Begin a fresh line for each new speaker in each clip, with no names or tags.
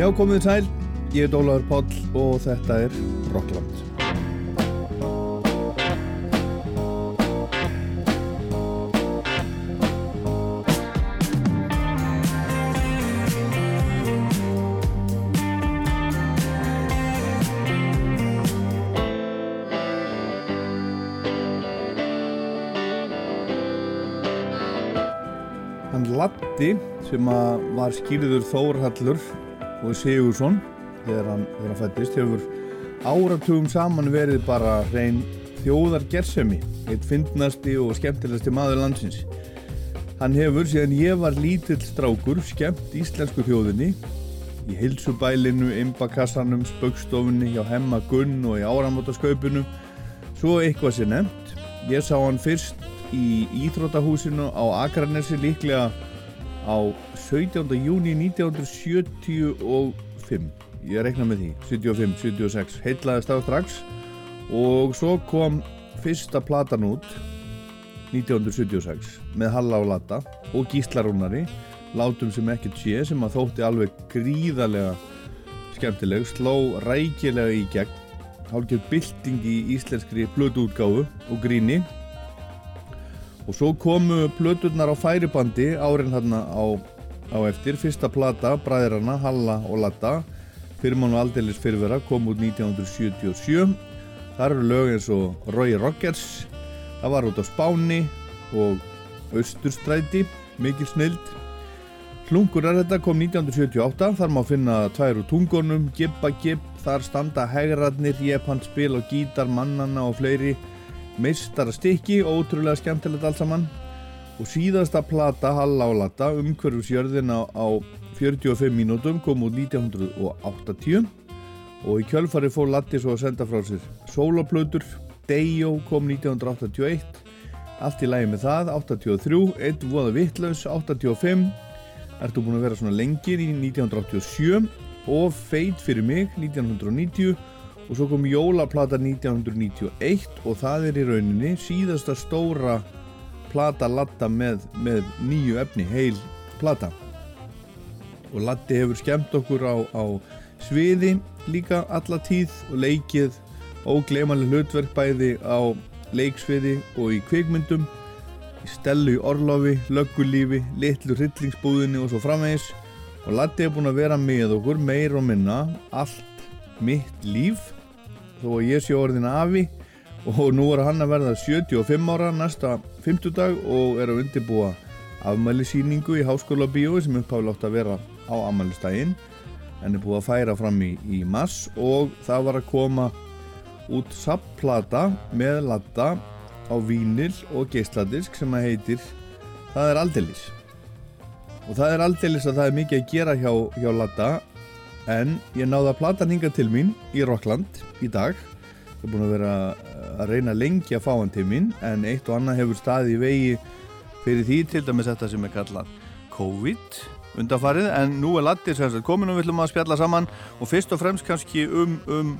Já, komið þið sæl, ég er Ólaður Páll og þetta er Rokkland. Hann Latti sem að var skýrður Þórhallur og Sigursson þegar hann, þegar hann fættist hefur áratugum saman verið bara hrein þjóðar gersemi eitt fyndnasti og skemmtilegasti maður landsins Hann hefur síðan ég var lítill strákur skemmt íslensku þjóðinni í heilsubælinu, imbakassanum, spöggstofunni, hjá hemma Gunn og í áramótaskaupinu svo eitthvað sé nefnt ég sá hann fyrst í Íþrótahúsinu á Akranesi líklega á 17. júni 1975 ég rekna með því 75, 76, heitlaðist á strax og svo kom fyrsta platan út 1976 með Halla og Lata og Gíslarúnari látum sem ekkert sé sem að þótti alveg gríðarlega skemmtileg, sló rækilega í gegn hálfgjörð bylting í íslenskri blöduútgáfu og gríni og svo komu plöturnar á færibandi árin þarna á, á eftir fyrsta plata, bræðrana, Halla og Latta fyrir mann og aldeilis fyrrvera kom út 1977 þar eru lög eins og Roy Rockers það var út á Spáni og Östurstræti mikil snild Hlungur er þetta kom 1978 þar má finna tvær úr tungunum Gibba Gibb, þar standa hegradnir Jepan spil og gítar, mannana og fleiri meistara stykki, ótrúlega skemmtilegt allt saman og síðasta plata Halla og Latta umhverfisjörðina á 45 mínútum kom út 1980 og í kjölfari fór Latti svo að senda frá sér sólaplötur, Dejo kom 1981 allt í lægi með það, 83 Eitt voða vittlaus, 85 Ertu búin að vera svona lengir í 1987 og Feit fyrir mig 1990 og svo kom Jólaplata 1991 og það er í rauninni síðasta stóra plata latta með, með nýju efni, heil plata og Latti hefur skemmt okkur á, á sviði líka alla tíð og leikið óglemanlega hlutverk bæði á leiksviði og í kvikmyndum í stelu í orlofi, löggulífi, litlu hryllingsbúðinni og svo framvegis og Latti hefur búin að vera með okkur meir og minna allt mitt líf þó að ég sé orðin afi og nú er hann að verða 75 ára næsta 50 dag og er að undirbúa afmælisýningu í háskóla bíói sem uppháði látt að vera á afmælistægin en er búið að færa fram í, í mass og það var að koma út sapplata með latta á vínil og geisladisk sem að heitir Það er aldeilis og það er aldeilis að það er mikið að gera hjá, hjá latta En ég náði að plata hann hinga til mín í Rockland í dag. Ég er búin að vera eh, að reyna lengi að fá hann til mín en eitt og annað hefur staðið í vegi fyrir því til dæmis þetta sem er kallað COVID undanfarið en nú er Latti sem sagt komin og við ætlum að spjalla saman og fyrst og fremst kannski um, um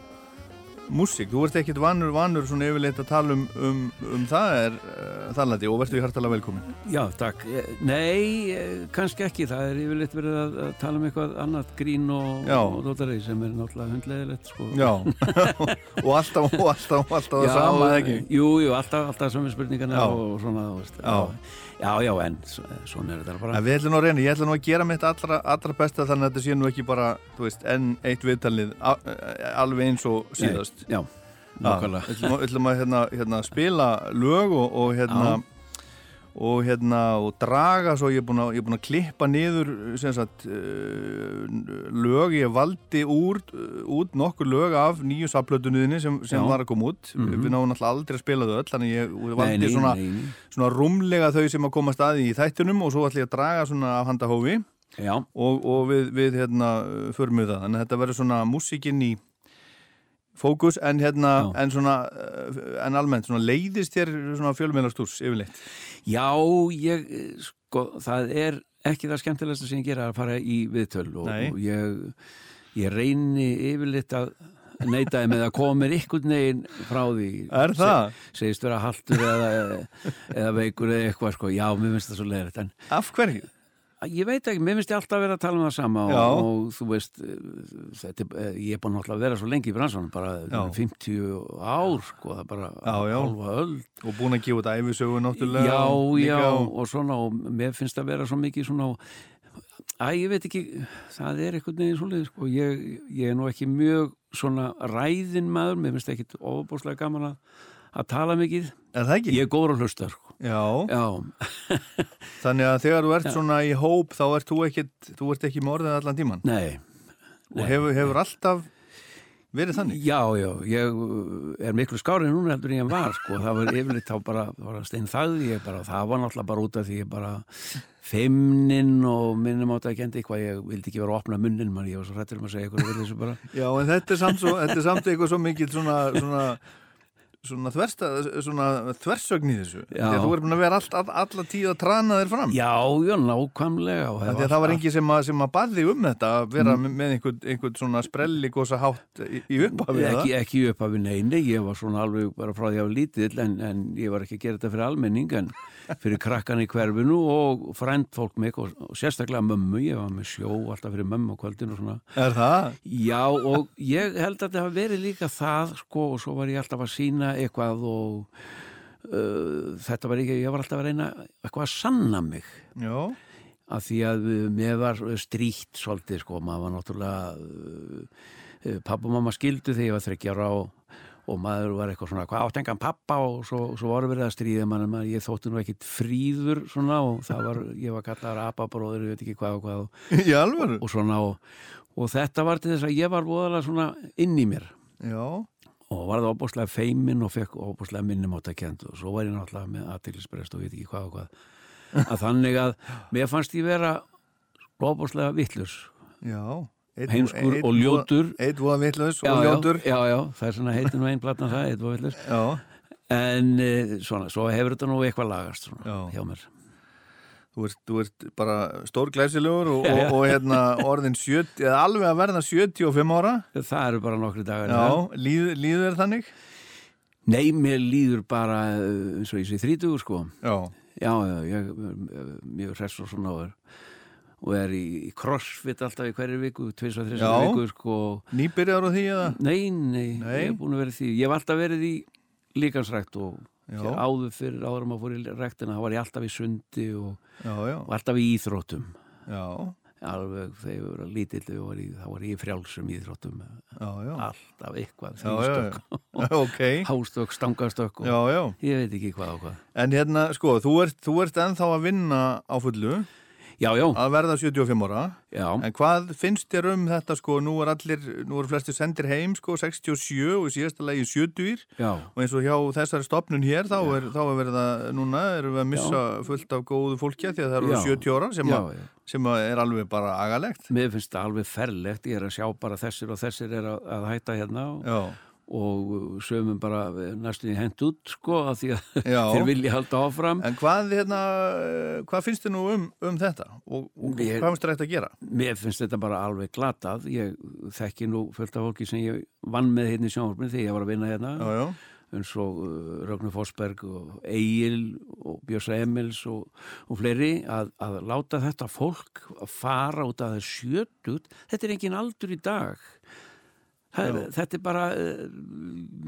músík. Þú ert ekkit vanur, vanur svona yfirleitt að tala um, um, um það er uh, það Latti og verður við hartalega velkomin.
Já, takk. Eh, Nei, eh, kannski ekki. Það er yfirleitt verið að, að tala um eitthvað annað grín og,
Já.
og dótarið sem er náttúrulega hundleðilegt, sko.
Já, og alltaf, og alltaf, og alltaf
é
það sama eða ekki.
Jú, jú, alltaf, alltaf sömu spurningana
Já.
og svona, þú veist.
Já.
Já, já, en s- svona er þetta bara.
En við ætlum nú að reyna, ég ætlum nú að gera mitt allra, allra besta þannig að þetta sé nú ekki bara, þú veist, enn eitt viðtalið a- e, alveg eins og
Nei,
síðast.
Já, nákvæmlega.
Ætlum, að- ætlum að hérna, hérna, spila lög og, og hérna, og hérna, og draga svo ég er búin að, ég er búin að klippa niður, sem sagt, uh, lög, ég valdi úr, út nokkur lög af nýju saplötunuðinni sem, sem
Já. Mhm.
var að koma út. Við náum náttúrulega aldrei að spila þau öll, þannig ég valdi
Nei, nei,
svona,
nei, nei.
svona rúmlega þau sem að koma staði í þættunum og svo ætlum ég að draga svona af handahófi
Já,
og, og við, við hérna förum við það, en þetta verður svona músikinn í fókus en hérna,
Já.
en svona eh, en almennt, svona leiðist þér svona fjölmiðlastúrs yfirleitt?
já, ég, eh, sko, það er ekki það skemmtilegsta sem ég gera að fara í viðtöl og,
Nei.
og ég, ég reyni yfirleitt að neytaði með að koma mér ykkur negin frá því
Er það?
Se, segist vera haltur eða, eða veikur eða eitthvað sko. já, mér finnst það svo leiðrætt en
Af hverju?
Ég veit ekki, mér finnst ég alltaf vera að tala um það sama
Já.
og, og þú veist, eh, þetta, er- eh, ég er búin alltaf að vera svo lengi í bransanum, bara
Já.
50 ár, sko, það er bara
Já, já.
hálfa öll.
og búin að gefa þetta æfisögu náttúrulega
Já,
og líka
já,
og-
og svona, og mér finnst að vera svo mikið svona, að ég veit ekki, það er eitthvað neginn svoleiðis, sko, ég, ég er nú ekki mjög svona ræðin maður, mér finnst ekkit ofabóslega gaman að, að tala mikið.
Er það ekki?
Ég er góður að hlusta, sko.
Já,
Já,
þannig að þegar þú ert svona í hóp þá ert þú ekkit, þú ert ekki með orðin allan tíman
nei.
og hefur, hefur alltaf verið þannig
Já, já, ég uh, er miklu skárið núna heldur en ég var sko, það var yfirleitt þá bara, það var að stein þagði ég bara, það var náttúrulega bara út af því ég bara feimnin og minnum átt að kendi eitthvað, ég vildi ekki vera að opna munnin mann, ég var svo hrættur um að segja eitthvað við þessu bara.
Já, en þetta er samt, svo, þetta er samt eitthvað svo mikið svona, svona, svona, þversta, svona þversögn í þessu
Já.
Þegar þú er búin að vera all, all, alla tíð að trana þér fram
Já, já, nákvæmlega. og
Þegar það var engin sem að, sem að baði um þetta að vera
Mm.
með einhvern, einhvern svona sprelligosa hátt í, í upphafið
Ekki, ekki upp af neini, ég var svona alveg bara frá því að ég var lítill en, en ég var ekki að gera þetta fyrir almenning en fyrir krakkan í hverfinu og frænd fólk mig og, og sérstaklega mömmu, ég var með sjó alltaf fyrir mömmu á kvöldin og svona
það Er það?
Já og ég held að þetta hafa verið líka það sko og svo var ég alltaf að sína eitthvað og uh, þetta var ekki, ég var alltaf að reyna eitthvað að sanna mig
Já,
af því að uh, mér var stríkt svolítið sko, maður var náttúrulega uh, pappa og mamma skildu þegar ég var 30 ára og, og maður var eitthvað svona, hvað áttengan pappa og svo, svo voru verið að stríða mann maður, ég þótti nú ekkit fríður svona og það var, ég var kallar apabróður, ég veit ekki hvað og hvað og
í alvöru
og svona og, og þetta var til þess að ég var voðalega svona inn í mér
Já,
og varði óbúslega feimin og fekk óbúslega minnum átt að kenda og svo var ég náttúrulega með aðtilsprest og veit ekki hvað og hvað að þannig að mér fannst ég vera óbúslega vittlurs
já Einn-
heimskur
einn
og
voða-
ljótur
Einn voða vitlaus
Já, já,
og ljótur
já, já, það er svona heitin og einn platna það, eitthvað villur
Já,
en eh, svona, svo hefur þetta nú eitthvað lagast svona,
Já.
hjá mér
Þú ert, þú ert bara stórglæsilegur og,
Já,
og,
já.
og hérna orðin 70, eða alveg að verða 75 ára
það eru bara nokkri dagar í það.
Já, líð, líður þér þannig?
nei, mér líður bara eh, eins og ég sé þrítugur sko
Já
Já, já, ég er mjög hress og svona og er, og er í, í crossfit alltaf í hverju viku, tvis og þrjus
Já.
viku sko.
Nýbyrjar á því eða?
Nei, nei,
Nei.
ég er búin að vera í því. Ég hef alltaf verið í líkansrækt og
Já.
þegar áður fyrir áður maður fór í ræktina, þá var ég alltaf í sundi og,
Já, já,
og alltaf í íþróttum.
já,
Alveg þegar ég var lítill, ég var í- þá var ég í frjálsum íþróttum.
já, já,
Alltaf eitthvað,
já, já,
þrýstök,
já. ok,
hástökk, stangastök og
já, já,
sko. ég veit ekki hvað og hvað.
en hérna, sko, þú ert, þú ert ennþá að vinna á fullu,
Já, já,
að verða 75 ára,
já.
en hvað finnst þér um þetta, sko, nú er allir, nú er flesti sendir heim, sko, 67 og í síðasta lagi 70
já.
og eins og hjá þessari stopnun hér, þá er, þá er verið að, núna erum við að missa fullt af góðu fólki af því að það eru
Já.
70 ára sem,
Já,
að,
já.
sem að er alveg bara agalegt,
Mér finnst það alveg ferlegt, ég er að sjá bara þessir og þessir er að, að hætta hérna og,
já,
og sögum bara næstum í hent út sko að því að
Já.
þeir vilja halda áfram.
En hvað, hérna, eh, hvað finnst þið nú um, um þetta og, og
Ég-
hvað finnst þið rætt að gera?
Mér finnst þetta bara alveg glatað, ég þekki nú fullt af fólki sem ég vann með hérna í sjónvarpinu þegar ég var að vinna hérna
Já, já,
eins og uh, Rögnur Fosberg og Egil og Björsa Emils og, og fleiri að, að láta þetta fólk að fara út að það sjötut, þetta er engin aldur í dag það, er- þetta er bara uh,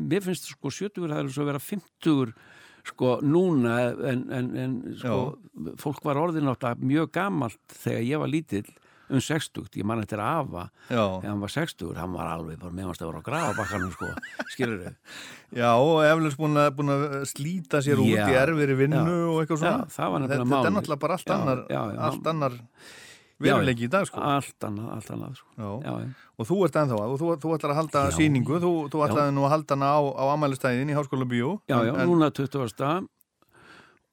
mér finnst sko sjötugur það er svo að vera fymtugur sko núna en, en, en sko, fólk var orðin átt að mjög gamalt þegar ég var lítill um 60, ég man eftir afa
já,
þegar hann var 60, hann var alveg bara meðanst að vera á grafabakkanum sko, skilur þau
já og eflaust búin að, búin að slíta sér
Já,
út í erfiðri vinnu
já.
og eitthvað svona.
Já, það var nefnilega
þetta, þetta
málið.
er náttúrulega bara allt
Já,
annar,
já, já.
allt annar veruleiki í dag, sko.
Allt annað, allt annað sko.
Já.
já, já.
Og þú ert ennþá, og þú, þú ætlar að halda
Já.
sýningu, þú, þú
Já.
ætlaði nú að halda hana á, á amælistæðin í Háskóla Bíó.
já, já,
en,
núna 20.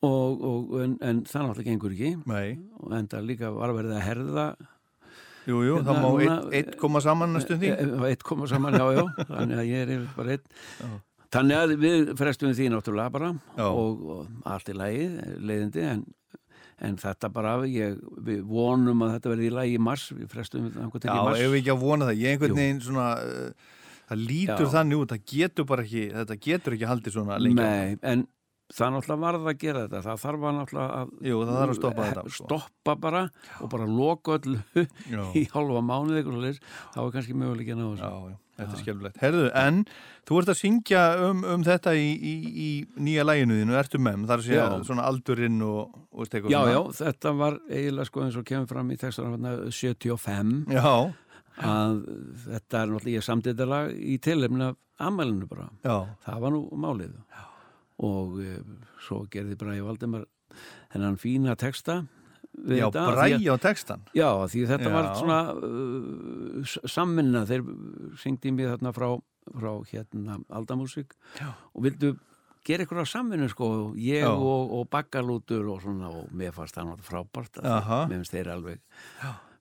Og, og, en, en það náttúrulega gengur ekki
Nei,
og enda líka var verið að herða
jú, jú,
Hérna,
það má
núna-
eitt, eitt koma saman næstu því.
e, e- eitt koma saman, já, já þannig að ég er yfir bara eitt þannig að við frestum því náttúrulega bara
Já.
og, og allt í lagi leiðindi en, en þetta bara ég, við vonum að þetta verði í lagi í mars við frestum því einhvern
Já,
veginn í mars
ef við ekki að vona það, ég einhvern
Jú.
veginn svona, uh, það lítur
Já.
þannig út, það getur bara ekki, þetta getur ekki haldið svona lengi.
Nei, en það náttúrulega varð að gera þetta það þarf að náttúrulega að
Jú, það þarf að stoppa þetta, sko.
stoppa bara og bara loka öllu
Já.
í hálfa mánuð eitthvað leys, þá er kannski möguleik að ná þessu
Já, já, þetta er skemmtilegt. Herðu, en þú ert að syngja um, um þetta í, í, í nýja læginu þínu, ertu mem, þar sé
Já.
svona aldurinn og, og veist eitthvað
Já,
svona.
já, þetta var eiginlega sko eins og kemur fram í textanum 75
Já,
að þetta er náttúrulega ég samdi þetta lag í tilefni af ammælinu bara
já,
það var nú málið og e, svo gerði Bræði Valdemar þennan fína texta við
já,
þetta,
bræja
því,
á textan.
að- já, því þetta
Já.
var svona uh, samminna þeir syngdi mér þarna frá, frá hérna Aldamúsík og vildu gera eitthvað samvinnu sko, ég
Já.
og, og bakkalútur og svona og mér fannst það náttúrulega frábært að
Aha.
mér finnst þeir alveg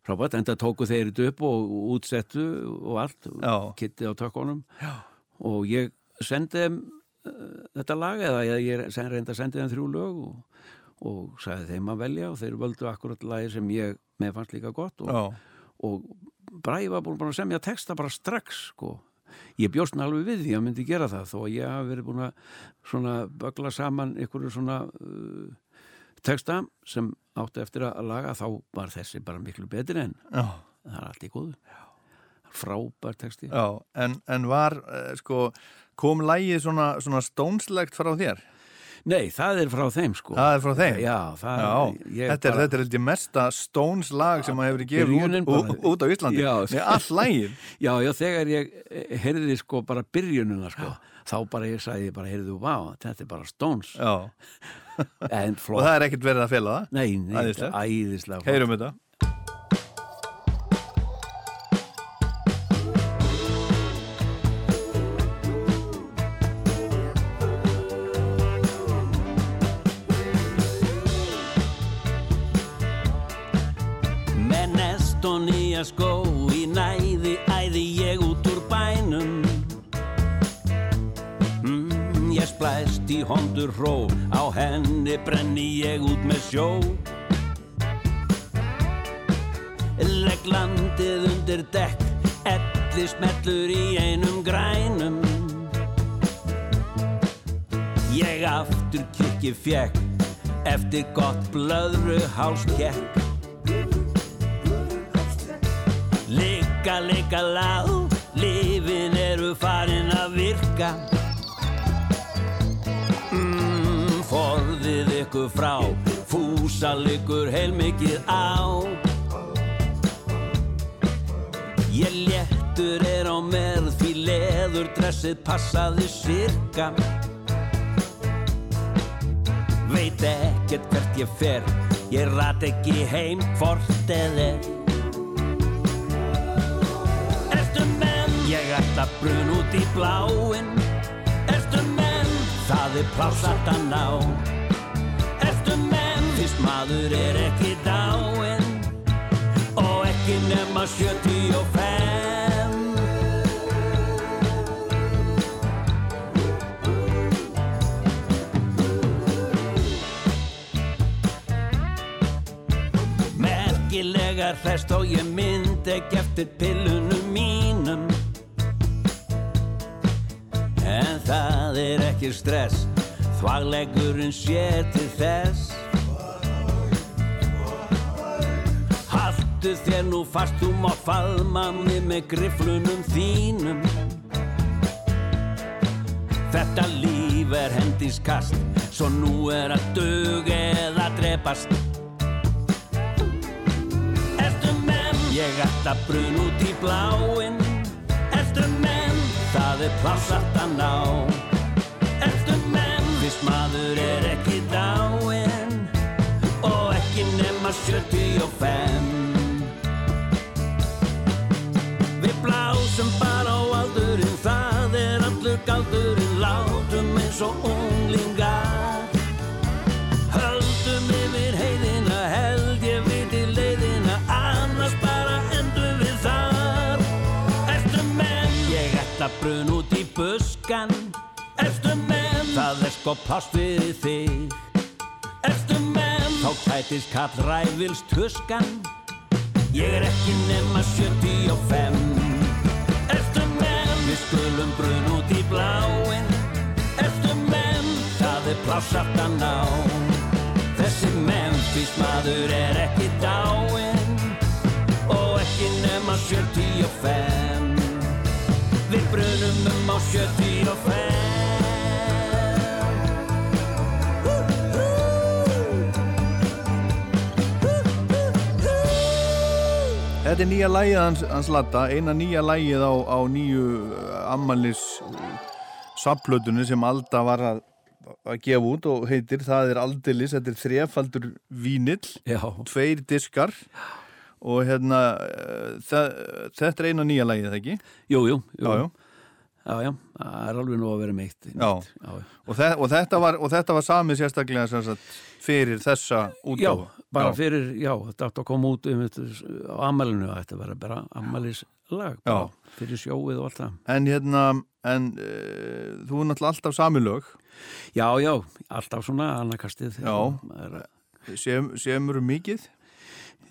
frábært, enda tóku þeir þetta upp og útsettu og allt
Já.
kittið á tökkunum og ég sendi þeim uh, þetta lag eða ég, ég sen- reyndi að sendi þeim þrjú lög og, og sagði þeim að velja og þeir völdu akkurat lagi sem ég með fannst líka gott og,
Já,
og Bræði var búin að semja texta bara strax sko. Ég bjóst hann alveg við því að hann myndi gera það þó að ég hafi verið búin að svona bögla saman einhverju svona uh, texta sem átti eftir að laga þá var þessi bara miklu betri en
já,
það er allt í góðu. Frábær texti.
já, en, en var, eh, sko, kom lægið svona, svona stónslegt frá þér?
Nei, það er frá þeim sko.
Það er frá þeim?
Já, það
Já,
ég
þetta, er,
bara-
þetta er held ég mesta Stones lag sem að hefur gefið
Byrjunin
út, ú,
bara.
út á Íslandi
Já.
Nei, all lagið
Já, já, þegar ég eh, heyrði sko bara byrjununa sko, þá bara ég sagði bara heyrðu, vá, þetta er bara Stones
Já.
en
og
flott.
það er ekkert verið að fela það
Nei, nei,
Æðislegt.
æðislega, æðislega flott.
Heyrum þetta
Með nest og nýja skó í næði æði ég út úr bænum mm, Ég splæst í hondur hró á henni brenni ég út með sjó Legg landið undir dekk elli smellur í einum grænum Ég aftur kikki fjekk eftir gott blöðru hálskekk Lika, lika lág, lífin eru farin að virka mm, Forðið ykkur frá, fúsa likur heilmikið á Ég léttur er á mér, því leður dressið passaði sirka Veit ekkert hvert ég fer, ég rat ekki heim hvort eða er Ertu menn, ég ætla brun út í bláin Ertu menn, það er plásat að ná Ertu menn, fyrst maður er ekki dáin Og ekki nema 75 Merkilega hrest og ég mynd ekki eftir pillunum mínum En það er ekki stress Þvaglegurinn sér til þess Haltu þér nú fast þú má faðma mig með griflunum þínum Þetta líf er hendiskast Svo nú er að dug eða drepast Ertu menn, ég ætla brun út í bláin Ertu menn, það er plássart að ná Ertu menn, fyrst maður er ekki dáin Og ekki nema 75 Við blásum bara á aldurinn Það er allur galdurinn Látum eins og unglingar Höldum yfir heiðina, held ég viti leiðina, annars bara endum við þar. Ertu menn, ég ætla brun út í buskan. Ertu menn, það er sko pláss fyrir þig. Ertu menn, þá tætist kall ræfils tuskan. Ég er ekki nema 75. Ertu menn, við skulum brun út í bláin. Ertu menn, það er plásaftan á Þessi Memphis maður er ekki dáinn og ekki nema 75 Við brunum um á 75 Hú, hú,
Þetta er nýja lægið hans, hans Latta, eina nýja lægið á, á nýju uh, ammalis saplötunni sem Alda var að, að gefa út og heitir Það er aldeilis, þetta er þrefaldur vínill,
Já,
tveir diskar og hérna eh, það, þetta er eina nýja lægið, það ekki?
jú, jú, jú.
Já, já.
Já, já, það er alveg nú að vera meitt.
Já.
já.
Og, þe og, þetta var, og þetta var samið sérstaklega sem sagt, fyrir þessa
Já,
útgáfu.
bara
Já.
fyrir, já, þetta átt að koma út um þetta s- á ammælinu, þetta verður bara ammælis lag, bara, fyrir sjóið og allt það.
En hérna, en uh, þú er náttúrulega alltaf samilög,
Já, já, alltaf svona annarkastið.
Já. sem, semur mikið?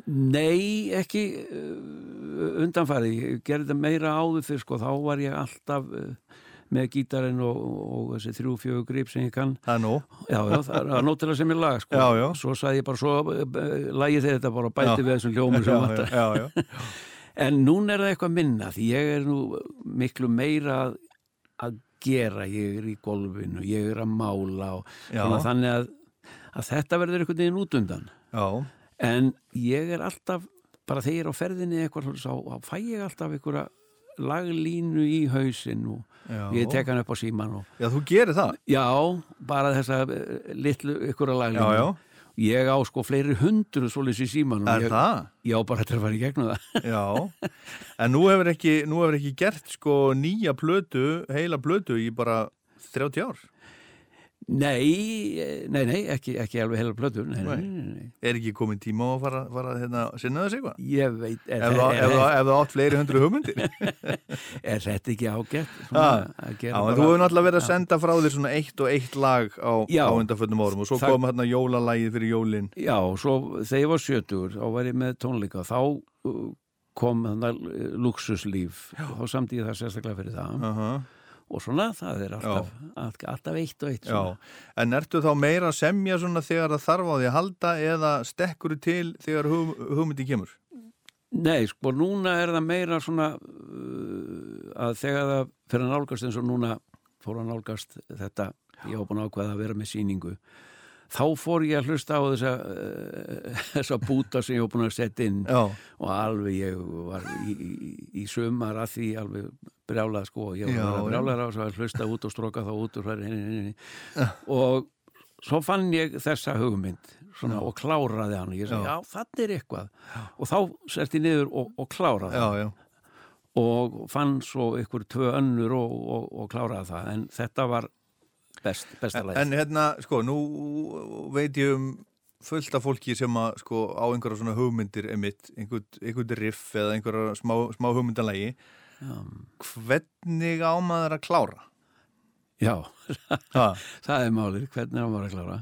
Nei, ekki uh, undanfæri, ég gerði þetta meira áður fyrir, sko, þá var ég alltaf uh, með gítarinn og, og þessi þrjú, fjögur grip sem ég kann
Það er nóg.
Já, já, það er nótilega sem ég lag sko.
Já, já.
Svo sagði ég bara svo eh, lagið þegar þetta bara og bæti
Já.
við þessum hljómur sem vantar
já, já, já.
En núna er það eitthvað minna því ég er nú miklu meira að, að gera, ég er í golfinu ég er að mála og
Já.
svona þannig að, að þetta verður einhvern veginn út undan
Já,
en ég er alltaf bara þegar ég er á ferðinni eitthvað svoleiðis, þá þá fæ ég alltaf einhverja laglínu í hausin og
já.
ég tek hann upp á síman og
Já, þú gerir það.
já, bara þessa eh, litlu einhverja laglínu
Já, já.
Ég á sko fleiri hundru svoleiðis í símanum.
Er
ég,
það?
Já, bara þetta er að fara í gegnum það.
Já. En nú hefur ekki, nú hefur ekki gert sko nýja plötu, heila plötu í bara 30 ár.
Nei, eh, nei, nei, ekki, ekki alveg heila plötu. Nei, nei, nei, nei.
Er ekki komin tíma á að fara, fara hérna, sinna þessu eitthvað?
Ég veit, er,
Ef
er,
það-
er,
ef
er,
það ef það átt fleiri hundru hugmyndir.
þetta ekki ágætt?
Já,
svona, að
Ah. Já,
gera bara-
en þú hefur náttúrulega verið að senda frá þér svona eitt og eitt lag á,
Já.
á undanfötnum árum og svo
Það-
kom hérna jólalagið fyrir jólin.
Já, svo þegar ég var sjötugur, þá var ég með tónleika, þá uh, kom eh, þannig luxuslíf, þá samt ég það sérstaklega fyrir það.
Uh
Og svona, það er alltaf, all, alltaf eitt og eitt.
Já,
svona.
en ertu þá meira að semja svona þegar það þarf á því að halda eða stekkur til þegar hug, hugmyndi kemur?
Nei, sko, núna er það meira svona uh, að þegar það fyrir að nálgast eins og núna fór að nálgast þetta, ég var búin að ákveða að vera með síningu, þá fór ég að hlusta á þessa, uh, þessa búta sem ég var búin að setja inn
Já,
og alveg ég var í, í, í sumar að því alveg brjálað sko, ég
Já,
var
já.
brjálað á þess að hlusta út og stróka þá út og hlæri henni, henni, henni og svo fann ég þessa hugmynd svona, og kláraði hann ég sagði,
Já.
já, þannig er eitthvað og þá sett ég niður og, og kláraði
já, já.
og fann svo ykkur tvö önnur og, og, og kláraði það en þetta var best, besta leið
En hérna, sko, nú veit ég um fullt af fólki sem að, sko, á einhverja svona hugmyndir emitt, einhvern, einhvern riff eða einhverja smá, smá hugmyndalagi hvernig á maður að klára?
já,
Ha,
það er málið, hvernig hann var að klára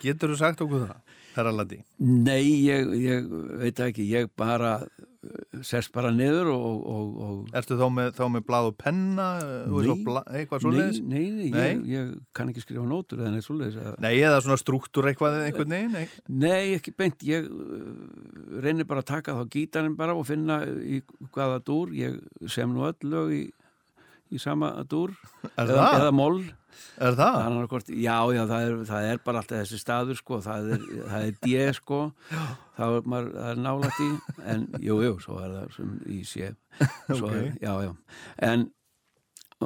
getur þú sagt okkur það, herra Landi?
Nei, ég, ég veit það ekki, ég bara eh, sest bara niður og, og, og
Ertu þá með, þá með blað og penna eh, og svo
Nei.
bla, eitthvað
nei,
svoleiðis? Nei.
nei, nei,
Nei?
Ég, ég kann ekki skrifa nótur eða neitt svoleiðis. Að,
eða svona struktúr eitthvað einhvern veginn? Nei.
nei, ekki beint, ég eh, reynir bara að taka þá gítarinn bara og finna í hvaða dúr, ég sem nú öll lög í, í sama dúr
Er
eða,
það?
eða mól.
Er það?
Þannig að hvort, já, já, það er, það er bara alltaf þessi staður, sko, það er, það er D, sko, það er, maður, það er nálægt í, en jú, jú, svo er það sem í sé, svo
Ok.
er, já, já, en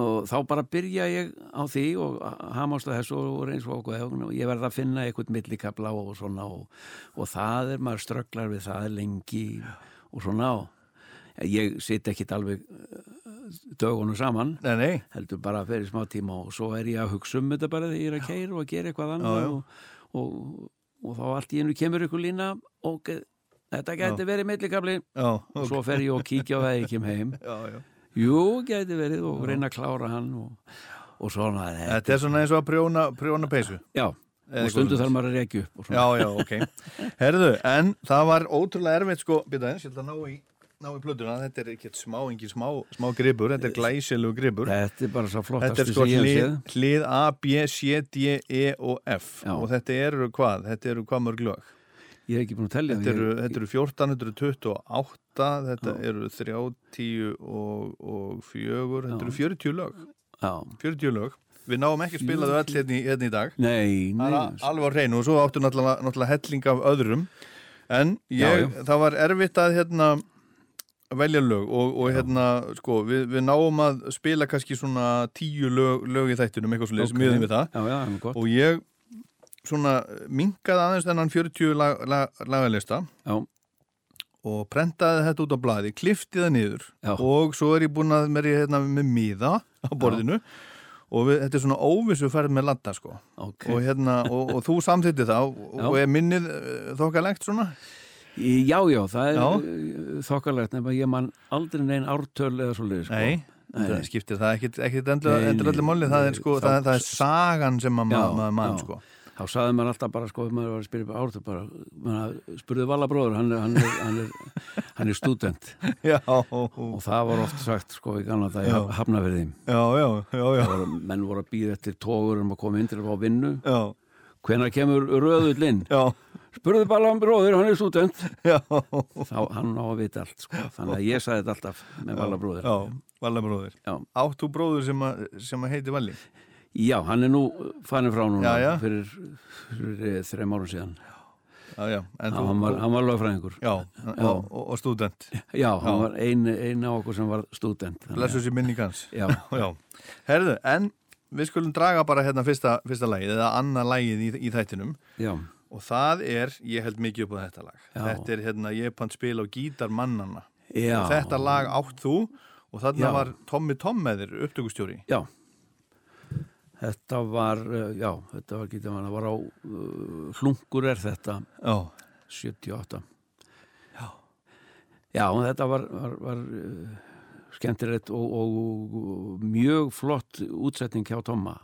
og þá bara byrja ég á því og hamast að þessu og reyns og okkur og ég verð að finna eitthvað millikabla og svona og, og það er, maður strögglar við það lengi og svona og ég sit ekki alveg eh, dögunum saman
Nei, nei.
heldur bara fyrir smá tíma og svo er ég að hugsa um þetta bara þegar ég er að keira og að gera eitthvað annað
já.
Og, og, og þá allt í hennu kemur ykkur lína og ge- þetta gæti verið meðlikabli
Já,
og
ok.
svo fer ég og kíkja á það þegar ég kem heim
já, já.
jú, gæti verið og reyna að klára hann og, og svona þetta,
Þetta er svona eins og að prjóna, prjóna peysu.
já,
Eða
og stundu
eitthvað
þarf maður að rekja upp og svona,
Já, já, ok. Herðu, en það var ótrúlega erfitt, sko, byrja eins, ég ætla að ná í, ná í plötuna, þetta er ekkert smá, engin smá, smá gripur, þetta er glæsilegu gripur.
Eh, Þetta er bara svo
Þetta er
flottastu
sko
sem ég
hlið,
hef
hlið A, B, C, D, E og F
Já.
og þetta eru hvað, þetta eru hvað mörg lög?
séð Ég er ekki búin að tellja
Þetta eru, þetta eru 1428, þetta eru 30 og, og 4, þetta eru 40 lög,
Já
40 lög. Við náum ekki að spila þau öll hérna í, hérna í dag.
Nei, nei
Það er alveg á hreinu og svo áttu náttúrulega, náttúrulega helling af öðrum en ég,
Já,
það var erfitt að hérna, velja lög og, og hérna, sko, við, við náum að spila kannski svona tíu lög, lög í þættinum, eitthvað svo leiðis,
Ok.
miðum við það
Já, já, það er gott
og ég svona minkaði aðeins þennan 40 lag, lag, lagalista
Já,
og prentaði þetta út á blaði, klifti það niður
Já.
og svo er ég búin að mér hérna, með miða á borðinu og við, þetta er svona óvissu færð með ladda sko
ok
og, hérna, og, og þú samþýttir það og,
Já.
og er minnið eh, þokkalegt svona
Já, já, það er
Já.
já. þokkalegt nema ég man aldrei neinn ártöl eða svo liður sko.
það skiptir það ekkit, ekkit
Nei, nei,
endurallir máli það er,
nei,
sko,
þá-
það, það er sagan sem að
Já,
maður ma mann
já.
sko.
Þá saði maður alltaf bara sko ef maður var að spyrja um ártöl bara, maður spurði Valla bróður hann er, hann er, hann er, hann er student
já,
og það var oft sagt sko í gamla það
Já.
ég hafna fyrir þeim
já, já, já, já,
Það voru- menn voru að býða eftir tógur um að koma inn til að fá vinnu
já,
hvenær kemur röðullinn
já,
spurðu bara um bróður, hann er student
já,
þá hann á að vita allt sko. þannig að ég sagði þetta alltaf með Valla bróður
já, Valli bróðir
Já.
átt þú bróður sem, að, sem að heiti Valli
já, hann er nú fannin frá núna
Já, já.
fyrir, fyrir eh, þrem árum síðan
já, já, en
já,
þú
hann var, hann var lögfræðingur
já, já. Og, og student
já, hann var ein, ein af okkur sem var student þannig að-
blessu sér minning hans
já,
já, herðu, en við skulum draga bara hérna fyrsta, fyrsta lagið eða annað lagið í, í þættinum
já,
Og það er, ég held mikið upp á þetta lag.
Já.
Þetta er hérna, ég er pann spil á gítar mannana.
já
Og þetta lag átt þú og þarna
Já.
var Tommy Tom með þér, upptökustjóri.
já þetta var, eh, já, þetta var getur maður, það var á uh, hlungur er þetta
Já.
78 Já, þetta var, var, var eh, skemmtilegt og, og, og mjög flott útsetning hjá Tomma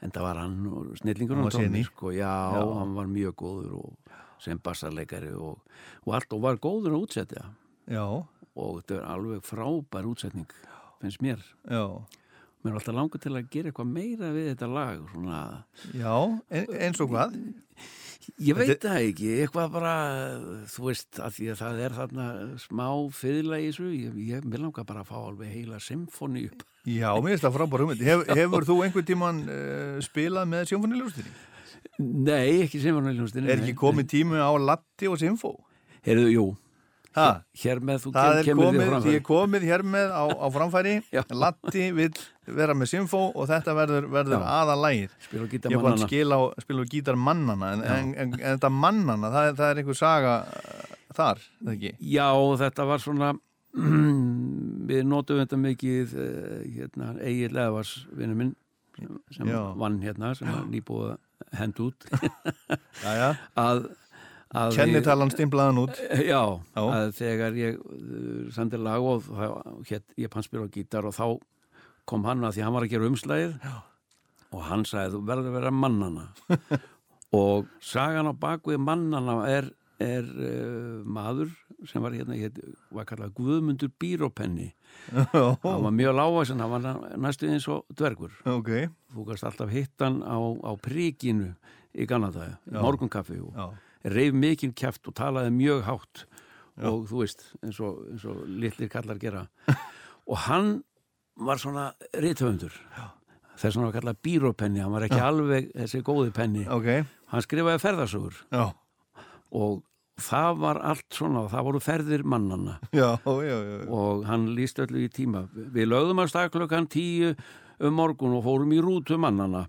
en það var hann og snillingur
Hann
hann
var sinni.
Tommi, sko, já,
Já.
hann var mjög góður og, sem bassarleikari og, og allt og var góður að útsetja
Já,
og þetta er alveg frábær útsetning finnst mér,
já.
mér er alltaf langur til að gera eitthvað meira við þetta lag svona,
Já, en, eins og hvað?
Ég veit það ekki, eitthvað bara, þú veist, að því að það er þarna smá fyrirlega í þessu, ég, ég vil langa bara að fá alveg heila symfóni upp.
Já, mér finnst það frábár hugmynd. Hef, hefur þú einhvern tíman uh, spilað með symfóniljóstinni?
Nei, ekki symfóni hljómsdýrinu.
Er ekki komið tími á Latti og Symfó?
Heyrðu, jú,
Ha,
hér með þú
það
kem,
er
kemur
komið,
því
því
framfæri.
er komið hér með á, á framfæri.
Já.
Latti vil vera með Symfó og þetta verður, verður aðalægið.
Spil og
Ég
gíta
fann
mannana.
skil á, spil á gítar mannana en, en, en, en þetta mannana, það, er- það er einhver saga uh, þar, það ekki?
Já, þetta var svona, við notum þetta mikið, eh, hérna, Egil Eðvars, vinnu minn, sem, sem
Já.
vann hérna, sem var nýbúið að henda út.
Jæja,
að, að Eh,
kennitalan stimplaðan út
Já,
Já.
að þegar ég uh, sendi lag og þá hétt ég pannspil á gítar og þá kom hann að því hann var að gera umslæðið og hann sagði þú verður að vera mannana og sagan á bakvið mannana er, er uh, maður sem var hérna, hétt, var kallað Guðmundur Bírópenni hann var mjög lágvæsinn, hann var næstu eins og dvergur
Ok,
þú gast alltaf hittan á, á prikinu í Ganadæja,
Já.
morgunkaffi og
já,
reif mikinn kæft og talaði mjög hátt og þú veist, eins og, eins og litlir kallar gera og hann var svona rithöfundur þess að hann var kallað bírópenni hann var ekki alveg þessi góði penni
ok
hann skrifaði ferðasögur
Já,
og það var allt svona það voru ferðir mannanna
já, já, já, já.
og hann líst öllu í tíma við lögðum að stað klukkan tíu um morgun og fórum í rútu mannana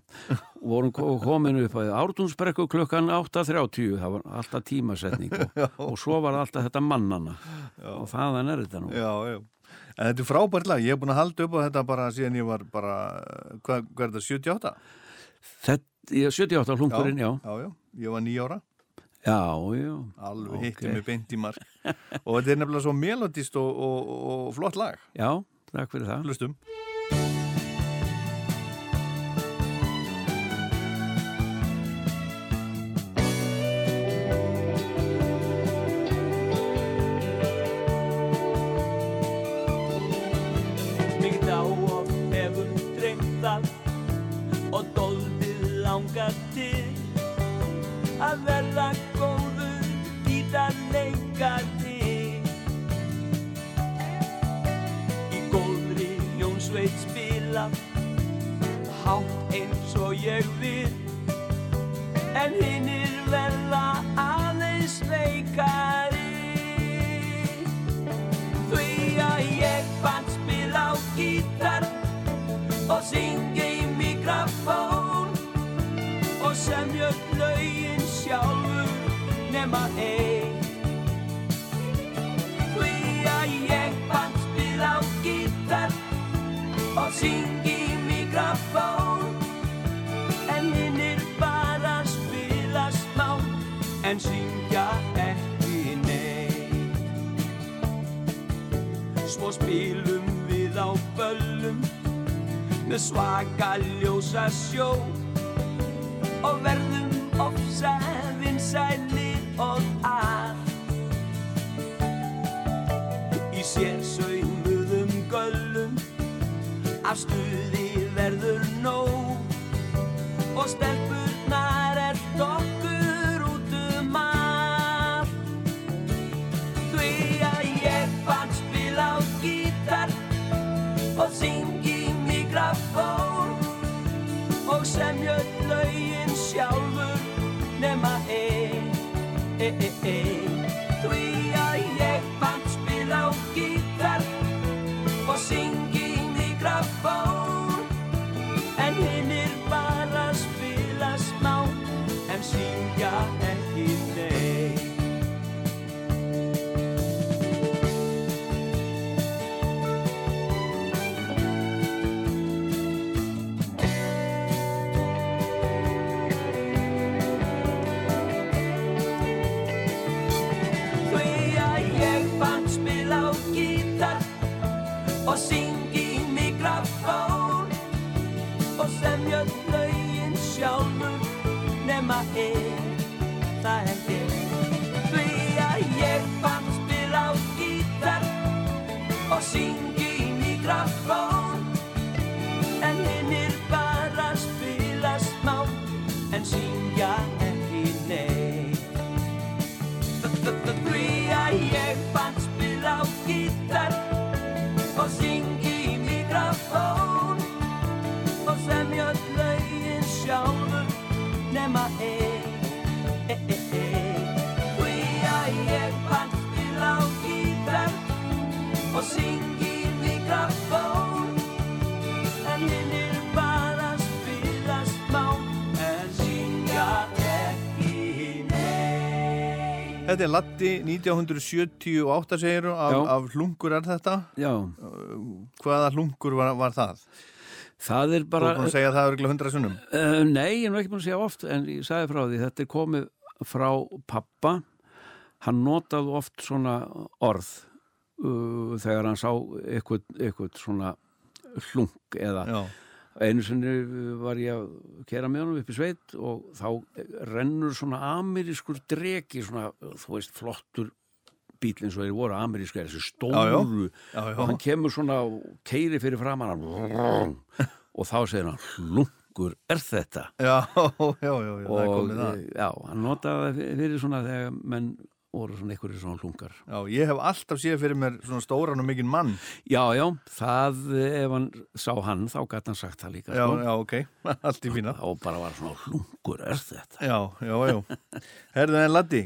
og vorum ko- komin upp að ártúnsbrekku klukkan 8.30 það var alltaf tímasetning og, og svo var alltaf þetta mannana og þaðan er þetta nú
já, já. En þetta er frábært lag, ég hef búin að halda upp á þetta bara síðan ég var bara, uh, hvað hva er það, 78?
þetta, ég- 78 hlungurinn, já
Já, já, ég var nýjára,
já, já, Ok.
alveg okay. hitti mig beint í mark Og þetta er nefnilega svo melodist og, og, og flott lag,
já, takk fyrir það
hlustum
að leika þig Í góðri hljónsveit spila Hátt eins og ég vil En hinnir verða aðeins veikari Því að ég fann spila á gítar Og syngi í mikrofón Og semja öll lögin sjálfur nema einn Því að ég fann spila á gítar Og syngi í mikrofón En hinnir bara spila smá En syngja ekki neitt Svo spilum við á böllum með svaka ljósa sjó og verðum ofsa vinsælir og að í sér saumuðum göllum af stuði verður nóg og stelpurnar er dokkur út um allt Því að ég fann spila á gítar og syngi í mikrofón og semja öll lögin sjálfur nema einn, einn, einn. e. Því að ég fann spila á gítar og syngi í mikrofón en hinnir bara spila smá en syngja ekki neitt. Því að ég fann spila á gítar og syngi í mikrofón og semja öll lögin sjálfur nema einn, það er ég. Því að ég fann spila á gítar og syngi í mikrofón en hinnir bara spila smá en syngja ekki neitt. Því að ég fann spila á gítar og syngi í mikrofón og semja öll lögin sjálfur nema einn Því að ég fann spila á gítar og syngi í mikrofón en hinnir bara spila smá en syngja ekki neitt
Þetta er Latti 1978 segir af,
Já.
af hlungur er þetta
Já,
hvaða hlungur var, var það?
það er
Þú
bara...
er búin að segja það örgulega hundra sunnum
Uh, nei, ég er nú ekki búin að segja oft en ég sagði frá því, þetta er komið frá pappa hann notaði oft svona orð uh, þegar hann sá eitthvað, eitthvað svona hlung eða
Já,
einu sinni var ég að kera með honum upp í sveit og þá rennur svona amerískur dreki svona, þú veist, flottur bíl eins og þeir voru amerískar þessi
Já, já.
stóru
já, já,
og hann kemur svona og keiri fyrir framan hann og þá segir hann hlungur er þetta
já, já, já, já það er
og
komið það
eh, já, hann notaði það fyrir svona þegar menn voru svona einhverjir svona hlungar
Já, ég hef alltaf séð fyrir mér svona stóran og mikinn mann
já, já, það eh, ef hann sá hann þá gæti hann sagt það líka
Já,
sko.
já, ok, allt í fína
þá bara var svona hlungur er þetta
Já, já, já Herðu en Latti,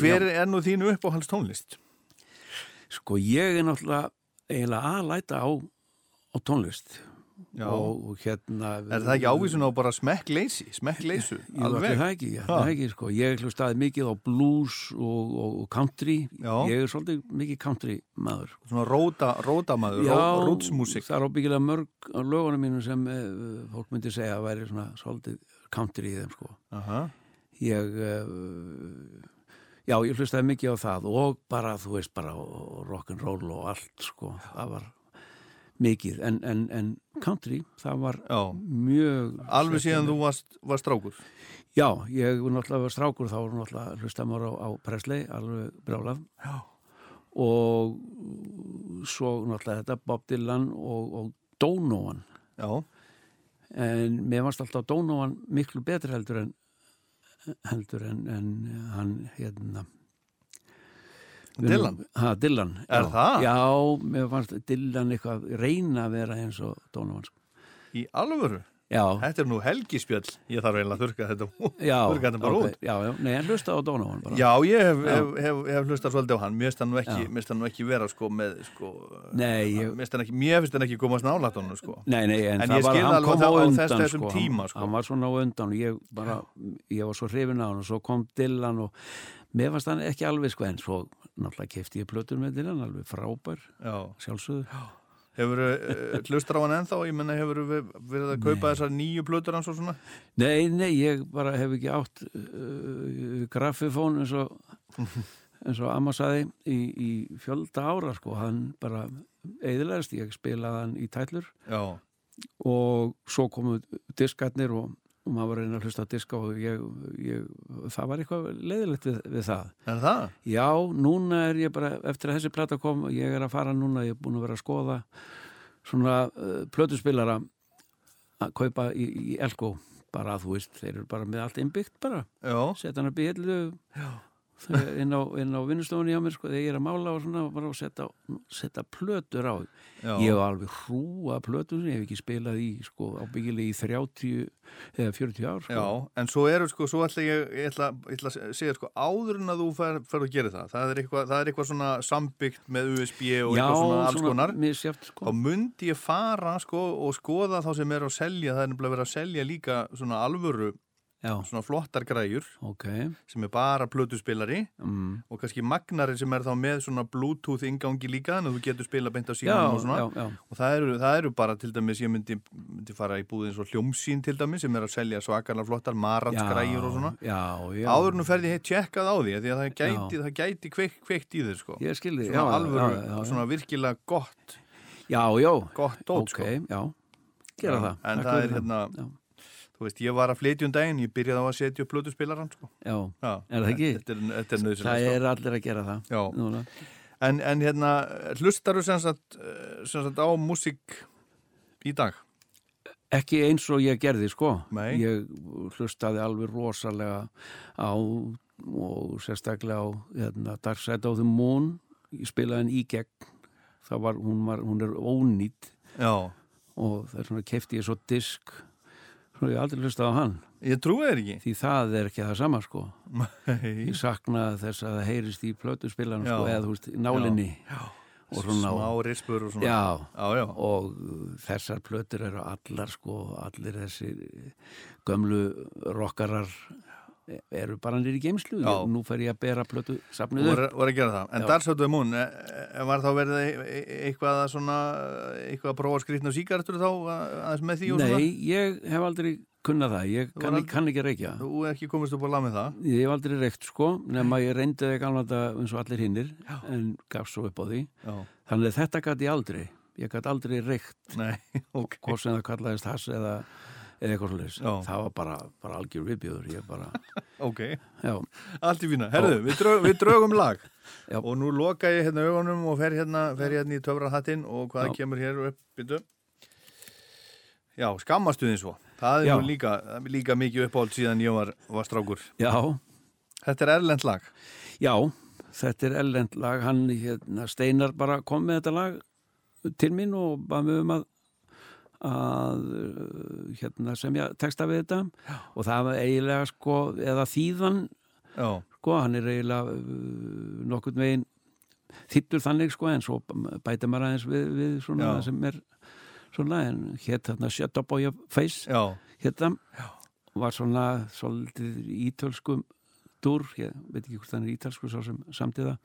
hver er nú þín uppáhalds tónlist?
sko ég er náttúrulega eiginlega að læta á, á tónlist
Já.
og hérna
Er það ekki ávísun á bara smekkleysi, smekkleysu?
Jú, alveg það ekki, já, það ekki sko. ég hlustaði mikið á blues og, og, og country
Já.
ég er svolítið mikið country maður
Svona róta, rótamaður, ró, rútsmúsik
það er óbyggilega mörg á lögunum mínum sem eh, fólk myndi segja að væri svona svolítið country í þeim sko
Aha,
ég eh, já, ég hlustaði mikið á það og bara, þú veist, bara og rock'n'roll og allt sko, það var mikið, en, en, en country, það var
Já,
mjög
alveg síðan þú varst, varst strákur
já, ég var náttúrulega var strákur þá var náttúrulega hlustaði maður á, á Presley alveg brjálað
Já,
og svo náttúrulega þetta Bob Dylan og, og Donovan
já,
en mér varst alltaf Donovan miklu betri heldur en heldur en, en hann hérna Við erum-
Dylan?
Ha, Dylan.
Er
já.
það?
Já, mér fannst Dylan eitthvað reyna að vera eins og Donovan. sko.
Í alvöru?
Já,
Þetta er nú helgispjöll. Ég þarf eiginlega að þurka þetta,
já.
þurka þetta bara
ok,
út.
Já, já, nei, en hlusta á Donovan bara.
Já, ég hef,
Já.
hef, hef, hef hlustað svolítið á hann. Mér finnst hann nú ekki,
Já.
mér finnst hann nú ekki vera sko með, sko,
Nei,
mér
ég,
finnst hann ekki, mér finnst hann ekki komast nálægt honum, sko.
nei, nei, en,
En
það
ég
var,
skil
hann
alveg
kom á
það á
undan,
þess- þessum
sko,
tíma,
hann,
sko.
Hann var svona á undan og ég bara, ég var svo hrifin á hann og svo kom Dylan og mér fannst hann ekki alveg sko, en svo náttúrulega kefti ég plötur með Dylan, alveg frábær,
Já.
sjálfsögðu.
Hefur uh, hlustað á hann ennþá? Ég menna, hefur við, verið að kaupa þessar nýju plötur hans og svona?
Nei, nei, ég bara hef ekki átt uh, graffifón eins og, eins og amma saði í, í fjölda ára sko, hann bara eðilegast, ég spilaði hann í tællur
Já.
og svo komu diskarnir og, og maður var að reyna að hlusta á diska og ég, ég, það var eitthvað leiðilegt við, við það.
Er það?
Já, núna er ég bara, eftir að þessi plata kom, ég er að fara núna, ég er búin að vera að skoða svona uh, plötuspilara að kaupa í, í Elko bara þú veist, þeir eru bara með allt innbyggt bara,
Já.
setja hann að bíllu inn á, inn á vinnustofunni hjá mér sko, þegar ég er að mála og svona bara að setja, setja plötur á
Já.
ég hef alveg hrúa plötur sem ég hef ekki spilað í sko, ábyggilega í 30 eða 40 ár sko.
Já, en svo eru sko, svo ætla ég, ég ætla, ég ætla að segja sko, áður en að þú fer, fer að gera það, það er eitthvað, það er eitthvað svona sambyggt með USB og eitthvað svona alls konar,
misjafn sko.
þá myndi ég fara sko og skoða þá sem er að selja, það er nefnilega verið að selja líka svona alvöru,
Já,
svona flottar græjur
ok
sem er bara plötuspilari
mm.
og kannski magnari sem er þá með svona Bluetooth ingangi líka, þannig að þú getur spila beint á
Já,
símanum og svona.
já, já,
Og það eru, það eru bara til dæmis, ég myndi, myndi fara í búðin svo hljómsýn til dæmis sem er að selja svakalega flottar maratsgræjur og svona.
Já, já
áður nú ferði heitt tjekkað á því af því að það gæti,
Já.
það gæti kveikt, kveikt í þér sko.
Ég skildi,
svona
já,
alvöru,
já, já, já.
svona virkilega gott
Já, já,
gott dót sko.
ok, já Gera það takk
en það
fyrir
er hérna,
Já.
þú veist, ég var að flytja um daginn ég byrjaði á að setja upp plötuspilaran sko.
Já,
Já,
Er það ekki?
þetta er, þetta er
það
nöðsynlega
er allir að gera það
sko.
Núna.
Já. en, en hérna, hlustaru sem sagt, eh, sem sagt á músík í dag
Ekki eins og ég gerði, sko
Nei.
Ég hlustaði alveg rosalega á og sérstaklega á hérna, Dark Side of the Moon ég spilaði henn í gegn það var, hún, var, hún er ónýtt
Já,
og það er svona kefti ég svo disk svo ég hef aldrei hlustaði á hann
ég trúi þér ekki
því það er ekki það sama sko
Nei.
ég sakna þess að það heyrist í plötu spilanum sko,
Já.
eða þú veist, í nálinni
Já.
og svona
smá
og-
rispur og svona
já,
já, já,
og uh, þessar plötur eru allar sko, allir þessir uh, gömlu rokkarar eru bara nýri geimslu
Já.
nú fer ég að bera plötu
Þú
safnið upp
voru, voru að gera það, en
Já.
Darsötu Mún e- e- var þá verið e- e- eitthvað að svona, eitthvað að prófa skrýtna síkartur þá, að- aðeins með því og svona
nei, ég hef aldrei kunnað það ég
Þú
kann,
var aldrei-
kann ekki reykja
Þú er ekki komist upp á lamið það
ég hef aldrei reykt sko nema ég reyndi það gamla þetta eins og allir hinnir en gaf svo upp á því
Já,
þannig að þetta gat ég aldrei ég gat aldrei reykt
nei, ok
hvort sem það kallaðist hass eða, eða eitthvað svolítið
Já.
það var bara, bara algjör viðbjöður ég bara,
Ok,
já,
allt í fína, herðu, við, drög, við drögum lag
Já.
Og nú loka ég hérna augunum og fer hérna, fer hérna í töfrahattinn og hvað
Já.
kemur hér upp, byrju Já, skammastuðin svo, það er
Já.
nú líka, líka mikið uppáhald síðan ég var, var strákur
já,
Þetta er erlend lag
já þetta er ellend lag, hann hérna, Steinar bara kom með þetta lag til mín og bað mig um að að uh, hérna, semja texta við þetta já. og það var eiginlega sko eða þýðan
Já,
sko, hann er eiginlega uh, nokkurn veginn þýttur þannig sko, en svo bæta maður aðeins við, við svona
Já.
það sem er svona, en hétt þarna Shut Up On Your Face
já,
hérna var svona svolítið ítölskum dúr, ég veit ekki hvort hann er ítalsku sá sem samtíða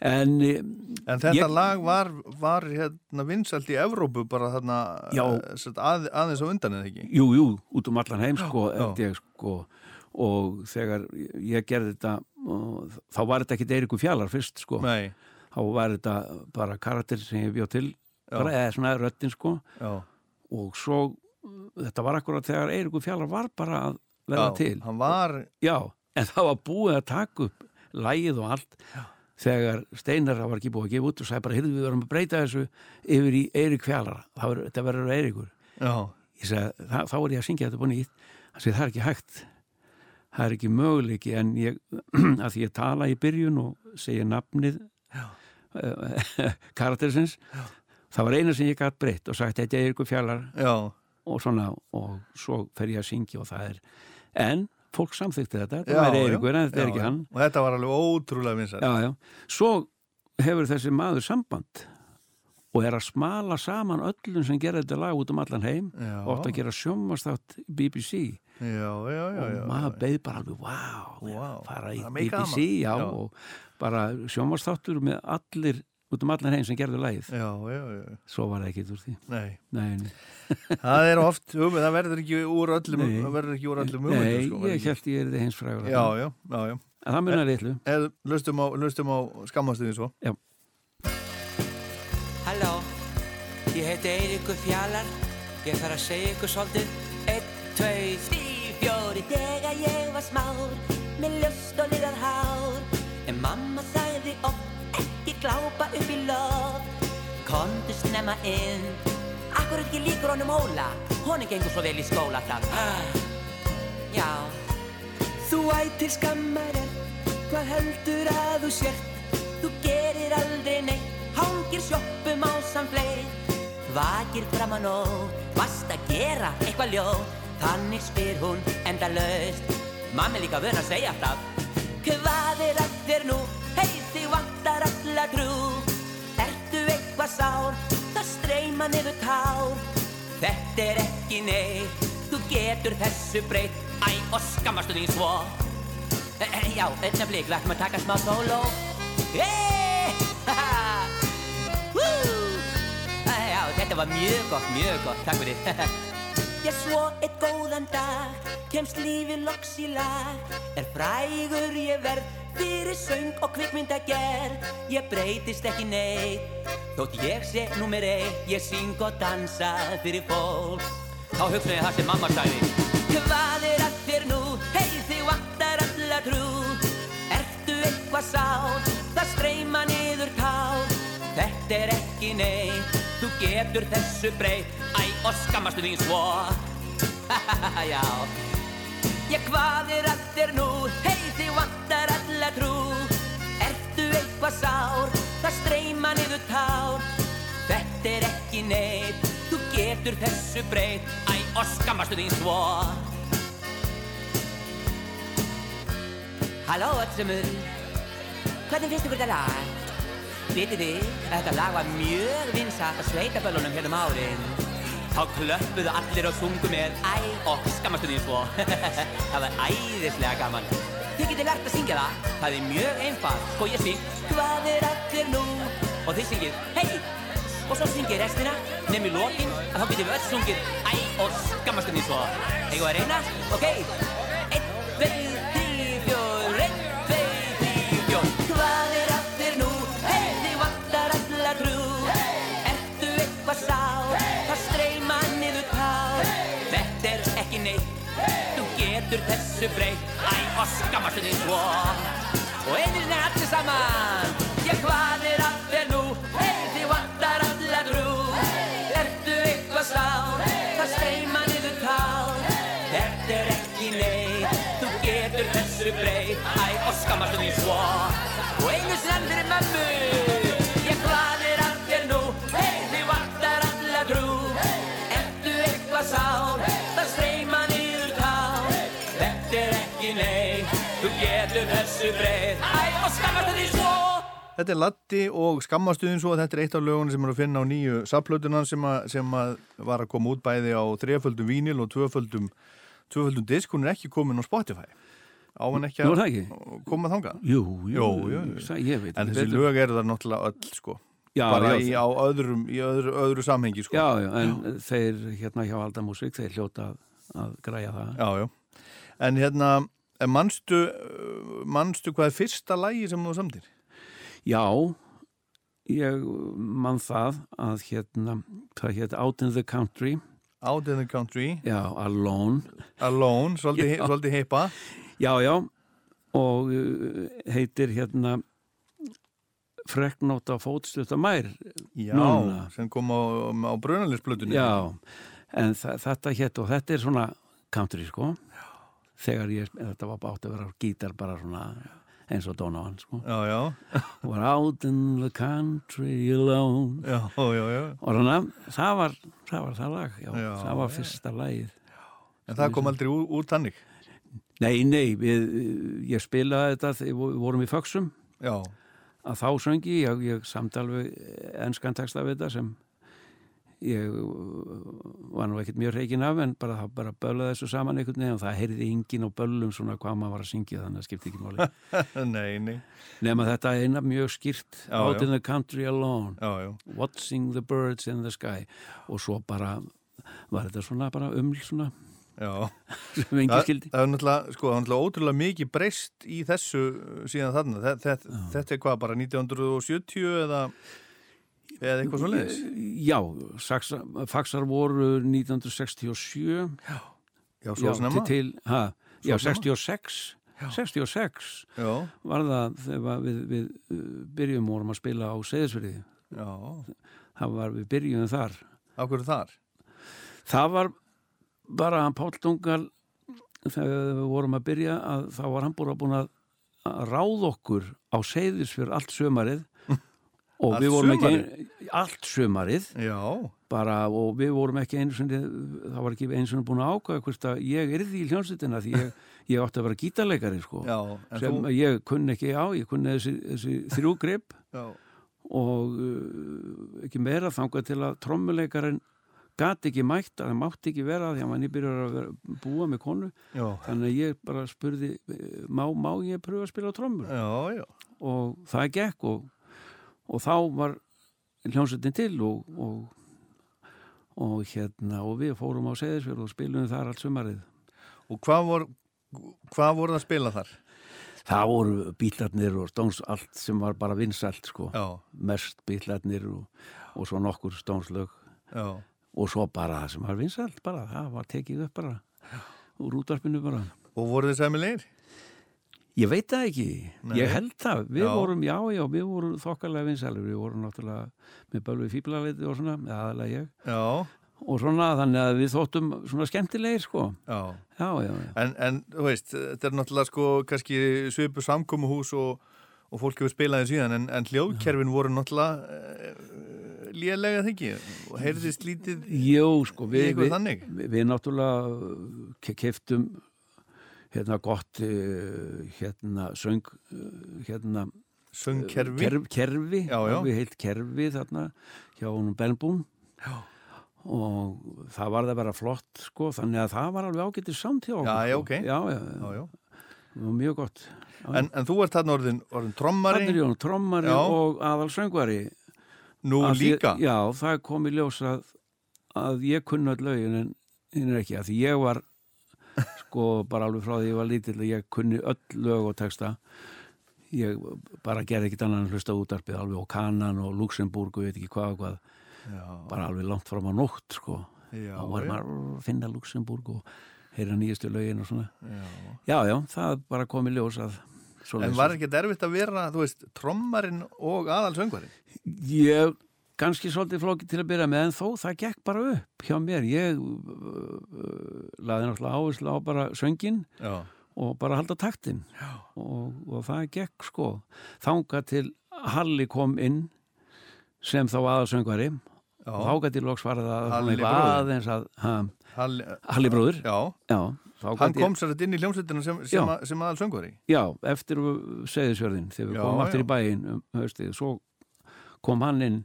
en eh,
En þetta
Ég-
lag var, var hérna vinsælt í Evrópu bara þarna
Já.
eh, sem sagt, að, aðeins á undan eða ekki?
jú, jú, út um allan heim sko,
já.
held ég sko og þegar ég gerði þetta og þá var þetta ekki Eiríku Fjallar fyrst sko
Nei,
þá var þetta bara karakter sem ég bjóð til bara, eða svona röttin sko
já.
og svo uh, þetta var akkurat þegar Eiríku Fjallar var bara að verða
já,
til
Hann var,
já, en það var búið að taka upp lægið og allt þegar Steinar var ekki búið að gefa út og sagði bara, heyrðu við verðum að breyta þessu yfir í Eirík Fjallar, Það verður- þetta verður Eiríkur
já,
ég sagði, "Þa- þá er ég að syngja þetta búin í hann sagði, það er ekki hægt það er ekki möguleiki en ég, að því ég tala í byrjun og segja nafnið eh, karakterisins það var eina sem ég gætt breytt og sagt þetta er ykkur fjallar
já,
og svona og svo fer ég að syngja og það er en fólk samþykti þetta,
já,
þetta væri Eiríkur en þetta
já,
er ekki
já.
hann
og þetta var alveg ótrúlega vinsar
já, já. svo hefur þessi maður samband og er að smala saman öllum sem gera þetta lag út um allan heim
Já.
og átt að gera sjómastátt BBC
já, já, já, já,
og maður beið bara alveg, wow,
Vá,
fara í
það er mikið
BBC
gaman.
já,
Já.
og bara sjómastáttur með allir, út um allan heim sem gerðu lagið
já, já, já,
svo var það ekki úr því
nei
nei, nei,
það er oft, hugmynd, það verður ekki úr öllum
Nei.
það verður ekki úr öllum
nei
hugmyndum, sko, verður
ég
ekki.
held ég er þið hins frægur
já, já, já, já
en það munar litlu
Eð, lustum á, lustum á skammastuði svo
Halló, ég heiti Eiríkur Fjallar Ég þarf að segja ykkur svolítið Einn, tvei, þrý, fjóri Þegar ég var smár Með ljóst og liðar hár En mamma sagði oft Ekki glápa upp í lof Komdu snemma inn Akkur ekki líkur honum óla Honum gengur svo vel í skóla þar ah, Já, Þú ættir skammar er, hvað heldur að þú sért? Þú gerir aldrei neitt, hangir sjoppum á samfleyt. Vakir fram að nóg, vast að gera eitthvað ljóð. Þannig spyr hún enda laust, mamma er líka vön að segja alltaf. Hvað er að þér nú? Hei, þig vantar alla trú. Ertu eitthvað sár, það streyma niður tár. Þetta er ekki neitt, þú getur þessu breytt Æ, og skammastu þín svo e, e, Já, einna blik, lættum að taka smá E, sóló Hey! Haha! Wú! Æ, E, Já, þetta var mjög gott, mjög gott, takk fyrir Já, svo eitt góðan dag Kemst lífi loks í lag Er frægur ég verð Fyrir söng og kvikmynda Ég breytist ekki neitt Þótt ég sé nummer eitt Ég syng og dansa fyrir fólk Þá hugsa ég það sem mamma sagði Hvað er að þér nú? Hei, þig vantar alla trú Ertu eitthvað sátt? Það streyma niður tát Þetta er ekki neitt Þú getur þessu breytt Æ, og skammastu þín svo Já Ég hvað er að þér nú? Hei, þið vantar alla trú Ertu eitthvað sár? Það streyma niður tár Þetta er ekki neitt Þú getur þessu breytt Æ, og skammastu þín svo Halló, öll semur Hvernig finnst ykkur þetta lag? Vitið þið, þetta lag var mjög vinsat á sveitaböllunum hérna um árin. Þá klöppuðu allir og sungu með æ og skammastu þín svo. það var æðislega gaman. Þið getið lært að syngja það. Það er mjög einfalt. Sko ég syng, hvað er allir nú? Og þið syngið, hei! Og svo syngið restina, nefn í lokin, að þá getið við öll sungið æ og skammastu þín svo. Eigum við að reyna? Ok, einn, tveið, þrý, fjór, einn, tveið, þrý, fjór. Hvað er að þér nú? Hey! Þið vantar alla trú Ertu eitthvað sár? Það streyma niður tár Þetta er ekki neitt Þú getur þessu breytt Æ, og skammastu þig svo Og einirinn er allir saman Já, hvað er að þér nú? Hey! Þið vantar alla trú Ertu eitthvað sár? Það streyma niður tár Þetta er ekki neitt Þú getur þessu breytt Æ, og skammastu þig svo Og einu sem fyrir mömmu Ég hlaðir að þér nú Hei, þið vantar alla trú Ertu eitthvað sár Það streyma niður tár Þetta er ekki nei Þú getur þessu breið Æ, og skammast þið svo
Þetta er Latti og Skammastuðin svo þetta er eitt af lögunum sem er að finna á nýju saplötunan sem, að- sem að var að koma út bæði á þreföldum vínil og tvöföldum, tvöföldum disk, hún er ekki komin á Spotify á hann ekki
Nú er það ekki?
koma þangað
jú, jú,
Jú, jú, jú.
sa- ég veit
En
ekki
þessi
betur.
lög eru það náttúrulega öll sko
Já,
bara
já,
í,
það-
á öðrum, í öðru, öðru samhengi sko
Já, já, en þeir hérna hjá Aldamúsvík, þeir hljóta að, að græja það.
já, já. En hérna, en manstu uh, manstu hvað er fyrsta lægi sem þú samtir?
Já, ég mann það að hérna, það hérna Out in the Country,
Out in the Country,
já, Alone,
Alone svolítið,
Já.
svolítið heipa
já, já, og uh, heitir hérna Freknót á fótstutta mær,
Já,
Núna.
sem kom á, á brunalisblötunni
já, en þa þetta hérna, og þetta er svona country, sko. þegar ég, þetta var bátt að vera á gítar bara svona eins og Donovan sko.
já, já,
We're out in the country alone
já, já, já.
og svona, það var það, var það lag, já,
Já,
það var fyrsta lagið
En það kom aldrei úr, úr tannig.
Nei, nei, við, ég spilaði þetta þegar við vorum í Föksum
Já,
að þá söngi, ég, ég samt alveg enskan texta við þetta sem ég uh, var nú ekkert mjög reikin af en bara, það bara bölaði þessu saman einhvern veginn og það heyrði enginn og bölum svona hvað maður var að syngja þannig að skipti ekki máli
nei, nei,
nema þetta er eina mjög skýrt
Já,
Out
já.
in the country alone
já, já.
Watching the birds in the sky og svo bara var þetta svona bara uml svona
já.
sem engi
Það,
skildi
það er náttúrulega, sko, það er náttúrulega ótrúlega mikið breyst í þessu uh, síðan þarna. Þe- þe- Þetta er hvað, bara 1970 eða, eða eitthvað svo leiðis?
Já, saxa, faxar voru 1967
Já, svo
já,
snemma.
til, til, ha, já,
snemma?
66 66
Já,
var það þegar við, við uh, byrjum og vorum að spila á Seðisverði
já,
það var við byrjum þar
á hverju þar?
það var bara hann Páll Dungal þegar við vorum að byrja að þá var hann bara búin að að ráða okkur á Seðisverð allt sömarið og
Allt
við vorum ekki ein, allt sömarið
Já,
bara og við vorum ekki einu sinni það var ekki einu sinni búin að ákvæða hvort að ég yrði í hljónsettina því ég, ég átti að vera gítarleikari sko
já, en
sem
þú,
ég kunni ekki á, ég kunni þessi, þessi þrjú grip
já,
og uh, ekki meira þangað til að trommuleikarinn gati ekki mætt, að það mátti ekki vera því að mann ég byrjar að vera, búa með konu
já,
þannig að ég bara spurði eh, má, má ég pröfa að spila á trommur
já, já,
og það gekk og, og þá var hljónsettin til og, og, og hérna og við fórum á Seðisfjörð og spilum þar allt sumarið
og hvað voru, hvað voru það að spila þar?
Það voru bílarnir og stóns allt sem var bara vinsælt sko.
Já,
Mest bílarnir og, og svo nokkur stónslög
já,
og svo bara það sem var vinsælt bara, það var tekið upp bara úr útarpinu bara.
og voru þið sæmilegir?
Ég veit það ekki, ég held það, við
Já.
vorum, já, já, við vorum þokkalega vinsælir, við vorum náttúrulega með bölvið fíblaliti og svona, eða aðalega ég,
Já,
og svona þannig að við þóttum svona skemmtilegir sko,
já.
já, já, já.
En, en þú veist, þetta er náttúrulega sko kannski svipu samkomuhús og, og fólk hefur spilaði síðan en, en hljóðkerfin voru náttúrulega uh, lélega þengi og heyrðist lítið
Jú, sko, við,
Eitthvað
við,
þannig?
við, við eh, náttúrulega keftum hérna gott eh, hérna söng eh, hérna eh,
söngkerfi.
kerf, kerfi,
Já, já.
við heilt kerfi þarna hjá honum Benbún og það var það bara flott sko, þannig að það var alveg ágætið samt hjá okkur
Já, já,
sko.
ok.
já, já,
Já, já.
það var mjög gott
En, en þú ert þarna orðin, orðin trommari,
Þannig Jón, trommari
Já.
og aðal söngvari
nú
Af því-
líka.
Já, það kom í ljós að, að ég kunna all lögin en hinn er ekki, að því ég var sko bara alveg frá því ég var lítill að ég kunni öll lög og texta ég bara gerði ekkit annan en hlusta á útarpið alveg og Kanan og Luxemburg og ég veit ekki hvað og hvað bara alveg langt fram á nótt sko
Já,
og var
já.
maður að finna Luxemburg og heyra nýjastu lögin og svona Já, já, það bara kom í ljós að
En
svoleiðis.
var ekki erfitt að vera, þú veist, trommarin og aðal söngvarin?
Ég, kannski svolítið flókið til að byrja með en þó, það gekk bara upp hjá mér ég uh, uh, laði náttúrulega áherslu á bara söngin
Já.
og bara halda taktin og, og það gekk sko þanga til Halli kom inn sem þá aðalsöngvari
Já.
og þanga til loks var það
Halli
eitthvað
bróðir.
aðeins að ha,
Halli,
Halli bróður
já.
já, þá
Hann
gat ég-
kom sér þetta inn í hljómsveitina sem, sem,
Já.
að, sem aðal söngvari.
Já, eftir segðisjörðin þegar við
Já,
komum aftur
já.
í bæin um höstið, svo kom hann inn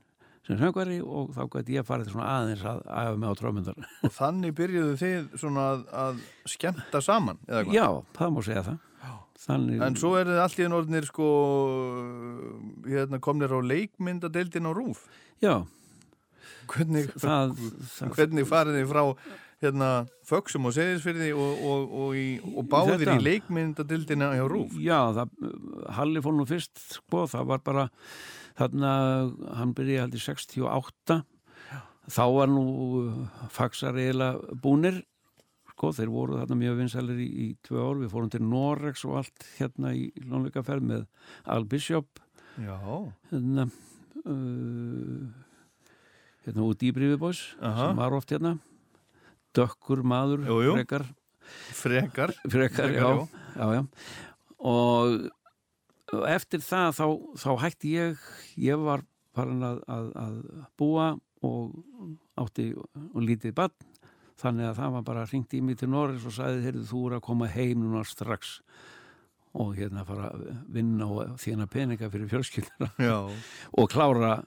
sem söngvari og þá gæti ég farið svona aðeins að æfa mig á trómyndar
Og þannig byrjuðu þið svona að, að skemmta saman, eða hvað?
Já, það má segja það Þannig,
En svo er þið allt í enn orðinir sko hérna komnir á leikmyndadeildin á rúf.
Já,
Hvernig,
það, það
hvernig farið þið frá hérna föksum og seðisfyrði og, og, og, í, og báðir
Þetta.
í leikmyndadeildina á rúf?
Já, það, Halli fór nú fyrst sko, það var bara þarna, hann byrjaði held í 68 þá var nú uh, faxar eiginlega búnir sko, þeir voru þarna mjög vinsælir í, í tvö ár, við fórum til Norex og allt hérna í lónleikaferð með Al Bishop
Já,
hérna uh, hérna út í Brífibós
Aha.
sem var oft hérna dökkur maður,
Jú, jú.
frekar
frekar
frekar,
Frekar,
já, já, já. Og, og eftir það þá, þá hætti ég ég var farin að, að, að búa og átti og lítið bann þannig að það var bara hringt í mig til Norris og sagði, heyrðu, þú er að koma heim núna strax og hérna fara að vinna og þína peninga fyrir fjölskyldina
já,
og klára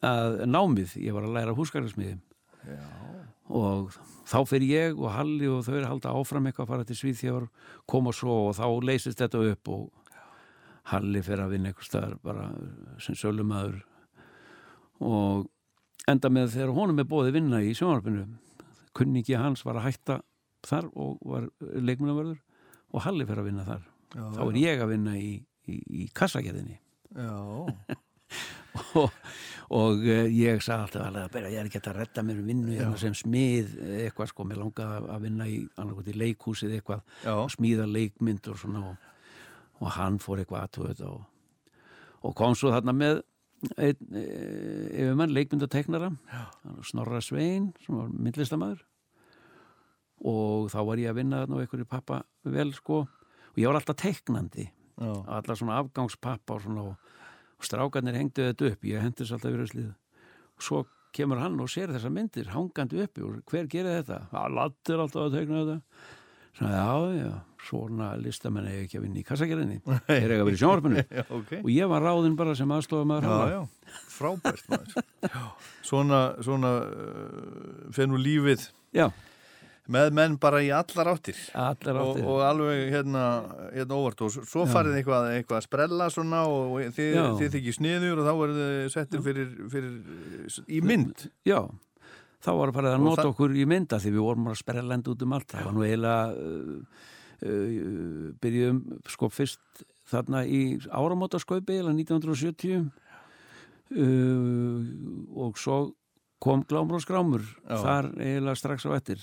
að námið, ég var að læra húsgarðismiði og þá fer ég og Halli og þau er að halda áfram eitthvað að fara til Svíþjóður koma svo og þá leysist þetta upp og Halli fer að vinna eitthvað staðar bara sem sölumæður og enda með þegar honum er bóði vinna í sjónvarpinu kunningi hans var að hætta þar og var leikmennavörður og Halli fer að vinna þar
já,
þá er ég að vinna í, í, í kassagerðinni
já,
og, og eh, ég sagði alltaf alveg að bera, ég er ekki hægt að redda mér um vinnu hérna sem smið eh, eitthvað sko, mér langaði að- að vinna í, annarkot, í leikhúsið eitthvað,
já,
að smíða leikmynd og svona og, og hann fór eitthvað aðtöðu þetta og, og kom svo þarna með einn e, yfirmann, leikmyndateknara Snorra Svein, sem var myndlistamæður og þá var ég að vinna þarna og einhverju pappa vel sko, og ég var alltaf teiknandi
já,
og alla svona afgangspappa og svona og, og strákanir hengdu þetta upp ég hendis alltaf verið slið og svo kemur hann og sér þessar myndir hangandi uppi og hver gerir þetta? að lattir alltaf að tegna þetta svona já, já, svona listamenn eiga ekki að vinna í kassagerðinni þeir eiga að vera í sjónvarpinu
já, ok
og ég var ráðinn bara sem aðstofa maður
Já, já, frábært maður Svona, svona uh, fennu lífið
já,
með menn bara í allar áttir
allar
og,
áttir
og alveg hérna, hérna óvart og s- svo farið eitthvað, eitthvað að sprella svona og, og þið,
Já.
þið þykir sniður og þá verður þið settir fyrir, fyrir s- í mynd
Já, þá var farið að nota
það-
okkur í mynda því við vorum að sperralenda út um allt það var nú eiginlega uh, uh, byrjuðum sko fyrst þarna í áramótaskaupi eða 1970 uh, og svo kom Glámur og Skrámur
Já.
þar eiginlega strax á eftir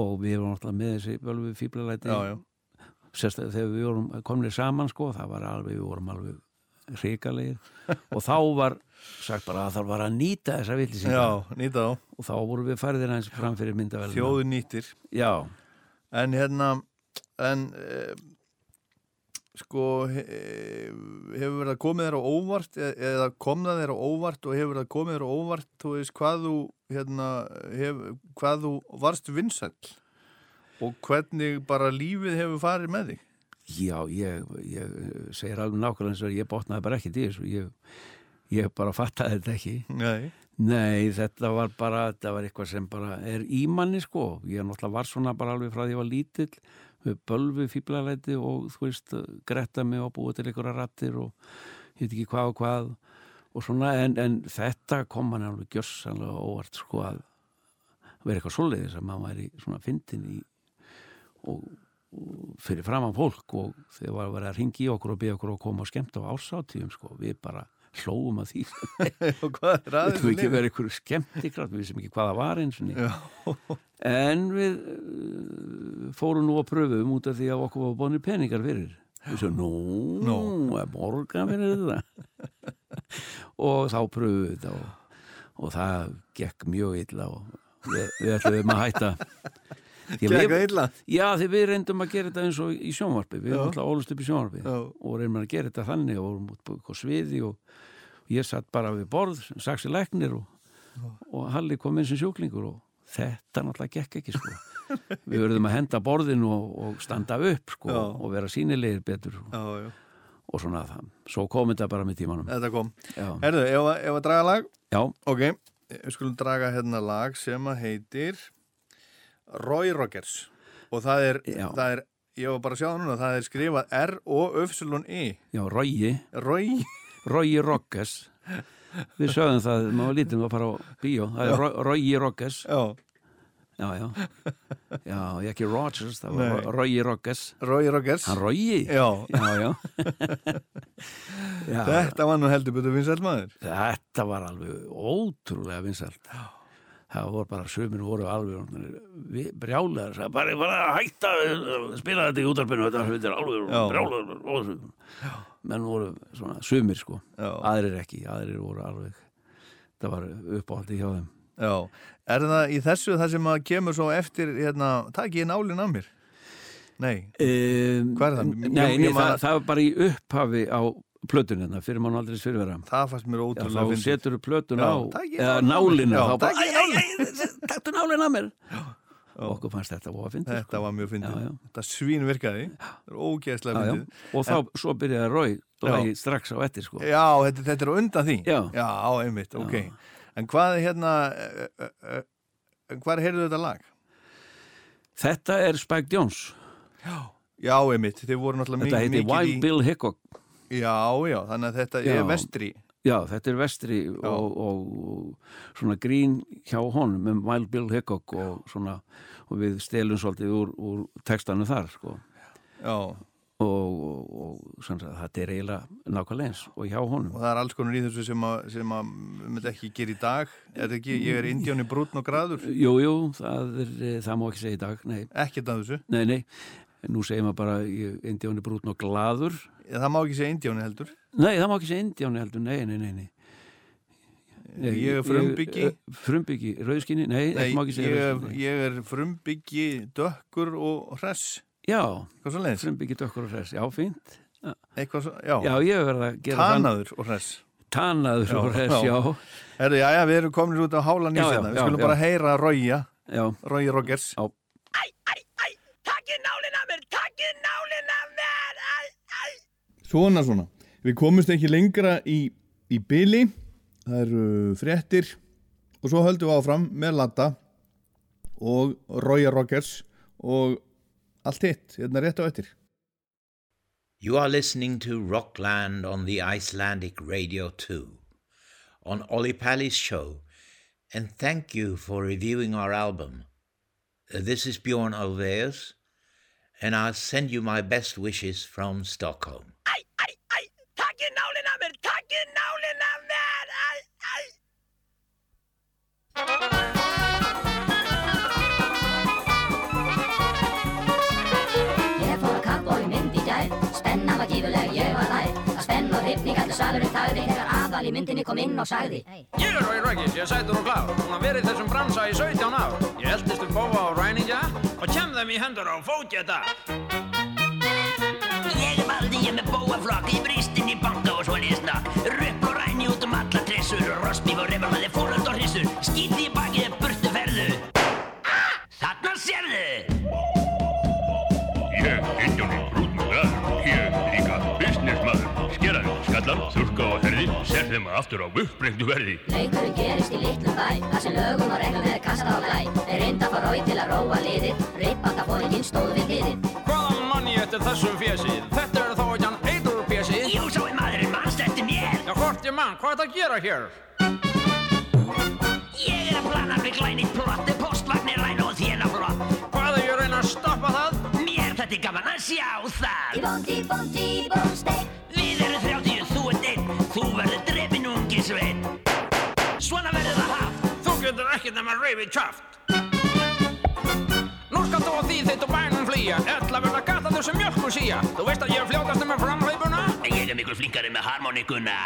og við vorum alltaf með þessi alveg fíblalæti
Já, já,
sérstaklega þegar við vorum komnir saman sko, það var alveg, við vorum alveg hrikalegir og þá var sagt bara að það var að nýta þessa
já,
villisingar
nýta þá,
og þá vorum við færðir aðeins fram fyrir myndavelina
þjóðu nýttir
Já,
En hérna, en e, sko he, eh, hefur verið að komið þér á óvart e- eða kom það þér á óvart og hefur verið að komið þér á óvart þú veist hvað þú hérna, hef, hvað þú varst vinsæll og hvernig bara lífið hefur farið með þig
já ég, ég eh, segir alveg nákvæmlega eins og ég botnaði bara ekki til þessu ég, ég bara fattaði þetta ekki
Nei,
Nei, þetta var bara þetta var eitthvað sem bara er ímanni sko ég náttúrulega var svona bara alveg frá því ég var lítill með bölvi fíblalæti og þú veist, gretta mig og búa til einhverja rattir og ég veit ekki hvað og hvað og svona, en, en þetta kom hann alveg gjörsanlega óvart sko að vera eitthvað svoleiðis að maður væri svona fyndin í og, og fyrir framan fólk og þegar var að vera að ringi í okkur og byggja okkur að koma og skemmta á ársátíum sko, við bara hlóum að því
og hvað er
Þetta
aðeins
við ekki verið einhverju skemmtikrátt, við vissum ekki hvað það var eins og
Já.
En við uh, fórum nú að pröfum út af því að okkur var bónir peningar fyrir. Við svo, nú, nú, er morga fyrir þetta. og þá pröfum við þetta og, og það gekk mjög illa og við, við ætlum að hætta. Því að
Gekk
við-
það illa?
Já, því við reyndum að gera þetta eins og í sjónvarpi. Við erum alltaf ólust upp í sjónvarpi
Já.
og reyndum að gera þetta þannig og vorum út på sviði og ég satt bara við borð, saksi læknir og, og Halli kom inn sem sjúklingur og þetta náttúrulega gekk ekki sko. við verðum að henda borðinu og, og standa upp sko,
Já.
og vera sínilegir betur og,
Já, já,
og svona það. Svo kom þetta bara með tímanum.
þetta kom
Mm. Já,
Herðu, ef, að- ef að draga lag
já,
Ok, við skulum draga hérna lag sem að heitir Roy Rogers og það er,
Já.
það er ég var bara að sjá það núna, það er skrifað R-O-Y-I
já, Rógi,
E. Roy,
Rógi Rokkas. Við sögum það, maður var lítið maður að fara á bíó, það er Rógi Rokkas.
já,
Já, já, já, ég ekki Rogers, það var
Nei.
Ro- Rogi Rogers,
Roy Rogers
hann Rogi, já,
Já,
já, já.
þetta var nú heldur betur vinsæl maður
þetta var alveg ótrúlega vinsælt, það voru bara, sömur voru alveg orðnir vi- brjálæðir, það bara, bara að hætta, að spila þetta í útarpinu, þetta þetta er alveg
Já.
brjálæðir, ótrúlega. menn voru svona sömur sko,
Já.
aðrir ekki, aðrir voru alveg, það var uppáhaldi hjá þeim.
Já, er það í þessu það sem að kemur svo eftir, hérna, takk ég nálinn af mér? Nei,
Um,
Hvað er það? Mjög-
Nei, nei
mjög
það,
maður-
það var bara í upphafi á plötunina fyrir mann aldrei svirvera
það fannst mér
Já,
ótrúlega
þá
fyndið.
setur þú plötun
Já,
á
takk ég
eða
nálina.
nálina
Já,
þá bara,
takk ég
æ, æ, æ, taktu nálina að mér okkur fannst þetta voða fyndið sko.
Þetta var mjög fyndið.
Já, já.
Þetta svín virkaði, það er ógeðslega
Já, já.
fyndið.
og þá, svo byrjaði Rói lagi strax á eftir sko.
Já, þetta, þetta er á undan því.
Já.
einmitt, ok. En hvað er hérna, eh, eh, eh, eh, hvar heyrðu þetta lag?
þetta er Spike Jones
Já, einmitt, þið voru náttúrulega
þetta
mikið
heiti Wild
í...
Bill Hickok
Já, já, þannig að þetta
Já.
er vestri.
já, þetta er vestri og, og svona grín hjá honum um Wild Bill Hickok og, svona, og við stelum svolítið úr, úr textanu þar sko.
Já,
og, og, og sem sagt, þetta er eiginlega nákvæmlega eins og hjá honum
og það er alls konar í þessu sem að, sem að myndi ekki gera í dag. Er þetta ekki, ég er indjáni brútn og græður,
Jú, jú, það, er, eh, það má ekki segja í dag, nei,
ekkert af þessu.
nei, nei. Nú segir maður bara, ég- indjáni brútn og glaður.
Það má ekki segja indjáni heldur.
Nei, það má ekki segja indjáni heldur, nei, nei, nei. nei. Nei,
Ég er frumbyggi.
eh, Frumbyggi, rauðskinni, nei,
Nei,
ekki má ekki segja
ég,
rauðskinni.
ég er frumbyggi, dökkur og hress.
Já,
Hvað svo leiðis?
frumbyggi dökkur og hress, já, fínt.
Eitthvað svo, já.
Já, ég hef verið að gera þann.
Tanaður og hress.
Tanaður og
Já,
hress, já,
Herru, já, já, við erum komin út á hálan í
Já, já,
þetta. Við
já,
skulum
já.
bara heyra Rója,
já.
Róji Rogers.
Já.
Svona svona, við komumst ekki lengra í, í byli, það eru fréttir og svo höldum við áfram með Latta og Roya Rockers og allt hitt, hérna rétt á eftir.
You are listening to Rockland on the Icelandic Radio 2 on Olli Palli's show, and thank you for reviewing our album. Uh, This is Bjorn Olveus, and I'll send you my best wishes from Stockholm.
Ég fór að kappbói mynd í gær Spenna var gífuleg, ég var læg Það spenn og hrifning allur salurinn þagði Þegar aðal í myndinni kom inn og sagði
Ég er Rói Röggis, ég er sætur og klár Hún að verið þessum bransa í 17 ár Ég eldist um bóa og ræningja Og kem þeim í hendur á fótjeta
Ég er valdi ég með bóaflokk, ég brýst inn í banka og svo liðsnakk Röpp og ræni út um alla tressur og rostbíf og refalaði fóröld og hrissur Skýti í bakið, burtu ferðu ah, Þarna sérðu
Ég, Indjóni, brúðmjölaður, ég líka businessmaður, skeraður, skallar, þurka og herði, sér þeim aftur á uppbrengdu verði.
Leikurinn gerist í litlum bæ Þar sem lögum og reglum er kastað á glæ Þeir reynda fór rói til að róa liðið Rippanda fóringinn stóð við liðið
Hvaðan mann ég eftir þessum fjesið? Þetta er þó ekki hann eitur fjesið
Jú, svo er maðurinn mannst eftir mér
Já, hvort ég mann, hvað er það að gera hér?
Ég er að plana mig glænið plott, postvagnir ræna og þéna flott
Hvað er ég að reyna að stoppa það?
Mér þetta er gaman að sjá það
Í bóndi, bóndi, bóndsteik
Við erum 30, þú ert einn, þú verður drefin ungisveit Svona verður það haft
Þú getur ekki nema reyfið tjáft Nú skal þú og því þitt og bænum flýja Ella verða gata þú sem mjölkur síja Þú veist að ég er fljótast með framhlaupuna?
En ég er miklu flinkari með harmonikuna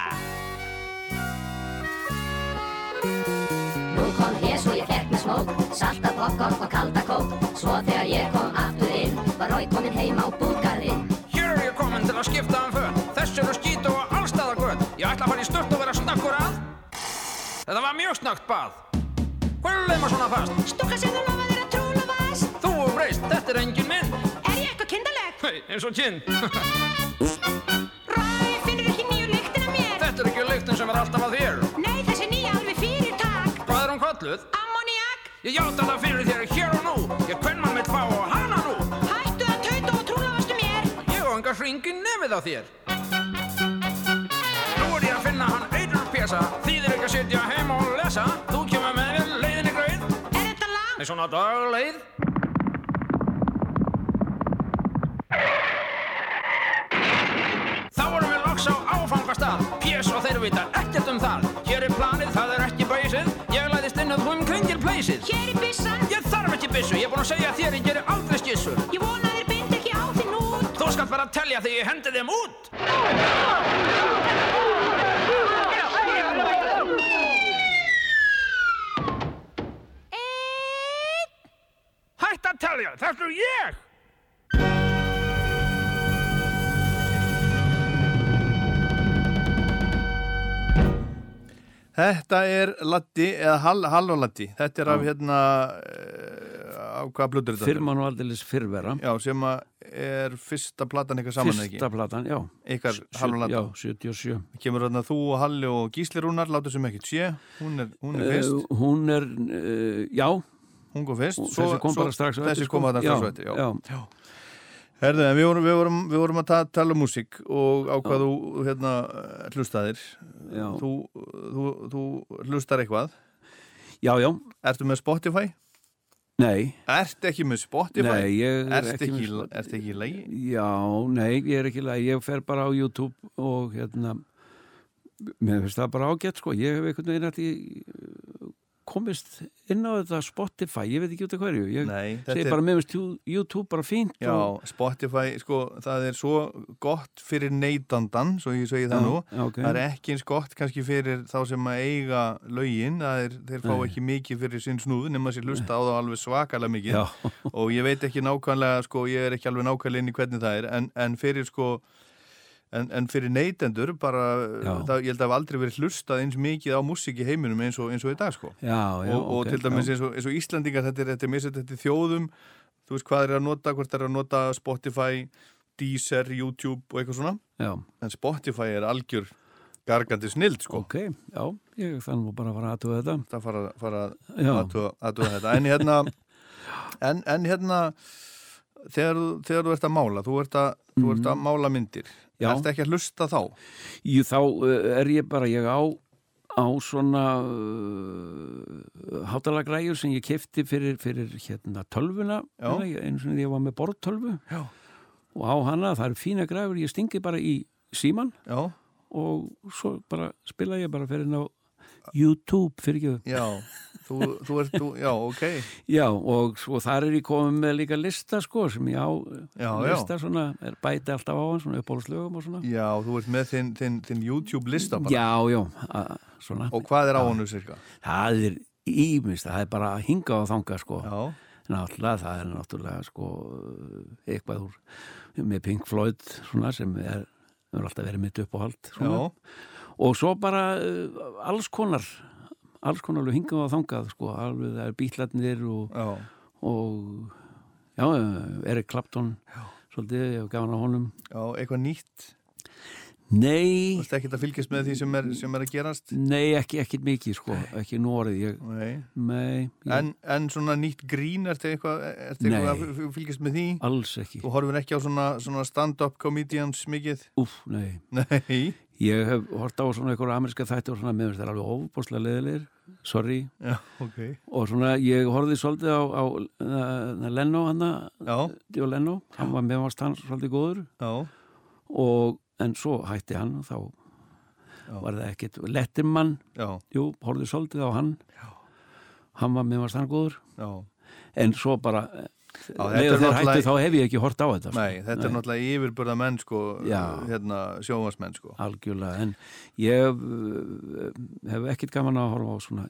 Nú kom hrés og ég fekk með smók Salta popcorn og kalda kók Svo þegar ég kom aftur inn Var rói kominn heim á búgarinn
Hér er ég komin til að skipta um föt Þess eru skýt og allstaðar göt Ég ætla að fara í stört og vera snakkur að Þetta var mjög snakkt bað Hvað er leima svona fast?
Stúka sem þú lofaður að trúna vast
Þú er breyst, þetta er engin minn
Er ég eitthvað kindaleg?
Hei, eins og kinn
Ræ, finnur ekki nýju lyktina mér?
Þetta er ekki lyktin sem er alltaf að þér
Nei, þessi nýja alveg fyrir takk
Hvað er hún kalluð?
Ammoniak,
Ég játa það fyrir þér hér og nú Ég kvenn mann mitt fá og hana nú
hættu að tauta og trúnafastu mér
Ég og enga hringin nefið á þér Nú er ég að finna hann eitur pjasa Þýðir ekki að sitja heima og lesa Þú kemur með mér leiðinni grauð
Er þetta langt?
Nei, svona dagleið Þá erum við loks á áfangastað P.S. og þeir vita ekkert um það Hér er planið, það er ekki bæsið Ég læðist inn að þú um kringil pleysið
Hér er byssan,
Ég þarf ekki byssu, ég er búinn að segja þér Ég gerir aldrei skissur
ég vona að þér bind ekki á þinn út
Þú skalt bara telja þegar ég hendi þeim út Þetta er ég!
Þetta er Latti, eða Hall, Halló Latti Þetta er af hérna eh, á hvaða blöður þetta?
Fyrr mann og aldeilis fyrrvera.
Já, sem að er fyrsta platan eitthvað saman eða
Fyrsta platan, já.
ekki Ykkar
Sjö-
Halló Latti
Já, 77.
Kemur þarna þú og Halli og Gísli Rúnar Látur sem ekki sé, hún er, hún er fyrst
Uh, hún er, uh, já,
Hún kom fyrst svo-
þessi kom
svo-
bara strax á
Þessi
sko.
kom þarna strax á
Já,
eftir, já,
Eh, já.
Herðu, en við vorum, við vorum, við vorum að ta tala um músík og á hvað þú hérna, hlustaðir
Já.
þú, þú, þú hlustar eitthvað
já, já,
Ertu með Spotify?
nei,
Ertu ekki með
nei,
Spotify?
ég er
Ertu
ekki,
ekki,
með-
ertu ekki í lagi?
Já, nei, ég er ekki í lagi, ég fer bara á YouTube og hérna, mér finnst það bara ágætt sko, ég hef einhvern veginn að ég komist inn á þetta Spotify, ég veit ekki út af hverju, ég
Nei, þetta
segi
er-
bara, mér finnst Jú- YouTube bara fínt og...
Já, Spotify, sko, það er svo gott fyrir neytandan, svo ég segi það
Já,
nú.
já, ok.
Það er ekki eins gott kannski fyrir þá sem að eiga lögin, það er, þeir fá
Nei.
ekki mikið fyrir sinn snúð nema sér lusta á þá alveg svakalega mikið.
Já.
Og ég veit ekki nákvæmlega, sko, ég er ekki alveg nákvæmlega inn í hvernig það er, en, en fyrir, sko, En, en fyrir neytendur bara,
Já.
það, ég held að hafa aldrei verið hlustað eins mikið á músík í heiminum eins og, eins og í dag sko
Já, já,
og, og
ok,
til dæmis
já.
eins og, eins og Íslandingar þetta er, þetta er misett þetta er þjóðum þú veist hvað er að nota, hvort er að nota Spotify, Deezer, YouTube og eitthvað svona,
Já,
en Spotify er algjör gargandi snild sko,
ok, já, ég þannig var bara að fara að aðtöða þetta.
það fara, fara
Já.
að aðtöða þetta, en hérna en, en hérna þegar, þú- þegar þú ert að mála þú ert að, þú ert að mála myndir
Mhm. Já.
ert ekki að hlusta þá
Jú, þá uh, er ég bara, ég á, á svona uh, hátalagræjur sem ég kefti fyrir, fyrir hérna tölvuna,
Já.
hérna, ég- einu sinni þegar ég var með borðtölvu
Já.
og á hana það eru fína græjur, ég stingi bara í síman
já,
og svo bara spila ég bara fyrir ná YouTube fyrir ekki það.
já, þú, þú ert þú, já, ok,
Já, og svo þar er ég komið með líka lista sko sem ég á
Já, já.
lista svona, er bæti alltaf á hann svona uppbólslögum og svona.
já, þú ert með þinn, þinn, þinn YouTube lista bara
Já, já, a, svona.
og hvað er á hannu cirka?
Það er ímyndst, það er bara að hinga og þanga sko.
Já,
Náttúrulega, það er náttúrulega sko eitthvað úr með Pink Floyd svona sem er, er alltaf verið mitt uppáhald svona.
já,
Og svo bara uh, alls konar, alls konar alveg hingað og þangað sko, alveg það er bílarnir og,
já.
og já, Erik Clapton, svolítið, ég hef gafan á honum.
Já, eitthvað nýtt. Þú
Nei,
veist ekki að fylgjast með því sem er, sem er að gerast?
nei, ekki, ekki mikið sko, ekki nórið, ég,
Nei.
nei, ég,
En, en svona nýtt grín, ertu eitthvað, ertu eitthvað
Nei.
að f- f- fylgjast með því?
alls ekki,
Þú horfir ekki á svona, svona stand-up comedians mikið?
úf, nei.
Nei.
Ég hef hort á svona einhverja ameríska þætti og svona meðan það er alveg ofbúrslega leðilegir, sorry,
Já, ok.
og svona ég horfði svolítið á, á uh, Leno hann,
Já,
Dio Leno, hann var meðvast hann svolítið góður
já,
og en svo hætti hann og þá var það ekkit Letterman,
já,
jú, horfði svolítið á hann, Já. hann var meðvast hann góður,
já.
en svo bara,
þetta er
leiðu þeir
náttúrulega-
hætti þá hef ég ekki hort á þetta. sko.
Nei, þetta er náttúrulega yfirburða menn sko,
Já.
hérna, sjóvarsmenn sko.
algjörlega, en ég hef, uh, hef ekkit gaman að horfa á svona,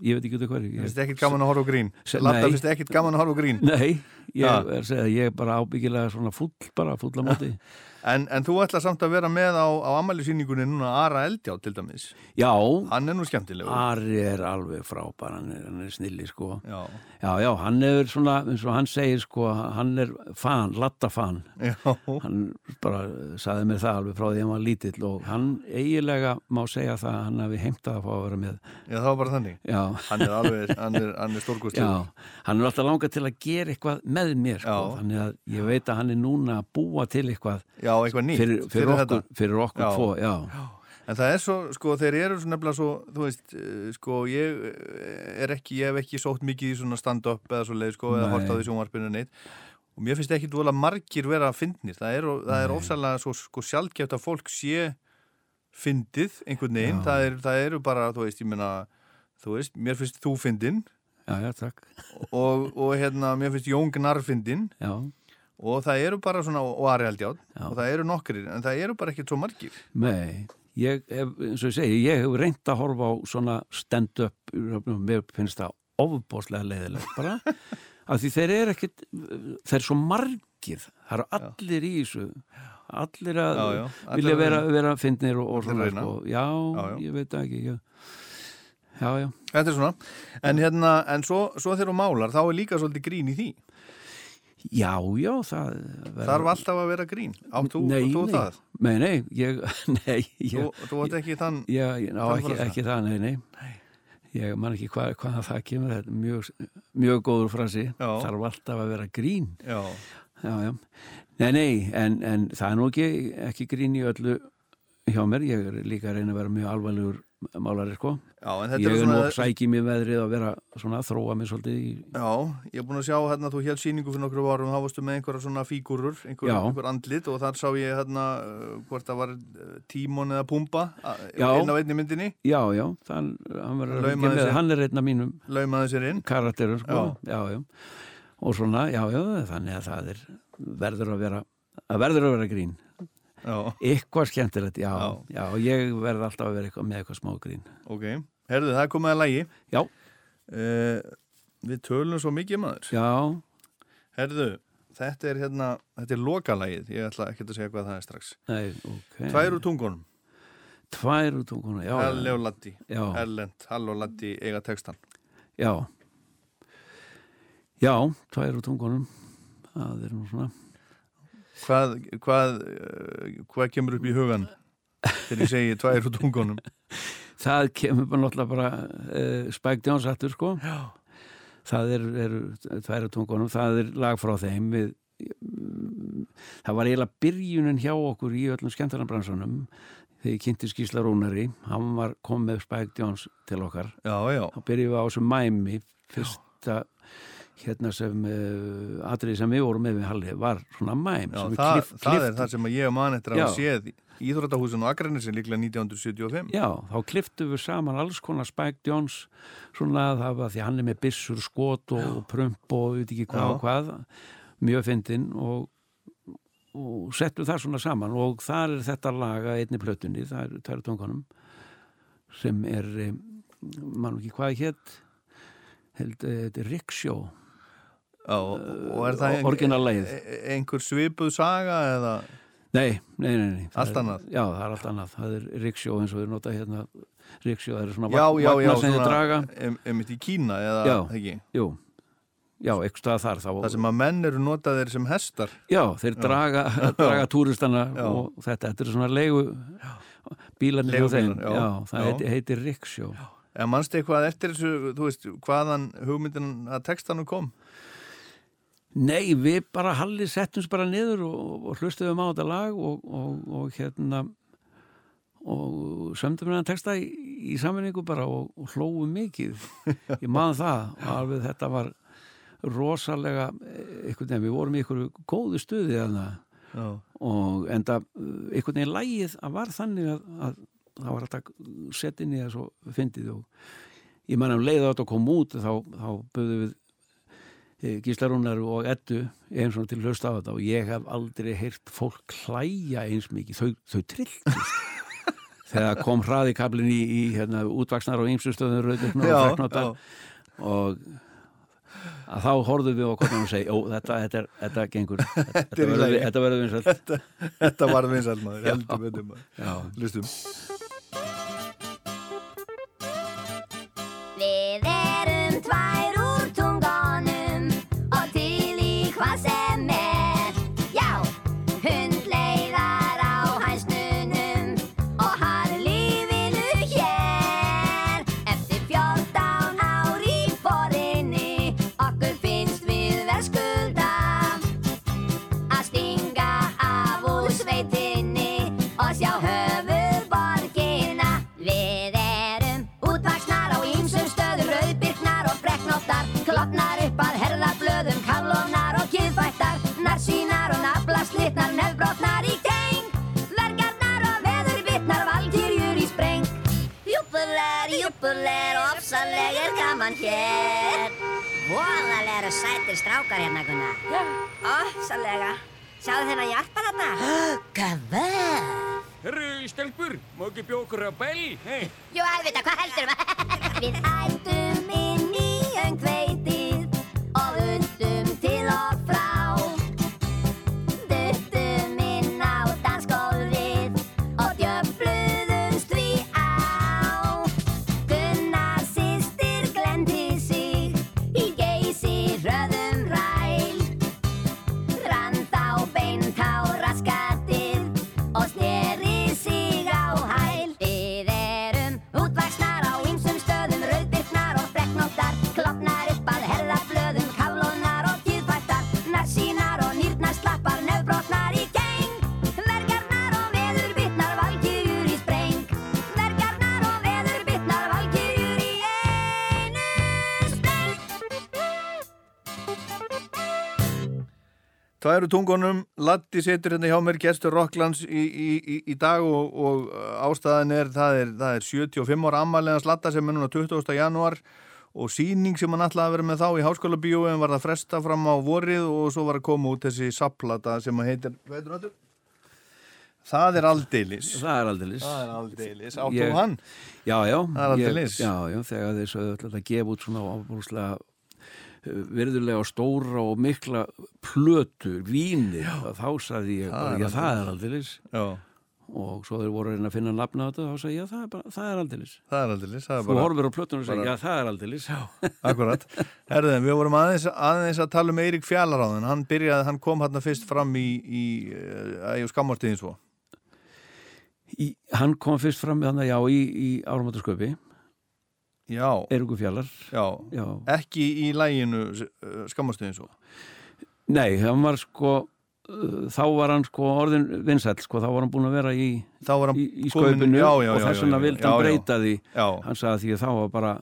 ég veit ekki út af hverju.
Þú
Ég,
finnst ekkit gaman að horfa á grín?
Se-
Latta
nei.
finnst ekkit gaman að horfa á grín?
Nei, ég
Ha.
er að segja að ég er bara ábyggilega svona full, bara fulla móti.
En, en þú ætla samt að vera með á, á amælisýningunni núna Ara Eldjá til dæmis.
Já,
Hann er nú skemmtilegur.
Ari er alveg frábær, hann er, hann er snilli sko.
Já,
Já, já, hann er svona, eins og hann segir sko, hann er fan, lattafan.
já.
Hann bara eh, sagði mér það alveg frá því að hann var lítill og hann eiginlega má segja það að hann hafi heimtað að fá að vera með.
Já, það var bara þannig.
Já,
Hann er alveg, hann er, hann er
já,
stórkostlegur.
hann er alltaf langað til að gera eitthvað með mér sko.
Já.
Þannig að ég veit að hann er núna að búa til eitthvað
Já. eitthvað nýtt.
fyrir, fyrir, okkur,
þetta.
fyrir okkur
Já.
tvo, já.
En það er svo, sko, þeir eru svo nefnilega svo, þú veist, eh, sko, ég eh, er ekki, ég hef ekki sótt mikið í svona stand-up eða svo leið, sko, eða
Nei.
hort á því sjónvarpinu neitt. Og mér finnst ekki dvolega margir vera að fyndnir. Það er, það er ofsalega svo, sko, sjálfgeft að fólk sé fyndið einhvern veginn. Það, er, það eru bara, þú veist, ég meina, þú veist, mér finnst þú fyndin
Já, já, takk.
og, og hérna, mér finnst Jón Gnar fyndin.
Já.
og það eru bara svona og Ari Aldjátt
Já.
og það eru nokkrir en það eru bara ekkert svo margir
Nei, ég hef, eins og ég segi, ég hef reynd að horfa á svona stand-up, mér finnst það ofbóðslega leiðilegt bara af því þeir eru ekkit þeir eru svo margir það eru allir í þessu allir að
Já, já. Allir
vilja
að
vera,
reyna.
vera fyndnir og, og
Allir
svona
að reyna.
sko. já,
Já, já.
ég veit það ekki já, já, já.
Þetta er svona. En, hérna, en svo, svo þegar þú málar, þá er líka svolítið grín í því.
Já, já, það verður-
Þarf alltaf að vera grín. Átt þú,
nei,
þú
nei.
það?
Nei, nei, ég, nei, ég,
Þú, þú átt ekki þann...
Já, ég, ná,
Það
ekki,
var það.
ekki það, nei, nei. Ég man ekki hvað, hvað það kemur, þetta er mjög, mjög góður frasi,
Já.
þarf alltaf að vera grín.
Já,
Já, já. Nei, nei, en, en það er nú ekki, ekki grín í öllu hjá mér, ég er líka að reyna að vera mjög alvarlegur málari, sko.
já en þetta
Ég
er
er nú
svona...
að sækja mér veðrið að vera svona að þróa mér svolítið í...
Já, ég er búin að sjá hérna, þú held síningu fyrir nokkru árum, þá varstu með einhverja svona fígurur, einhver,
Já.
einhver andlit og þar sá ég hérna uh, hvort það var uh, tímon eða pumpa
Já.
inn á einni myndinni,
Já, já, þann, hann, var,
Laumaði
ekki með,
sér.
hann er einn af mínum
laumaði sér inn.
karakterum sko. já. já, og svona, já, já, þannig að það er verður að vera, að verður að vera grín
Já,
eitthvað skemmtilegt, já, já, ég verð alltaf að vera eitthvað með eitthvað smá grín
ok. Herðu, það er komið að lægi.
já,
Uh, við tölum svo mikið maður.
já,
Herðu, þetta er hérna, þetta er lokalægið, ég ætla ekki að segja hvað það er strax.
nei, ok
Tvær úr tungunum,
tvær úr tunguna, já
Elli og Latti,
já,
Erlend, Hall og Latti eiga textan.
já já, tvær úr tungunum það er nú svona
Hvað, hvað, uh, hvað kemur upp í hugan þegar ég segi tvær úr tungunum?
það kemur bara náttúrulega bara uh, spækdjáns aftur sko Já. það er, er tværa tungunum það er lag frá þeim við, mm, það var eiginlega byrjunin hjá okkur í öllum skemmtarnabransanum þegar ég kynnti Skísla Rúnari hann var kom með spækdjáns til okkar
Já, já.
þá byrjum við á þessu mæmi fyrsta hérna sem uh, atrið sem við vorum með við Halli var svona mæm
Já,
sem við
það,
kliff-
það er
klipptum.
það sem að ég man eftir að
Já.
hafa séð í Íþróttahúsin og Akranesin líklega 1975
Já, þá kliftum við saman alls konar Spike Jones svona að það var því hann er með byssur, skot og prump og veit ekki hvað
Já.
og hvað mjög fyndin og, og settum það svona saman og þar er þetta laga einni plötunni, það er tæra tungunum sem er eh, mann ekki hvað hétt held, eh, þetta er Eh, Ricksjó
Já, og, og er það ein-
orginallagið.
e- einhver svipuð saga eða
Nei, nei, nei, nei. Það
Allt
er-
annað?
Já, það er allt annað, það er Ricksjó eins og við nota hérna Ricksjó, það er svona
já, já, já,
sem þið draga
em- einmitt í Kína eða
Já.
ekki,
Jú, já, ekki staða þar þá,
það sem að menn eru notaðir sem hestar
Já, þeir draga, draga túristana
Já.
og þetta, þetta er svona leigu bílarnir hjá þeim
Leigubílar, já.
já, það
Já.
heitir, heitir Riksjó
eða manstu eitthvað eftir þessu, þú veist hvaðan hugmyndin að textanum kom
Nei, við bara Halli settum sér bara niður og, og hlustuðum á þetta lag og, og, og hérna og sömdum hérna texta í, í sammenningu bara og, og hlóum mikið ég man það og alveg þetta var rosalega eh, einhvern veginn, við vorum í einhverju góðu stuði þarna
já,
og enda uh, einhvern veginn lægið að var þannig að, að það var alltaf sett inn í það svo fyndið og ég man að um leiða þetta kom út þá, þá böðum við eh, Gísla Rúnar og Eddu eins og til hlust á þetta og ég hef aldrei heyrt fólk hlæja eins mikið þau, þau trilltist þegar kom hraðikablin í, í hérna, útvaksnar og ymsustöðun rauðirna
Já,
og freknóta og að þá horfðum við á hvernig og segja, ó, þetta, þetta, er, þetta gengur þetta,
er í
verður-
lagi."
þetta verður vinsælt
þetta var vinsæl maður, heldur betur maður Hlustum.
Við erum tvær úr tungunum og til í hvað sem er. Já, hundleiðar á hænsnunum og hann lífinu hér. Eftir fjórtán ár í borinni okkur finnst við verskulda að stinga af úr sveitinni og sjá höfur borgina. Við erum útvaksnar á ýmsum stöðum, rauðbyrknar og brekknóttar, klopnar upp að herðablöðum, kaflónar og kýðfættar, narsínar og naflaslitnar, nefbrotnar í teng, vergarnar og veðurbitnar, valkyrjur í spreng. Júpuler, júpuler, ofsaleg er gaman hér. Voðalega eru sætir strákar hérna, Gunnar. Já. Ofsalega. Sjáðu þennan jarpar þarna? Gavöð.
Herru, stelpur, má ekki bjókur að bæli, hei?
Jú, auðvitað, hvað heldur maður? Við ættum inn í öngveitið og undu
Tværu tungunum, Latti situr hérna hjá mér, gestur Rocklands í, í, í, í dag og, og uh, ástæðan er það, er, það er 75 ára ammaliðans Latta sem er núna 20. janúar og síning sem hann ætlaði að vera með þá í háskóla bíó en var það fresta fram á vorið og svo var að koma út þessi saplata sem að heitir, hvað heitir hún aftur? Það er aldeilis.
það er aldeilis
Það er aldeilis, áttu
Ég-
hann.
Já, já.
Það er aldrei
Ég-
leys.
Já, já, þegar þeir sögðu alltaf að gefa út svona ábúrslega virðulega og stóra og mikla plötur, vínir já. þá sagði ég, bara, já, það er aldrei leys.
Já,
og svo þeir voru að reyna að finna nafna á þetta þá sagði ég, já, það er, bara, það er aldrei leys.
það er aldeilis. Það er
þú
bara...
horfir á plötunum og segir, já, það er aldrei leys.
Akkurat. Herðum, við vorum aðeins, aðeins að tala um Eirík Fjallaráðin. Hann byrjaði, hann kom hérna fyrst fram í, í, uh, í, í skammarstíðin svo.
Í, hann kom fyrst fram með hann að já í, í áramáttasköpi,
Já,
Eirugu Fjallar
já.
já.
Ekki í læginu skammarstíðin svo.
nei, hann var sko uh, þá var hann sko orðin vinsæll sko, þá var hann búin að vera í,
Þá var hann
í, í
kominn-
sköpinu
já, já,
og
já,
þess
já,
vegna
já,
vildi
já,
hann
já.
breyta því
Já,
hann sagði því að þá var bara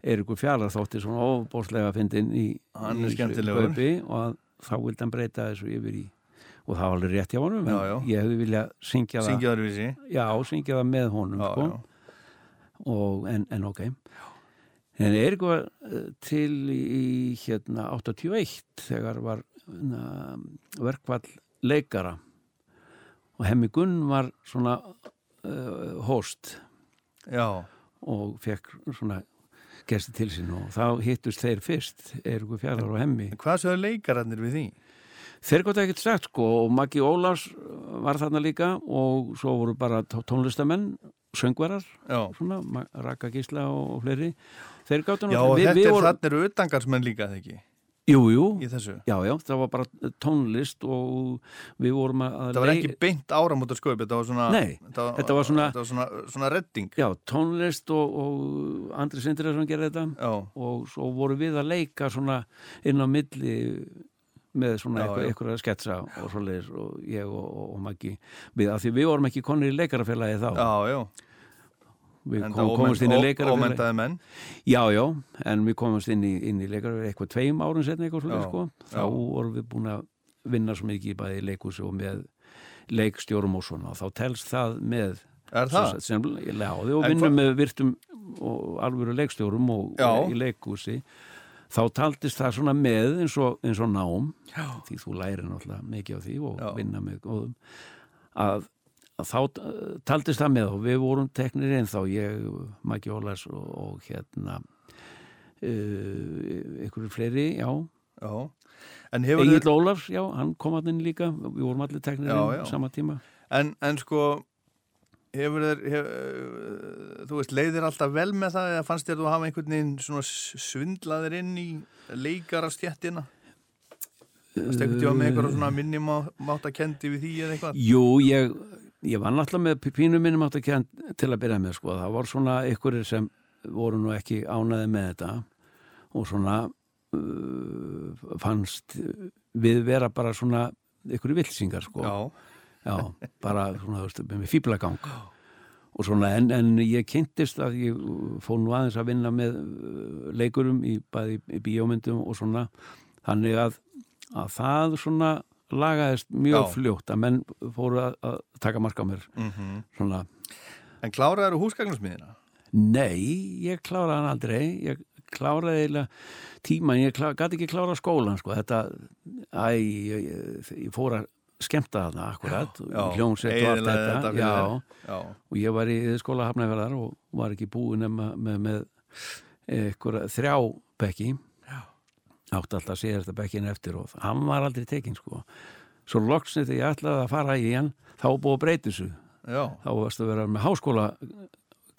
Eirugu Fjallar þótti svona ofbóðslega fyndin í,
Hann er
í
skemmtilegur.
sköpi og að, þá vildi hann breyta þessu yfir í og það var alveg rétt hjá honum en
Já, já.
ég hefði viljað syngja það
syngja þar við sí.
já, syngja það með honum
Já,
sko.
já.
og, en, en ok en er eitthvað eh, til í hérna 81 þegar var na, verkvall leikara og Hemmi Gunn var svona uh, host
Já,
og fekk svona gesti til sín og þá hittust þeir fyrst Eiríku Fjallar og Hemmi
En hvað sögðu leikararnir við því?
þeir gott ekkert sagt sko og Maggi Ólafs var þarna líka og svo voru bara tó- tónlistamenn söngvarar
Já,
svona, Ma- Raka Gísla og, og fleiri þeir gáttu
já og þetta er
vorum-
þarna eru utangarsmenn líka eða ekki
Jú, jú,
í þessu.
já, já, það var bara tónlist og við vorum að
Það var ekki beint áramóta sköp, þetta var svona...
Nei,
þetta var,
þetta var svona-
Þetta var svona, svona redding.
Já, tónlist og, og Andri Sindriðarsson gerði þetta
Já,
og svo vorum við að leika svona inn á milli með svona
Já, já.
eitthvað að sketsa og svoleiðis og ég og, og, og Maggi við, af því við vorum ekki konir í leikarafélagi þá
já, já.
við
Enda
kom,
ómenn-
komumst inn í
ó-
leikarafélagi
Ómenntaði menn.
Já, já, en við komumst inn í, inn í leikar eitthvað tveim árum setna eitthvað slúið,
Já,
sko. Þá
já.
vorum við búin að vinna svo mikið í bæði leikus og með leikstjórum og svona. Þá telst það með
Er það?
sem, sagt, sem, já, við og
En
vinnum
hva-
með virtum og alvöru leikstjórum og,
Já.
í leikusi. Þá taldist það svona með eins og, eins og nám, já. því þú lærir náttúrulega mikið á því og
Já.
vinna með góðum, að að þá uh, taldist það með og við vorum teknir einn þá ég, Maggi Ólas og, og hérna uh, ykkur fleiri, já
Já, en hefur
Egil Ólafs, já, hann kom að inn líka við vorum allir teknir
Já,
inn
já.
á sama tíma
en, en sko hefur þeir hef, þú veist, leiðir alltaf vel með það eða fannst þér þú hafa einhvern veginn svona s- svindlaðir inn í leikarastjættina Það stekur tjóð með einhverja svona minnimátt að kendi við því eða eitthvað
Jú, ég, ég var náttúrulega með pínu minnum átt að kenna til að byrja með sko. það var svona ykkur sem voru nú ekki ánaði með þetta og svona uh, fannst við vera bara svona ykkur vilsingar sko.
Já,
Já, bara svona, þú veist, með fýblagang og svona, en, en ég kynntist að ég uh, fór nú aðeins að vinna með uh, leikurum í bæði í bíómyndum og svona þannig að, að það svona lagaðist mjög
Já.
fljótt að menn fóru að, að taka marka á mér
Mm.
svona,
en kláraður húsgagnusmiðina
nei, ég kláraði hann aldrei ég kláraði eiginlega tíman, ég klá, gat ekki klára skólan sko, þetta, æ, ég, ég, ég fór að skemmta þarna akkurat, hljómsett og allt
eyðilagði
þetta,
fyrir
já,
þér. já,
og ég var í skóla hafnaverðar og var ekki búin með, með, með einhverja þrjá bekki átti alltaf að segja þetta bekkin eftir og hann var aldrei tekinn sko svo loksni þegar ég ætlaði að fara í hann þá var búið að breyta þessu
já,
þá varstu að vera með háskóla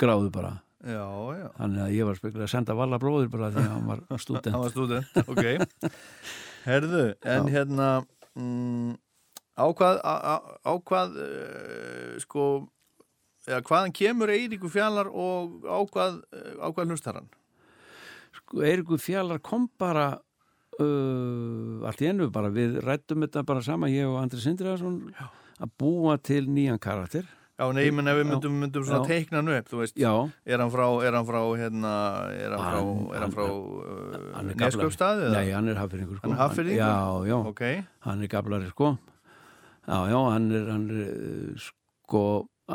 gráðu bara
já, já
þannig að ég var spekulega að senda Valla bróður bara því að hann var
hann
student
var student, ok Herðu, en hérna mm, ákvað á- á- ákvað uh, sko eða hvaðan kemur Eiríku fjallar og ákvað, uh, ákvað hlustarann
Eirikur Sko, Fjallar kom bara uh, allt í ennu bara við rættum þetta bara sama ég og Andri Sindriðarsson að búa til nýjan karakter
Já, nei, menn ef við myndum, myndum svona
Já.
teikna hann upp, þú veist,
Já, Ah,
er hann frá, er hann frá, hérna, er hann frá,
Hann-
er hann frá
hann
uh,
er gaflari.
Neskaupstaði eða?
Nei, hann er hafðfyrringur sko.
Hann er Hafnfirðingur?
Já, já,
Ok,
hann er gaflari sko Já, já, hann er, hann er eh, sko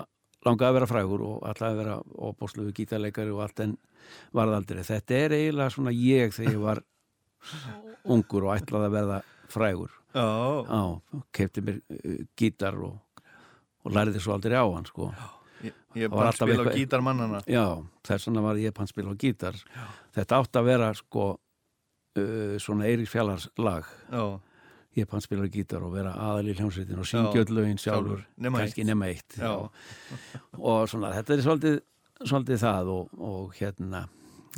a- langaði að vera frægur og alltaf að vera opbóðslegu gítarleikari og allt en varð aldrei. Þetta er eiginlega svona ég þegar ég var ungur og ætlaði að verða frægur
já,
Já, kefti mér eh, gítar og, og lærði svo aldrei á hann sko
ég, ég
Það var
bara
alltaf
spila á
eitthvað-
gítarmannana.
Já, þess vegna var ég pannspil á gítar. Þetta átt að vera sko uh, svona Eiríks Fjallars lag.
Já,
Ég pannspil á gítar og vera aðal í hljómsveitin og syngja
Já,
öll lögin sjálfur.
sjálfur, nema
kannski
eitt.
nema eitt.
Já.
Og svona, þetta er svolítið, svolítið það og, og hérna,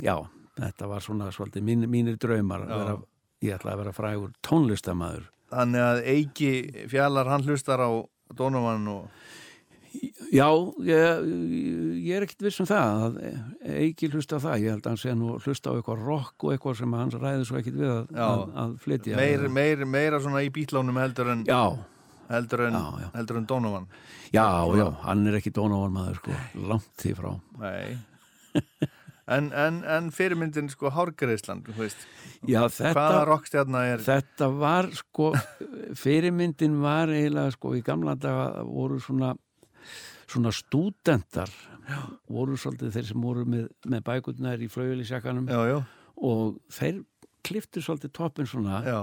já, þetta var svona svolítið mín, mínir draumar. að
Já.
Vera, ég ætlaði að vera frægur tónlistamæður.
þannig að Eiki Fjallar, hann hlustar á Donovan og,
Já, ég, ég er ekkert viss um það að Eiki hlusta á það, ég held að hann sé nú að hlusta á eitthvað rock og eitthvað sem hann ræður svo ekkert við að,
Já.
að, að flytja
meir, meir, meira svona í bítlánum heldur en,
Já,
heldur en,
Já, já.
heldur en Donovan.
já, já, hann er ekki Donovan maður sko, langt því frá
Nei. En, en, en fyrirmyndin sko Hárgreisland, þú veist,
Já, þetta,
hvaða rockstjarna er,
þetta var sko fyrirmyndin var eiginlega sko í gamla daga voru svona svona stúdentar voru svolítið þeir sem voru með, með bækurnar í flauðlisjakkanum
já, já,
og þeir kliftu svolítið toppin svona
já,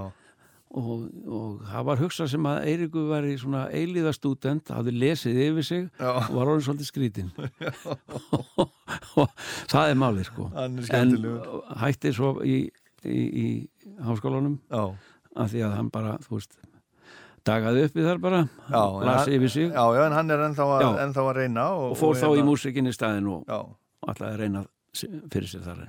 og, og það var hugsað sem að Eiríku var í svona eilíða stúdent hafði lesið yfir sig
Já.
og var orðin svolítið skrítin og það er málið sko
Hann er
en
skemmtilegur.
hætti svo í, í, í háskólanum
já,
af því að hann bara, þú veist dagaði uppi þar bara
já, en
las
hann-
yfir sig
já, já, en hann er ennþá að,
Já.
ennþá að reyna og,
og fór þá í
hérna-
músikinni staðin og
Já,
ætlaði að reyna s- fyrir sér þar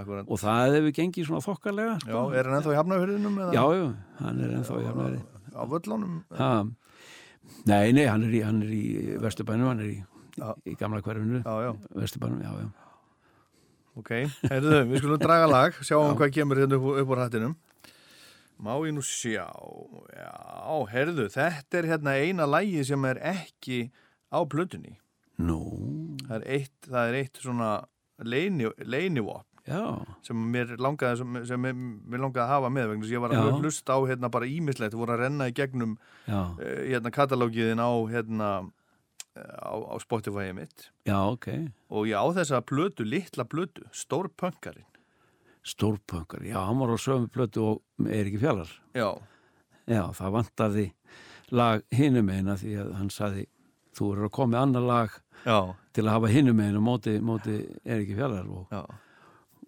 akkurat.
og það hefur gengið svona þokkalega sko.
Já, er hann ennþá í hafnafjörðinum?
já, já, hann er ennþá í hann
Á völlunum?
Ha, nei, nei, hann er í, hann er í Vesturbænum, hann er í,
Já.
í gamla hverfinu,
Já, já,
Vesturbænum, já, já.
ok. Heyrðu, við skulum draga lag, sjáum hvað kemur hérna upp, upp úr hattinum. Má ég nú sjá, já, heyrðu, þetta er hérna eina lagið sem er ekki á plötunni.
Nú,
Það er eitt, það er eitt svona leyni, leynivop
já,
sem mér langaði, sem, sem mér, mér langaði að hafa með vegna þess að ég var
Já.
að hlusta á hérna bara ímislegt, voru að renna í gegnum
já,
eh, hérna katalógiðin á hérna eh, á, á Spotify mitt
já, ok,
og ég á þessa plötu, litla plötu stór pönkarinn
stórpönkar, já, hann var á sömu plötu og er ekki fjallar.
já,
Já, það vantaði lag hinum eina því að hann saði, þú eru að koma með annar lag
já,
til að hafa hinum einu móti, móti er ekki fjallar og,
já,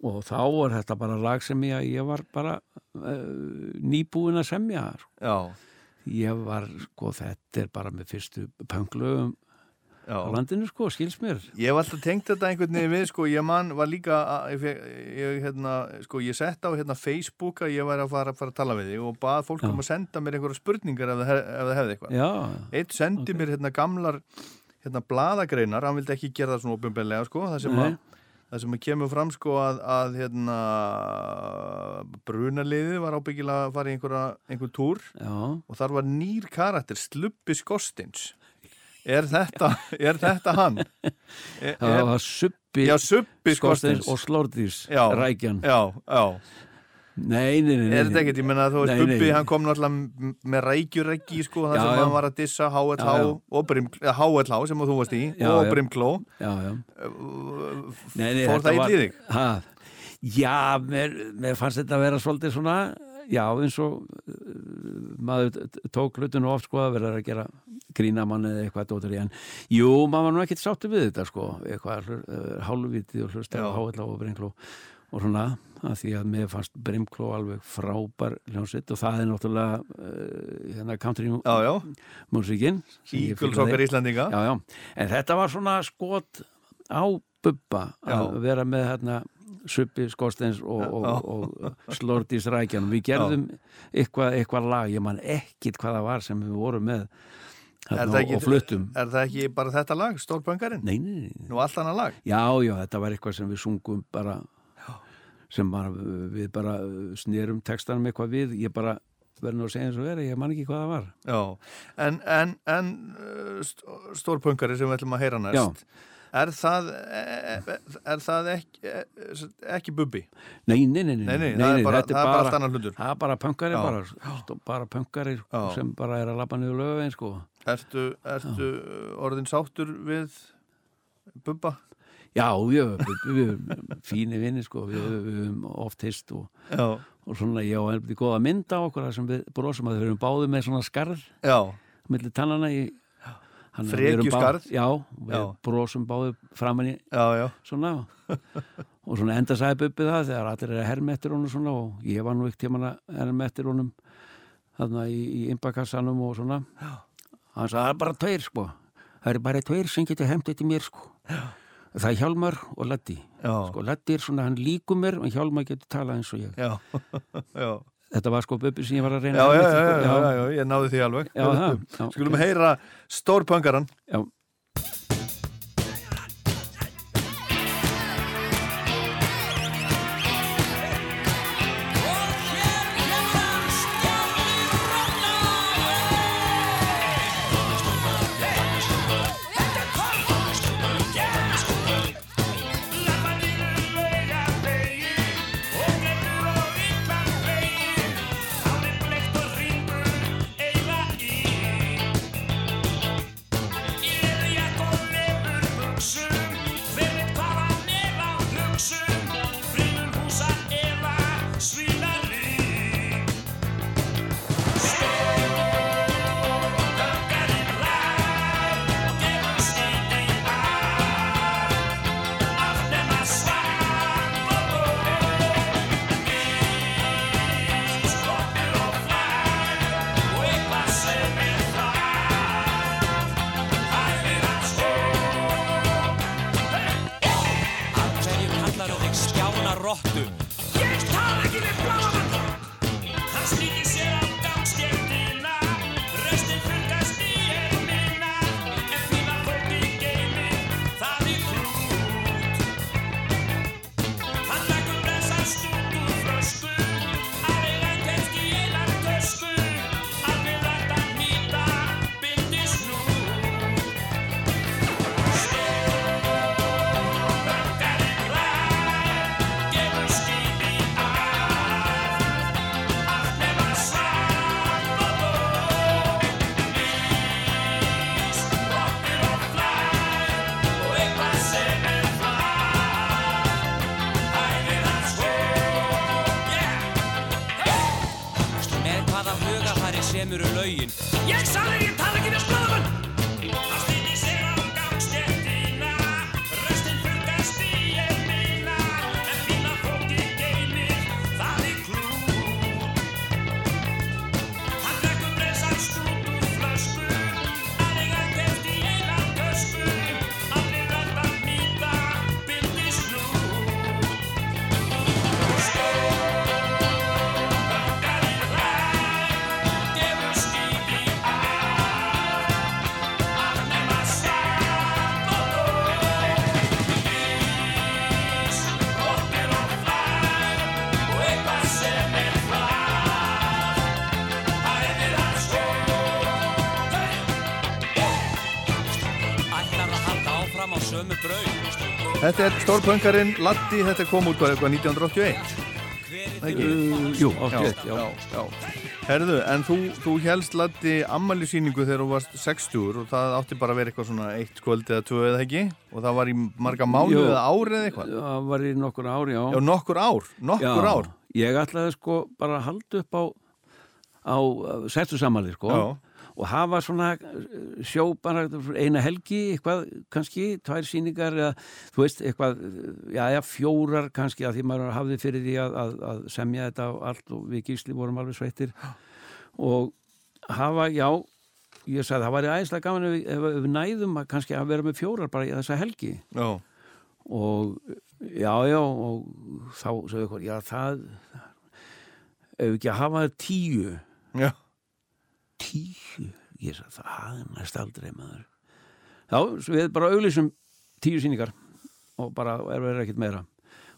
og þá er þetta bara lag sem ég, ég var bara uh, nýbúin að semja, sko.
já,
Ég var, sko, þetta er bara með fyrstu pönglöfum á
já.
landinu, sko, skils mér.
ég hef alltaf tengt þetta einhvern veginn við sko, ég man var líka að, ég fe- ég, hérna, sko, ég sett á hérna, Facebook að ég var að fara, fara að tala við þig og bað fólk um að senda mér einhverja spurningar ef það, hef, ef það hefði eitthvað
Já,
eitt sendi mér hérna gamlar hérna bladagreinar, hann vildi ekki gera það svona opinbelega sko, það sem
Nei.
að Það sem að kemur fram sko að, að hérna, brunaliði var ábyggilega að fara í einhverja, einhver túr
já,
og þar var nýr karakter, Slubbi Skostins er þetta, er þetta hann? Er,
það
er,
var subbi,
Eh, já, Subbi
skorsteins
Skostins
og slordís,
Já.
rækjan.
já, já,
Nei, nei, nei, nei.
er þetta ekkert, ég menna að þú veist
Nei, nei.
Bubbi, hann kom náttúrulega m- með rækjureggi sko, það
Já,
sem
já.
hann var að dissa HLH
Já, já.
og eh, Brimkló, eða HLH sem þú varst í
Já,
og
já.
Brimkló Eh,
Já, já. Nei, nei,
fór
þetta var-
það illa í þig?
Ha, já, mér, mér fannst þetta að vera svolítið svona, já, eins og uh, maður t- t- tók hlutinu oft, sko, að vera að gera grínamann eða eitthvað dóttur í hann. Jú, maður var nú ekkert sáttu við þetta, sko, eitthvað uh, hálfvitið og hlusta á
Já.
háðla og brimkló og svona, að því að mér fannst brimkló alveg frábær hljónsitt og það er náttúrulega uh, hérna country
Já, já,
musikin
Eagles okkar Íslandinga
já, já. En þetta var svona skot á bubba að
Já.
vera með hérna Suppi Skorsteins og, og, og Slordís Rækjan. Við gerðum eitthvað, eitthvað lag, ég man ekkit hvað það var sem við vorum með
Er
hérna,
það ekki-
og fluttum.
Er það ekki bara þetta lag, Stórpöngarinn?
Nei, nei, nei.
Nú allt annað lag?
Já, já, þetta var eitthvað sem við sungum bara sem bara, við bara snerum textanum eitthvað við, ég bara verður nú að segja eins og verið, ég man ekki hvað það var
Já, en, en, en uh, st- stórpunkari sem við ætlum að heyra næst Er það, e- e- er það ekki, e- e- ekki bubbi?
Nei, nei, nei, nei,
Nei, nei, það er bara-
þetta
það er bara allt annar hlutur.
Það er bara pöngari
Já.
bara, stó- bara pöngari sko,
Já.
sem bara er að labba niður lögavegin sko.
Ertu, ertu orðin sáttur við bubba?
Já, við við- við erum fíni vinni sko, við við höfum oft hist og,
Já,
og svona ég á einhverjum góða mynda okkur þar sem við brosum að við erum báði með svona skarð
já,
millir tannana í hann,
Frekjuskarð?
Já, við
Já.
brosum báði framan í
já, já,
svona og svona enda sagði Bubbi það þegar allir er að herma eftir honum svona og ég var nú ekkert tíman að herma eftir honum þarna í, í innbakassanum og svona hann sagði það er bara tveir sko það eru bara tveir sem getur hemt eftir mér sko það er Hjálmar og Latti
já,
sko Latti er svona hann líku mér en Hjálmar getur talað eins og ég
já, já.
þetta var sko Bubbi sem ég var að
Já,
reyna
já,
að um,
já,
herma
já,
eftir,
já, já, ég náði því alveg
Já, það, já,
Skulum
ok.
heyra stórpunkaran
já.
Hverju kallar þig skjána rottu? Ég tala ekki við bláman Hann slíkir sér á gangstjöndina Röstin fyrkast í ermina En fíla fólk í geimi Það er krút Hann takum þessar stúku frösku Aðeina kemst í einan tösku Alveg lagt að nýta Bindis nú
Með hvaða hugafari semur lögin
Ég sagði ég tala ekki við smáðumann Það stýtti sig á gangstéttina Röstin fyrkast í elmina En fíla fólki geymir Það er klút Hann drekkur breysan stúpur flösku Aðeina keft í einan tösku Allir rætt að nýta Bildi snú Gefur skýt í
Ætlar að halda áfram á sömu braut
Þetta er stórpunkarin Latti, þetta kom út hvað, eitthvað 1981 Það ekki?
Jú, áttið, já,
já, já. Herðu, en þú, þú helst laddi ammali síningu þegar þú varst 60 og það átti bara að vera eitthvað svona eitt kvöld eða tvö eða ekki og það var í marga mánu
Jú.
eða ár eða eitthvað
það var í nokkur ár, já
Já, nokkur ár, nokkur ár
Ég ætlaði sko bara að halda upp á, á sextu samali sko
Já.
og hafa svona eh, sjó bara eina helgi, eitthvað kannski, tvær síningar eða þú veist eitthvað, eh, já, já, fjórar kannski að því maður hafði fyrir því að, að, að semja þetta og allt og við gísli vorum alveg sveittir og hafa, já, ég sagði það væri æðislega gaman ef, við- ef, ef við næðum að kannski að vera með fjórar bara í þessa helgi
Já,
og já, já og þá sagði eitthvað, já það ef við ekki að hafa það tíu
já,
tíu, ég sagði það er næst aldrei maður já, svo við bara auglýsum tíu síningar og bara er verið ekkert meira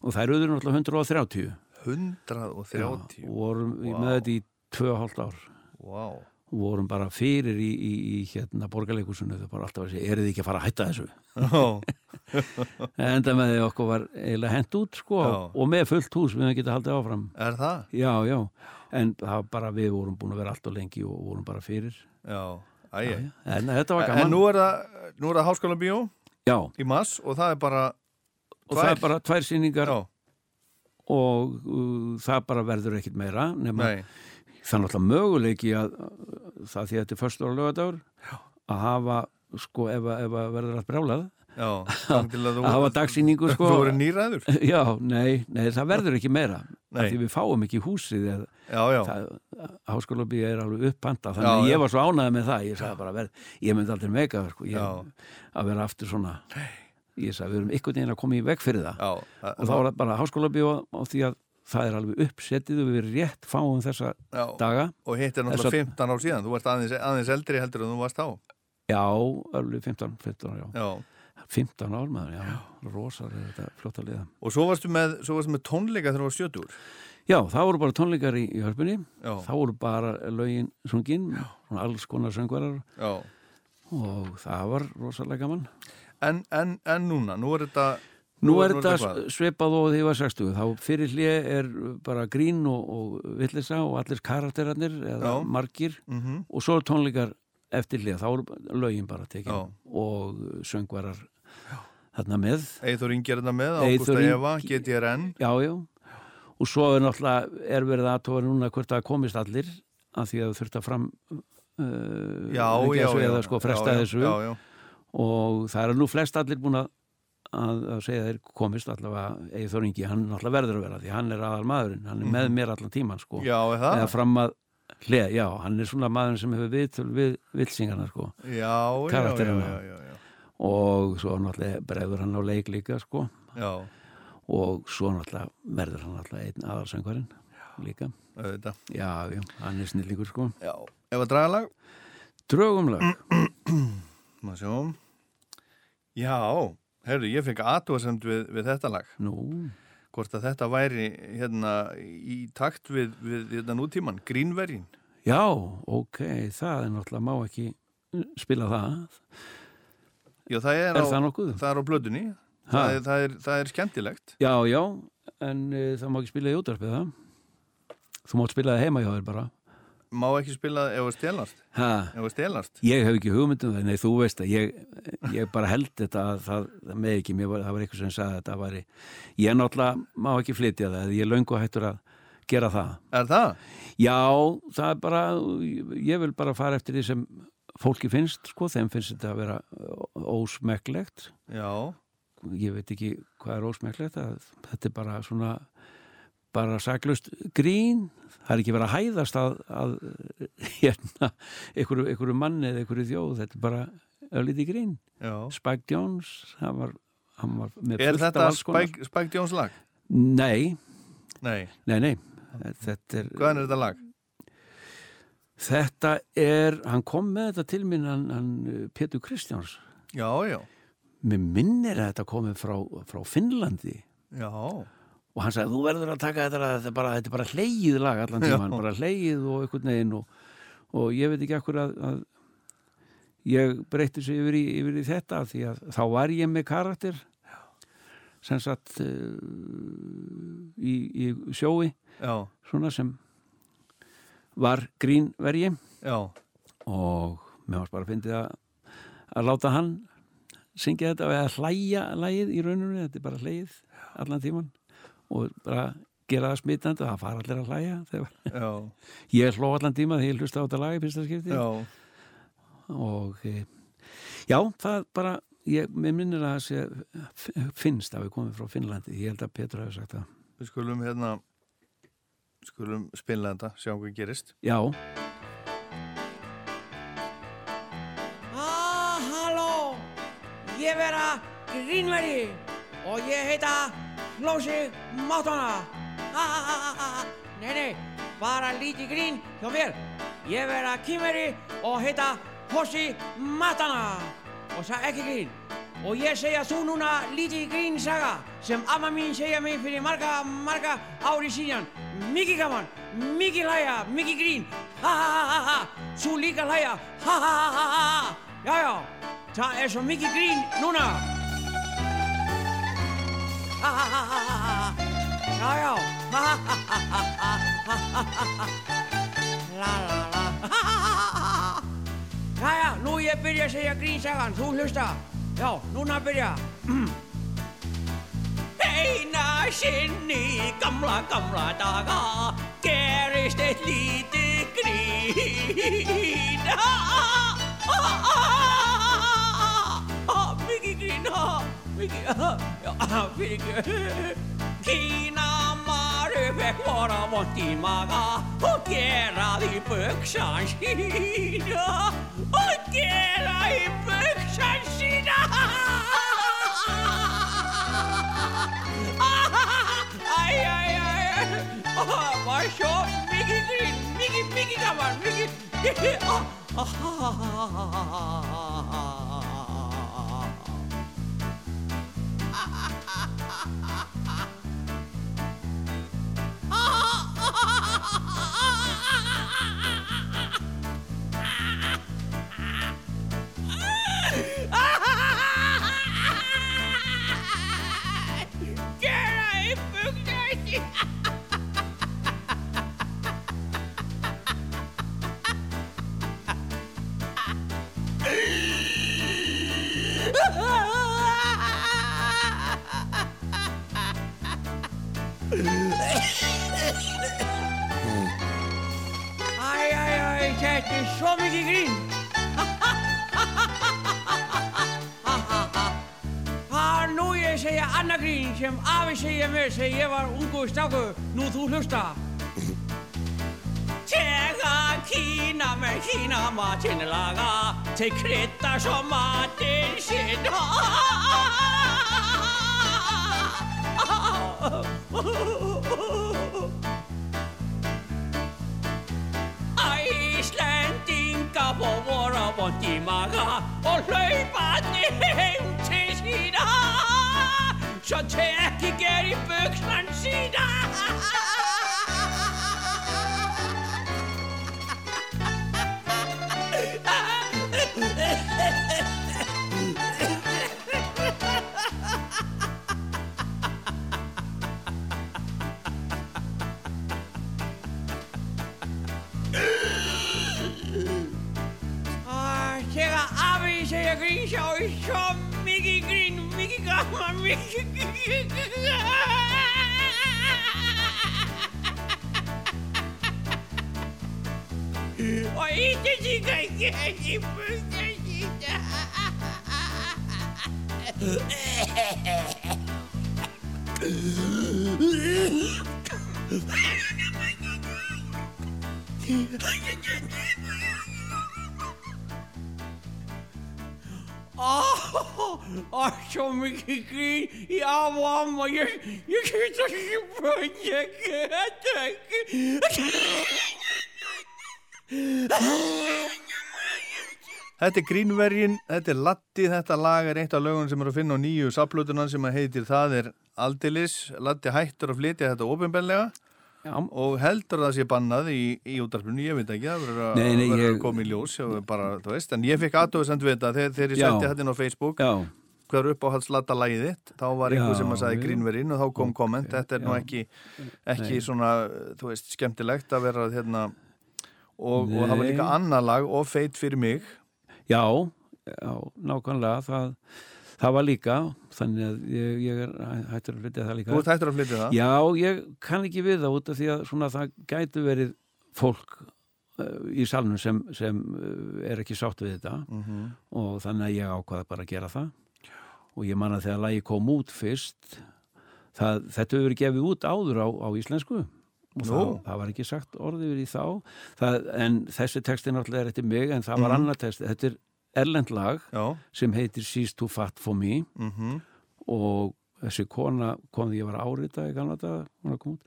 og það eru náttúrulega 130
130
og vorum wow. með þetta í tvö og hálft ár
Vá.
og vorum bara fyrir í, í, í hérna borgarleikursunu þau bara alltaf að segja, eru þið ekki að fara að hætta þessu
Já.
enda með því okkur var eiginlega hent út sko
Já.
og með fullt hús við höfum getið haldið áfram
Er það?
já, já, en það var bara við vorum búin að vera allt og lengi og vorum bara fyrir
Já. Æja.
en þetta var
En
gaman
nú er það, nú er það háskóla bíó
já, og
í mass og það er bara,
það
Tvær.
er bara tvær sýningar
já,
og uh, það bara verður ekkit meira nema
nei,
það er náttúrulega möguleiki að að- það því að þetta er förstur og lögadagur að hafa sko ef, að- ef að verður allt brjálað
já, þang til að þú,
að hafa dagsýningu sko
þú verður nýræður.
Já, nei, nei, það verður ekki meira
Nei.
af því við fáum ekki húsið eða,
Já, já,
það, háskóla er alveg upphandað þannig
Já,
að
já.
ég var svo ánæðið með það ég sagði bara, verð, ég myndi aldrei meika það, sko,
Já.
ég, að vera aftur svona ég sagði, við erum einhvern veginn að koma í veg fyrir það
já.
og þá var það bara háskóla og því að það er alveg uppsettið og við rétt fáum þessa
já.
daga
Og hitt er náttúrulega
Þess
15 ár síðan, þú varst aðeins, aðeins eldri heldur en þú varst þá.
já, alveg 15, 15 já.
Já.
15 ár maður, já, rosar er þetta fljótt að liða
Og svo varstu með, svo varstu með tónleika þegar þú var sjötur.
já, það voru bara tónleikar í, í hörpunni
Já,
þá voru bara lögin sungin svona alls konar söngvarar
já.
og það var rosalega gaman
En, en, en núna, nú er þetta,
Nú er
hvað?
þetta svipað og því var 60 þá fyrir hlið er bara grín og, og villisa og allir karakterarnir eða
Já.
margir
Mhm.
og svo er tónleikar eftir hlið þá eru lögin bara tekin
Já.
og söngvarar þarna með
Eithor Ingi er þetta með,
Eyþór
Ágústa
Ingi-
Eva, GTRN.
já, já og svo er náttúrulega er verið aðtóra núna hvort það komist allir að því að þurft að fram uh,
Já,
leggja
já,
þessu
já.
eða sko fresta
já, já,
þessu
Já, já,
og það eru nú flest allir búin að, að, að segja þeir komist allavega Eithor Ingi, hann náttúrulega verður að vera því hann er aðal maðurinn, hann er með mér allan tíman sko.
Mhm. já, er það?
eða fram að hlið, já, hann er svona maðurinn sem hefur við, við vilsingarna sko.
Já, já, já,
karakterina.
já, já, já.
og svo náttúrulega bregður hann á leik líka sko.
Já,
og svo náttúrulega verður hann náttúrulega einn aðalsöngvarinn líka,
auðvitað.
já, já, hann er snillingur sko.
Já, ef að draga lag,
Drögumlag,
maður sjáum. Já, herru, ég fekk aðtúasemd við, við þetta lag.
nú
Hvort að þetta væri hérna í takt við, við hérna nútíman, grínvergin.
já, ok, það er náttúrulega má ekki spila það
Já, það er,
er
á,
það nokkuð?
það er á blöðunni. Það er, það, er, það er skemmtilegt.
Já, já, en uh, það má ekki spila í útvarpið það Þú mátt spila það heima hjá þér bara
Má ekki spila ef að stelast.
ha,
Ef að stelast.
Ég hef ekki hugmyndum það, nei þú veist að ég, ég bara held þetta að það, það með ekki, mér var, það var eitthvað sem sagði að þetta væri Ég náttúrulega má ekki flytja það, ég er löngu hættur að gera það
Er það?
Já, það er bara, ég vil bara fara eftir því sem fólki finnst, sko, þeim finnst þetta að vera ö, ósmekklegt
Já,
ég veit ekki hvað er ósmekklegt að þetta er bara svona bara saklust grín það er ekki verið að hæðast að, að hérna, einhverju, einhverju manni eða einhverju þjóð, þetta er bara öllítið grín.
já.
Spike Jones hann var, hann var með
Er
fullt af
þetta
alls konar-
Spike, Spike Jones lag?
Nei,
Nei.
nei, nei þetta er,
Hvaðan er þetta lag?
þetta er hann kom með þetta til minn hann, hann eh, Pétur Kristjáns
Já, já.
mér minnir að þetta komið frá, frá Finnlandi
Já,
og hann sagði, þú verður að taka þetta þetta er bara, þetta er bara hleyið lag allan tíman bara hleyið og einhvern veginn og, og ég veit ekki akkur að, að ég breytti sig yfir í, yfir í þetta af því að þá var ég með karakter sem satt uh, í, í sjói
já,
svona sem var grínverji
já.
og mér varst bara að fyndi að, að láta hann syngja þetta og eða hlæja lægið í rauninu, þetta er bara hlægið allan tíman og bara gera það smitandi og það fara allir að hlæja þegar
Já,
ég hló allan tíma þegar ég hlusta á þetta lag í fyrsta skipti
já.
og e, já, það bara ég, mér minnir að það sé finnst að við komum frá Finnlandi, ég held að Petur hafi sagt það
Við skulum hérna skulum spila þetta, sjá hvað gerist
já,
Ah, halló, ég vera grínveri og ég heita Flósi Máttona. Ah, ah, ah, ah, ah, nei, nei, bara lítið grín hjá mér. Ég vera kýmveri og heita Hossi Máttona. Og það er ekki grín.
og ég segja þú núna lítið grínsaga sem amma mín segja mig fyrir marga, marga ári síðan. Mikið gaman, mikið hlæja, mikið grín. Ha ha ha ha ha, þú líka hlæja. Ha ha ha ha ha. Já já, það er svo mikið grín núna. Ha ha ha ha ha ha. Já já, ha ha ha ha ha ha ha ha ha ha. La la la, ha ha ha ha ha ha. Jæja, nú ég byrja að segja grínsagan, þú hlusta. Já, núna byrja. Eina sinni í gamla, gamla daga gerist eitt lítið grín. Ha, ha, ha, ha, ha, ha, ha, ha, Mikið grín, ha, mikið, ha, já, ha, fyrir ekki. Kína maru fekk vora vont í maga og geraði buksan sína. Og geraði buksan sína. Ha, ha, ha, ha, ha, ha. Æj, æj, æj, var svo mikið grín, mikið, mikið gaman, mikið, gera í fuglarni. Ah. Æj, æj, æj, þetta er svo mikið grín. Það er nú ég segja annað grín sem afi segja mér sem ég var ungu stáku, nú þú hlusta. Þegar kína með kína matinn laga, þeir krydda svo matinn sinn. Æslendinga fó voru vond í maga og hlaupandi heim til sína svo þeir ekki geri buksmann sína Æ, Þegar afi segja grín sjá ég svo mikið grín, mikið gaman, mikið Og ítti síka ekki buksa sína Ah, Og svo mikið grín í af og amma, ég, ég get ekki buksa, ég get ekki
Þetta er Grínvergin, þetta er Latti, þetta lag er eitt af lögun sem er að finna á nýju saplutuna sem að heitir Það er Aldilis. Latti hættur að flytja þetta ofinbellega
Já,
og heldur að það sé bannað í, í útarpunni, ég veit ekki, það verður að,
Nei, nei,
verður að
ég-
koma í ljós, já, bara, þú veist, en ég fikk aðtöðsend við þetta þegar, þegar ég
Já.
setti þetta inn á Facebook,
já,
hver uppáhalds Latta lagið þitt, þá
Já,
var einhver sem að sagði
já.
Grínvergin og þá kom komment, þetta er nú
já.
ekki, ekki svona, þú veist, skemmtilegt að vera hérna, og, og það var
Nei.
líka annað lag og feit fyrir mig,
já, já, nákvæmlega, það, það var líka, þannig að ég, ég er hættur að flytja það líka.
þú ert hættur að flytja það?
Já, ég kann ekki við það út af því að svona það gætu verið fólk eh, í salnum sem, sem eh, er ekki sátt við þetta
Mhm.
og þannig að ég ákvaða bara að gera það og ég man að þegar lagi kom út fyrst það, þetta hefur verið gefið út áður á, á íslensku og það,
Nú.
það var ekki sagt orðið við í þá það, en þessi texti náttúrulega er eftir mig en það var annar texti, þetta er erlend lag
Mhm. Já,
sem heitir She's Too Fat For Me
mhm,
og þessi kona kom því ég var árita í Kanada, hún var kom út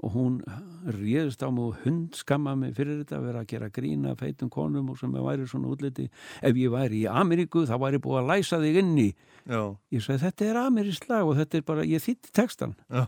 og hún réðist á mig og hund skamma mig fyrir þetta að vera að gera grína feitum konum og sem ég væri svona útliti ef ég væri í Ameríku þá væri búið að læsa þig inni
já,
ég sagði þetta er Amerísk lag og þetta er bara, ég þýtti textan
já,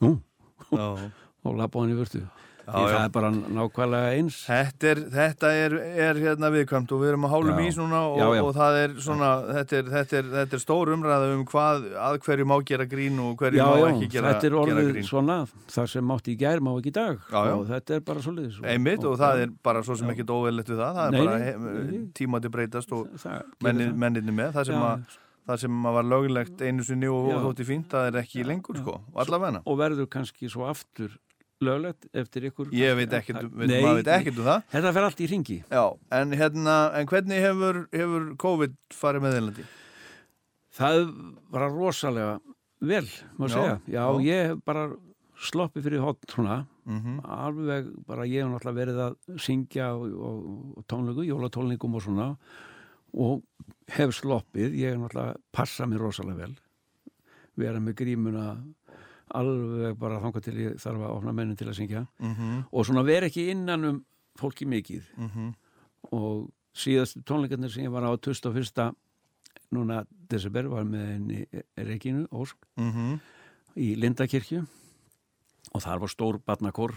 Nú,
já.
og lappa hann í vörtu
Já,
það
já.
er bara nákvæmlega eins
Þetta er, þetta er, er hérna viðkvæmt og við erum að hálum
Já.
ís núna og,
Já, já.
og það er svona, þetta er, þetta, er, þetta er stór umræða um hvað, að hverju má gera grín og hverju
Já,
má
já,
ekki gera,
þetta er
gera
orðið
grín.
svona það sem mátti í gær má ekki í dag
Já, já.
og þetta er bara svoleiðis
Einmitt og það er bara svo sem ekkert óveðlegt við það, það
Nei,
er bara
nei,
he-
nei.
tímati breytast og
það,
mennin, menninni með, það sem,
Já.
að, það sem að var lögulegt einu sinni og,
Já.
og þótti fínt, það er ekki lengur sko, og allavegna.
og verður kannski svo aftur löglegt eftir ykkur
Ég veit ekkert, um- veit, maður veit ekkert um það.
Þetta fer allt í ringi
Já, en hérna, en hvernig hefur, hefur COVID farið með Írlandi?
Það var rosalega vel, má
Já,
segja Já,
já.
ég hef bara sloppið fyrir hótt svona
Mm
alveg bara ég hef náttúrulega verið að syngja og, og, og tónleiku, jólatólningum og svona og hef sloppið, ég hef náttúrulega passað mér rosalega vel vera með grímuna alveg bara þangað til ég þarf að opna mennin til að syngja
Mhm.
og svona vera ekki innan um fólki mikið
Mhm.
og síðast tónleikarnir sem ég var á 21. núna desember var með henni Regínu Ósk
Mhm.
í Lindakirkju og þar var stór barnakor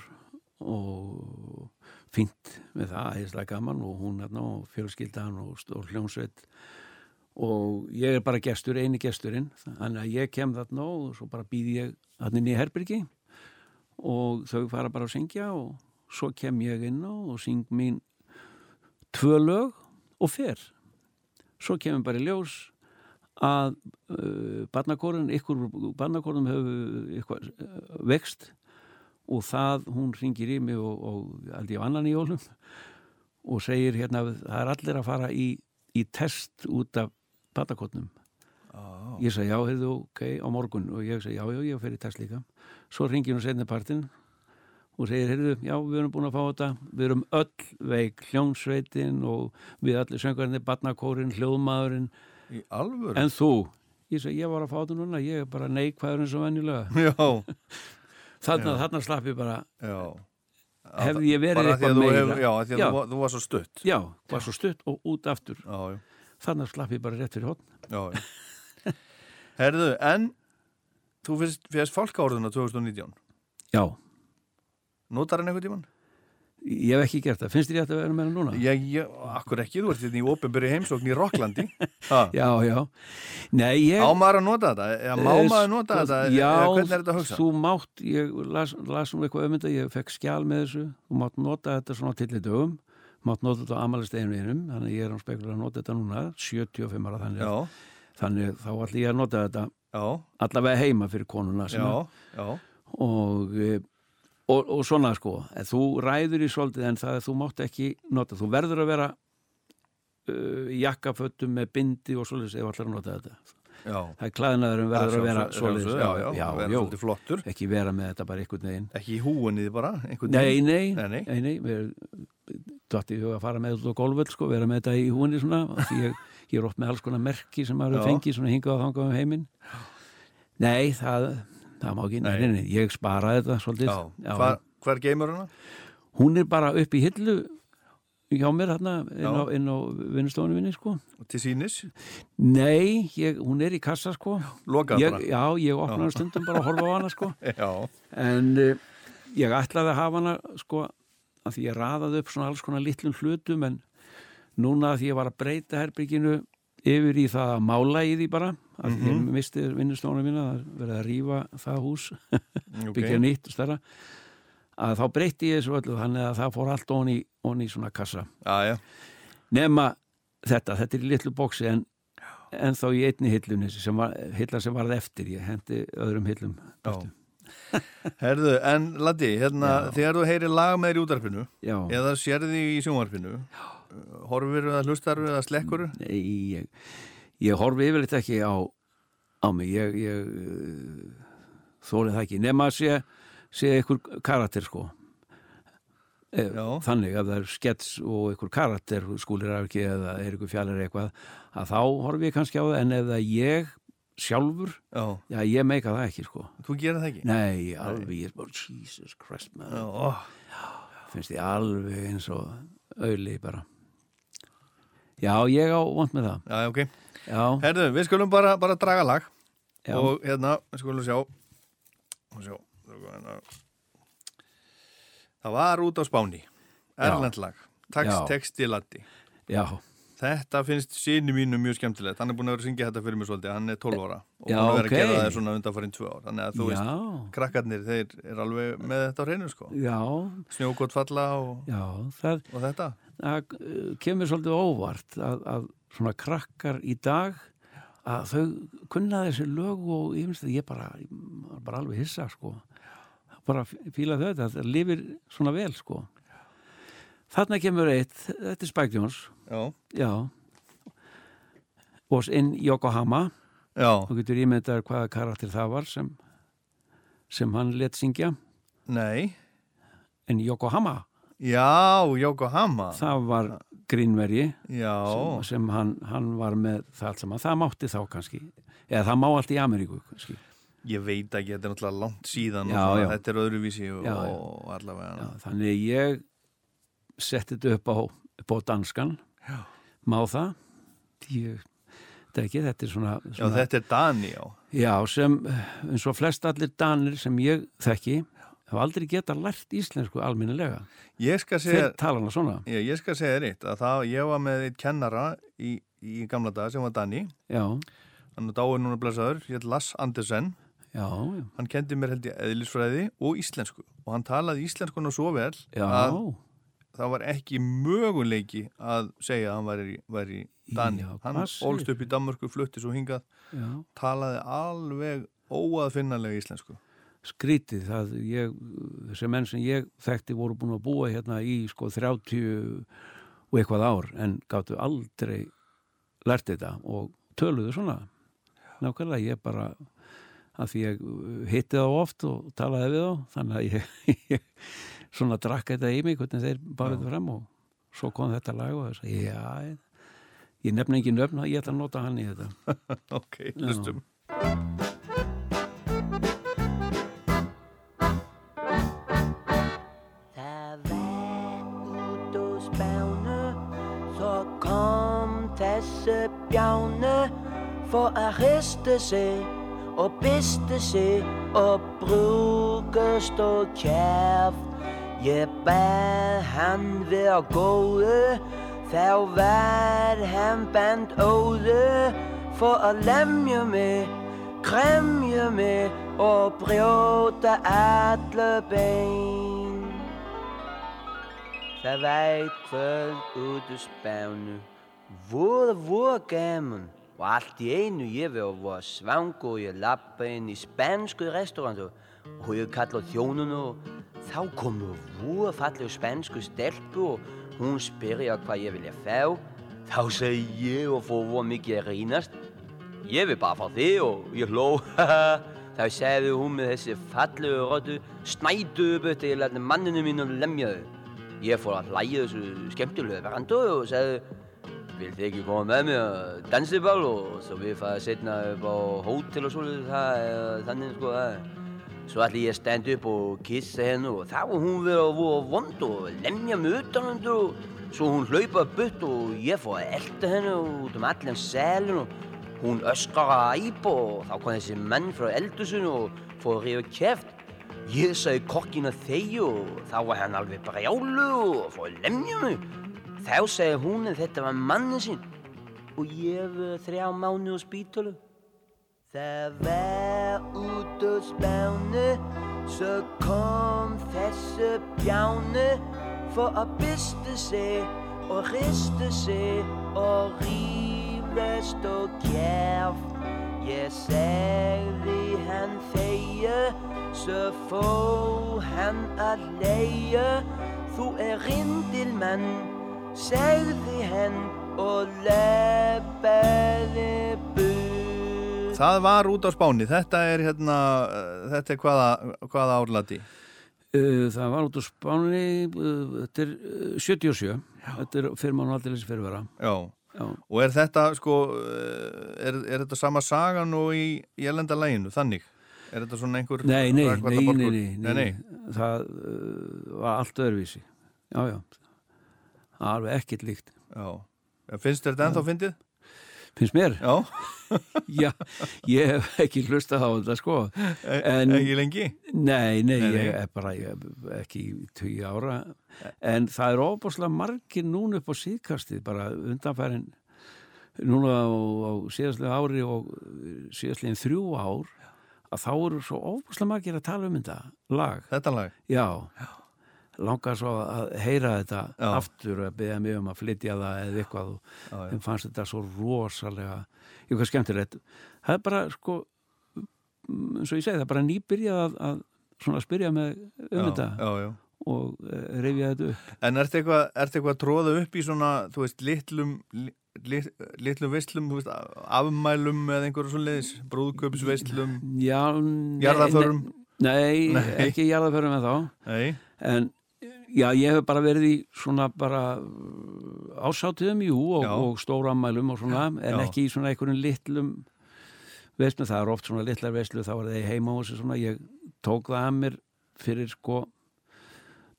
og fínt með það, æðislega gaman og hún hérna og fjölskyldan og stór hljómsveit og ég er bara gestur, eini gesturinn þannig að ég kem þarna og svo bara býð ég þarna inn í herbyrgi og þau fara bara að syngja og svo kem ég inn og, og syng mín tvö lög og fer svo kemur bara í ljós að uh, barnakorun, ykkur barnakorunum hefur eitthvað, uh, vext og það, hún ringir í mig og, og aldrei á annan í jólum og segir hérna það er allir að fara í, í test út af barnakorunum ég segi já, heyrðu, ok, á morgun og ég segi já, já, ég fer í test líka svo ringir hún setna partinn og segir, heyrðu, já, við erum búin að fá þetta við erum öll veik, hljónsveitin og við allir söngarnir, barnakorun hljóðmaðurinn
Í alvöru?
En þú? Ég sagði, ég var að fá þetta núna, ég er bara neikvæður eins og venjulega.
Já,
Þarna, þarna slapp ég bara,
já.
hefði ég verið
Bara af því að
eitthvað
þú
meira.
hefur- Já, af því að
já,
þú var- þú var svo stutt.
já, var svo stutt og út aftur.
Já, já.
Þarna slapp ég bara rétt fyrir hótt.
já, já. Herðu, en þú fyrst, fyrst fálkaórðuna 2019.
Já,
Notar hann einhvern tímann?
ég hef ekki gert það. Finnst þér ég ætti að vera með hann núna?
Ég, ég, akkur ekki, þú ert hérna í ofinbyrju heimsókn í Rokklandi. Ha,
Já, já. Nei, ég...
Á maður að nota þetta? Eða má
Eh,
maður nota
sko,
þetta?
Já,
eða hvernig er þetta að hugsa?
þú mátt, ég las, las um eitthvað öfmynda, ég fekk skjál með þessu, þú mátt nota þetta svona til í dögum, mátt nota þetta á amalist einu einum, þannig að ég er án spekula að nota þetta núna, 75 ára þannig,
Já,
þannig þá ætla ég að nota þetta
já,
allavega heima fyrir konuna sem
já,
að-
já,
og, eh, og, og svona sko en þú ræður í svolítið en það að þú mátt ekki nota, þú verður að vera uh, í jakkafötum með bindi og svolítið ef allar að nota þetta
já.
það er klæðnaðurum verður að vera
Sjálfsög-
svolítið
sjálfsög, Já, já,
já,
vera
já,
svolítið flottur.
ekki vera með þetta bara einhvern veginn
Ekki í húinnið bara, einhvern
nei, nei,
Nei, nei.
nei, nei, mér dætti í huga að fara með þetta á golföld sko, vera með þetta í húnni svona af því ég, ég er oft með alls konar merki sem maður
Já.
hefur fengið svona hingað og þangað um heiminn nei, það, það má ekki nei. Nei, nei, ég sparaði þetta svolítið
Já, hvar, hvar geymur hana?
hún er bara upp í hillu hjá mér hérna inn á,
Já.
inn á vinnustofunum minni sko
Til sínis?
nei, ég, hún er í kassa sko
Lokað
ég,
bara?
já, ég opna hana stundum bara að horfa á hana sko
Já,
en eh, ég ætlaði að hafa hana sko að því ég raðaði upp svona alls konar litlum hlutum en núna að því ég var að breyta herbygginu yfir í það að mála í því bara að mm
Mhm.
ég misti vinnustónu mína að verið að rífa það hús
ok.
byggja nýtt og stærra að þá breytti ég þessu öllu þannig að það fór allt onni, onni í svona kassa
Já, já,
nema þetta, þetta er í litlu bóksi en, en þá í einni hillunni sem var, hillan sem varð eftir ég hendi öðrum hillum
já. Herðu, en Latti, hérna, þegar þú heyrir lag með þér í útarpinu
Já.
eða sérði í sjónvarpinu horfir eða hlustar eða slekkur
Nei, ég, ég horfi yfirleitt ekki á, á mig, ég, ég uh, þólið það ekki, nema að sé, sé einhver karakter sko. E,
Já.
þannig að það er skets og einhver karakter skúlir af ekki eða er einhver fjallir eitthvað að þá horfi ég kannski á það en ef það er ég sjálfur
Já,
já, ég meika það ekki sko
þú gera það ekki?
nei, alveg, ég er bara Jesus Christ
Já,
man,
ó,
finnst ég alveg eins og auðli bara já, ég á vant með það
já, ok.
já,
Herðu, við skulum bara, bara draga lag
já,
og hérna, við skulum sjá og sjá hérna. Það var út á Spáni Erlend lag,
Já.
text, texti, laddi
já,
Þetta finnst síni mínu mjög skemmtilegt Hann er búin að vera að syngja þetta fyrir mig svolítið Hann er 12 ára og
Já,
hann er að
ok.
gera það svona undanfarinn 2 ár Þannig að þú
já,
veist, krakkarnir, þeir er alveg með þetta á hreinu sko
já
Snjókot falla og,
já, það
og þetta
það uh, kemur svolítið óvart að, að svona krakkar í dag að þau kunna þessi lög og ég finnst að ég bara, ég var bara alveg hissa sko bara fí- fíla þau þetta, þetta lifir svona vel sko þarna kemur eitt, þetta er Spike Jones
Já,
já was in Yokohama
já,
þú getur ímyndaður hvaða karakter það var sem sem hann let syngja
nei
en Yokohama,
Já, Yokohama
það var grínverji
Já,
sem, sem hann, hann var með það allt saman, það mátti þá kannski eða það má allt í Ameríku kannski
ég veit ekki, þetta er náttúrulega langt síðan
Já,
og svona,
já.
þetta er öðruvísi og,
Já, já.
og allavega
Já, þannig ég setti þetta upp á, upp á danskan já. má það ég, þetta er ekki, þetta er svona,
Já,
svona
þetta er Dani, já
já, sem eins og flest allir danir sem ég þekki hafa aldrei geta lært íslensku alminnilega
Ég skal segja,
þeir tala hana svona
ég, ég skal segja þér eitt að það, ég var með eitt kennara í, í gamla dag sem var Dani
já,
hann er dáið núna blessaður, ég heit Lass Andersen
já, já,
hann kendi mér held ég eðlisfræði og íslensku og hann talaði íslenskuna svo vel
já,
að það var ekki möguleiki að segja að hann væri, væri Dani
Já,
hann
hvað segirðu?
ólst upp í Danmörku, flutti svo hingað
já.
talaði alveg óaðfinnanlega íslensku
skrítið það ég, þessi menn sem ég þekkti voru búin að búa hérna í sko 30 og eitthvað ár en gáttu aldrei lært þetta og töluðu svona nákvæmlega ég bara að því ég uh, hitti þá oft og talaði við þá þannig að ég, ég svona drakk þetta í mig hvernig þeir bara þetta fram og svo kom þetta lag og þess að já, ég, ég nefna engin nöfn ég ætla að nota hann í þetta
ok, hlustum
Það var út á spánu, svo kom þessi bjánu, for að hrista sig og bista sig og brúkast og kjæft. Ég bað hann vera góðu, þá var hann band óðu, for að lemja mig, kremja mig og brjóta alla bein. Það var eitt kvöld út úr spánu, voða, voða gaman og allt í einu ég verið að voða svang og ég lappa inn í spænsku restaurantu og ég kalla á þjónunu og þá komur voða fallegu spænsku stelpu og hún spyrja hvað ég vilja fá. Þá segi ég og fór voða mikið að rínast ég vil bara fá þig og ég hló þá segði hún með þessi fallegu rödu snædu upp til að manninu mínu lemjaðu ég fór að hlæja þessu skemmtilegu verandu og segði vil þið ekki koma með mér að dansi bál og svo við fara setna upp á hótel og svolítið það er þannig sko það er. svo ætli ég að standa upp og kissa hennu og þá var hún verið að voða vond og lemja mig utanundur og svo hún hlaupa burt og ég fór að elda hennu út um allan selin og Hún öskar að æpa og þá kom þessi menn frá eldusinu og fór að rífa kæft. Ég sagði kokkin að þegja og þá var hann alveg brjálu og fór að lemja mig. Þá sagði hún að þetta var manni sinn og ég var þrjá mánu á spítalu. Það var út á spánu, svo kom þessu bjánu for að bysta sig og rista sig og rífast og kjæft. Ég segði hann þegja, svo fó hann að leia. Þú er rindil mann, segði hann og leppaði burt.
Það var út á Spáni, þetta er hérna, eh, þetta er hvaða, hvaða árlati?
Uh, Það var út eh, á Spáni, uh, þetta er uh, 77, þetta er fyrir mann aldrei fyrir vera.
Já,
og er þetta sko eh, er, er þetta sama sagan og í, í elenda læginu, þannig er þetta svona einhver
Nei, nei, nei, nei,
rakvallaborgur?
nei,
nei, nei.
það uh, var allt öðruvísi. Já, já, alveg ekkert líkt.
Já. En finnst þér þetta ennþá fyndið?
Finnst mér?
Já,
Já, ég hef ekki hlustað á þetta sko.
en,
En,
E, ekki lengi
nei, nei,
Nei, nei.
ég er bara ég, er ekki í tugi ára. En það er ofbúslega margir núna upp á síðkastið, bara undanfærin núna á, á síðastlega ári og síðastlegin þrjú ár, að þá eru svo ofbúslega margir að tala um þetta lag.
Þetta lag
Já, langar svo að heyra þetta
Já.
aftur og beða mig um að flytja það eða eitthvað og
Já, já.
þeim fannst þetta svo rosalega eitthvað skemmtilegt það er bara sko mm, eins og ég segi það er bara nýbyrjað að, að svona spyrja með um
já,
þetta
já, já.
og e, reyfja þetta upp
En ertu eitthvað, ertu eitthvað að tróða upp í svona, þú veist, litlum li- lit- litlum veislum, þú veist, afmælum eða einhverjum svona leiðis, brúðköpsveislum
Já, nei,
jarðaförum,
Nei, nei,
Nei.
ekki jarðaförum en þá
nei,
en já, ég hef bara verið í svona bara uh, ásátiðum, jú, og,
Já.
og stóramælum og svona, en
Já.
ekki í svona einhverjum litlum veislu, það er oft svona litlar veislu, þá var það í heima og þessu svona, ég tók það að mér fyrir sko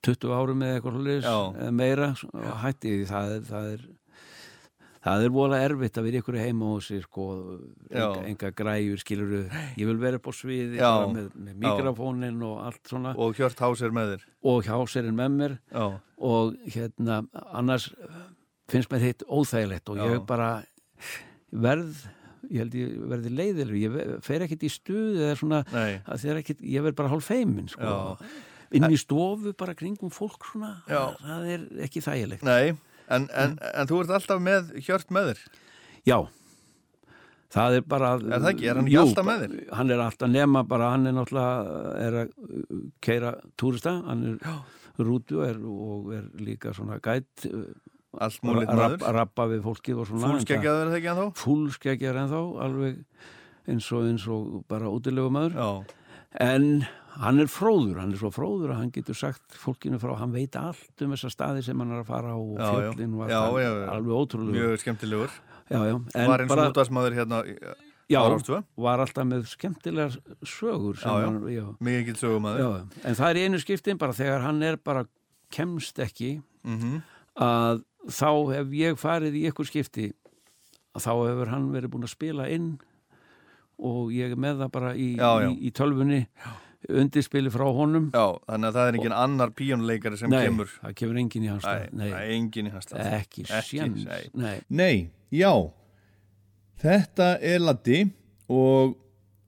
20 árum eða eitthvað hlulis
Já.
eða meira svo- og hætti því, það er, það er Það er vola erfitt að vera ykkur heima og sér sko, enga,
Já.
enga græjur skilur ég vil vera upp á sviði
Já.
bara með, með
Já.
mikrofónin og allt svona
og Hjört Hás er með þér
og hjáserinn með mér
Já,
og hérna annars finnst mér hitt óþægilegt og
Já.
ég bara verð ég held ég verði leiðilur ég ve- fer ekkit í stuð eða svona
nei,
að þeir ekkit, ég verð bara hálf feimin sko.
Já.
inn í stofu bara kringum fólk svona,
Já.
það er ekki þægilegt Mm.
nei En, en, en þú ert alltaf með Hjört með þér
já það er bara
Er það ekki? Er hann ekki
Jú,
alltaf með þér?
hann er alltaf nema bara hann er náttúrulega er að keira túrista hann er já. rútu er, og er líka svona gætt uh,
Allt múlið
Rapp-
maður
rappa við fólkið og svona
Fúlskeggjaður er það ekki ennþá?
fúlskeggjar en þá alveg eins og eins og bara útilegu maður
Já,
en hann er fróður, hann er svo fróður að hann getur sagt fólkinu frá, hann veit allt um þessa staði sem hann er að fara á og
Já, já.
fjöllin og
Já,
allt,
já, já.
alveg ótrúlega
mjög skemmtilegur
já, já. en
Var eins og
bara
útvarsmaður hérna í-
já,
á Rástvö
var alltaf með skemmtilegar sögur sem
Já, já.
Hann, já,
Mikið ekki sögumadur
já, en það er í einu skiptin bara þegar hann er bara kemst ekki
mm
að þá hef ég farið í ykkur skipti að þá hefur hann verið búin að spila inn og ég er með það bara í,
Já, já.
í, í tölfunni undirspili frá honum
Já, þannig að það er engin annar píjónleikari sem
Nei,
kemur
það kemur enginn í hans stað.
Nei, nei. engin í hans stað
ekki sjans
nei.
Nei.
Nei, já Þetta er Latti og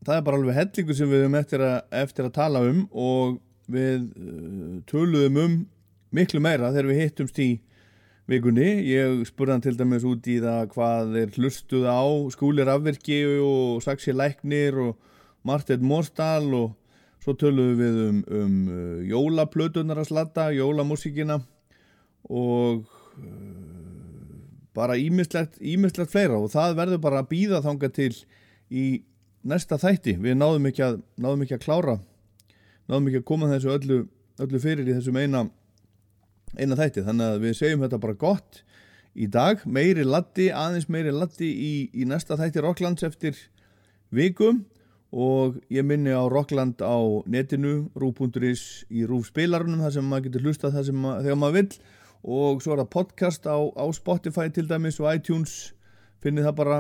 það er bara alveg hellingu sem við höfum eftir að, eftir að tala um og við uh, töluðum um miklu meira þegar við hittumst í vikunni. Ég spurði hann til dæmis út í það hvað þeir hlustuð á skúlir afvirki og Saxi Læknir og Martin Mórsdal og svo töluðum við um, um uh, jólaplötunar að slatta, jólamúsíkina og bara ímislegt, ímislegt fleira og það verður bara að býða þanga til í næsta þætti við náðum ekki að, náðum ekki að klára náðum ekki að koma þessu öllu, öllu fyrir í þessum eina eina þætti, þannig að við segjum þetta bara gott í dag, meiri laddi aðeins meiri laddi í, í næsta þætti Rocklands eftir viku og ég minni á Rockland á netinu, rú.is í rúfspilarunum, þar sem maður getur hlustað þar sem maður, þegar maður vill og svo er það podcast á, á Spotify til dæmis og iTunes finnið það bara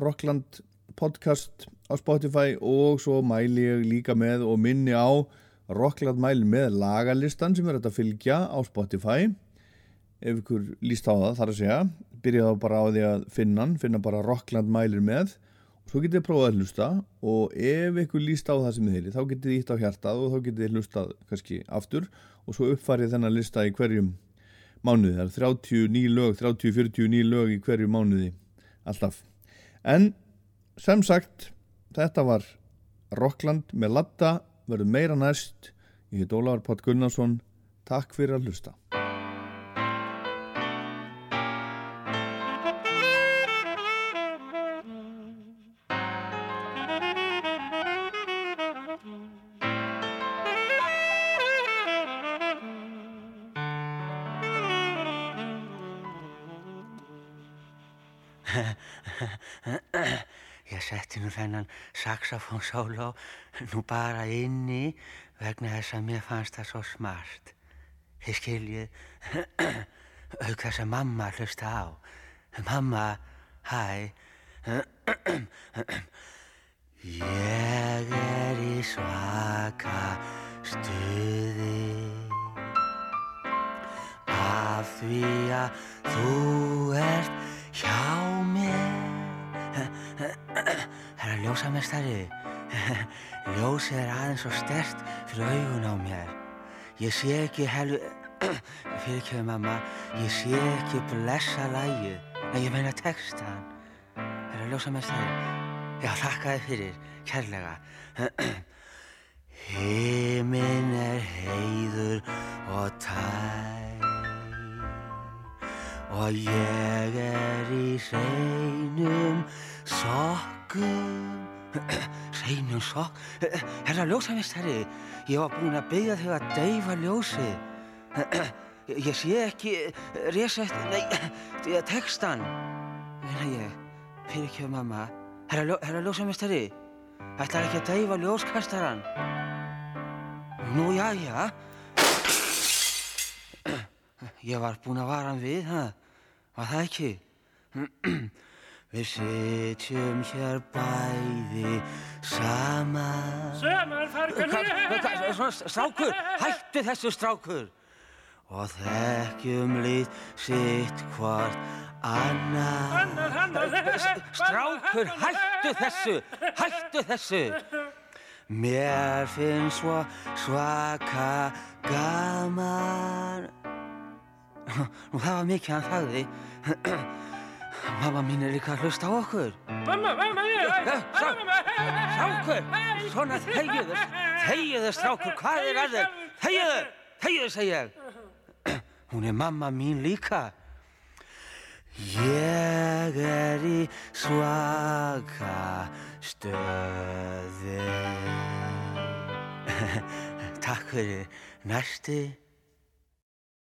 Rockland podcast á Spotify og svo mæli ég líka með og minni á Rockland mæli með lagalistan sem er hægt að fylgja á Spotify ef ykkur líst á það þar að segja byrjaðu bara á því að finna hann finna bara Rockland mælir með og svo getið þið prófað að hlusta og ef ykkur líst á það sem þið heyri þá getið þið ítt á hjartað og þá getið þið hlustað kannski aftur og svo uppfarið þennan lista í hverjum mánuði það er 39 lög, 30-49 lög í hverju mánuði alltaf en sem sagt þetta var Rockland með Latta verður meira næst ég heit Ólafur Pátt Gunnarsson takk fyrir að hlusta
Ég setti nú þennan saxofón sóló nú bara inni vegna þess að mér fannst það svo smart. Þið skiljið, auk þess að mamma hlusta á. Mamma, hæ. Ég er í svaka stuði af því að þú ert hjá mér Herra ljósamestari ljósið er aðeins og stert fyrir augun á mér ég sé ekki helvi fyrir ekki mamma ég sé ekki blessa lægið en ég meina textan Herra ljósamestari já þakka þið fyrir kærlega Himin er heiður og tær og ég er í seinum sokkum seinum sokk herra ljósamistari ég var búinn að byggja þau að deyfa ljósi ég sé ekki resett nei, eh, textan meina ég fyrir ekki mamma herra, ljó- herra ljósamistari ætlar ekki að deyfa ljóskastaran Nú, já, já. Ég var búinn að vara hann við, ha? Var það ekki? Við sitjum hér bæði saman. Sömarfarkunni! Strákur, hættu þessu strákur! Og þekkjum lít sitt hvort annað. Annar, annar! Strákur, hættu þessu! Hættu þessu! Mér finnst svo svaka gaman Nú það var mikið hann þagði Mamma mín er líka að hlusta á okkur Mamma, mamma, ég Strákur, svona þegiðu Þegiðu strákur, hvað er að þér? Þegiðu, þegiðu segi ég Hún er mamma mín líka Ég er í svaka stöði Takk fyrir næsti